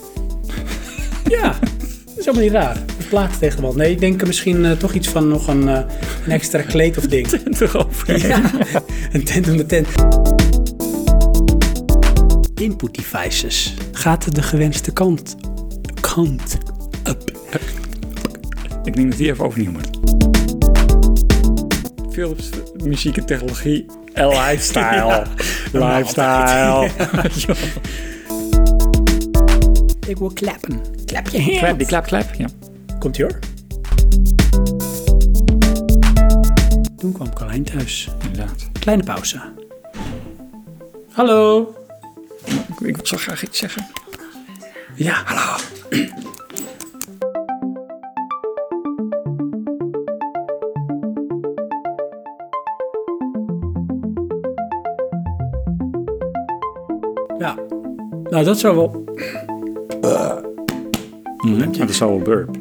A: Ja, dat is helemaal niet raar. Een plaat tegen de wand. Nee, ik denk er misschien eh, toch iets van nog een, eh, een extra kleed of ding.
C: Erover.
A: Ja, een tent om de tent. Input devices. Gaat de gewenste kant, kant up.
C: Ik denk dat die even overnieuw moet. Philips muziek en technologie. en Lifestyle. lifestyle.
A: Ik wil klappen. Klap je hand.
C: klap, die klap, klap. Ja.
A: Komt ie hoor. Toen kwam Carlijn thuis.
C: Inderdaad.
A: Kleine pauze. Hallo.
C: Ik- Ik zou graag iets zeggen.
A: Ja, hallo. Ja, nou dat zou wel.
C: Maar Dat is al een burp.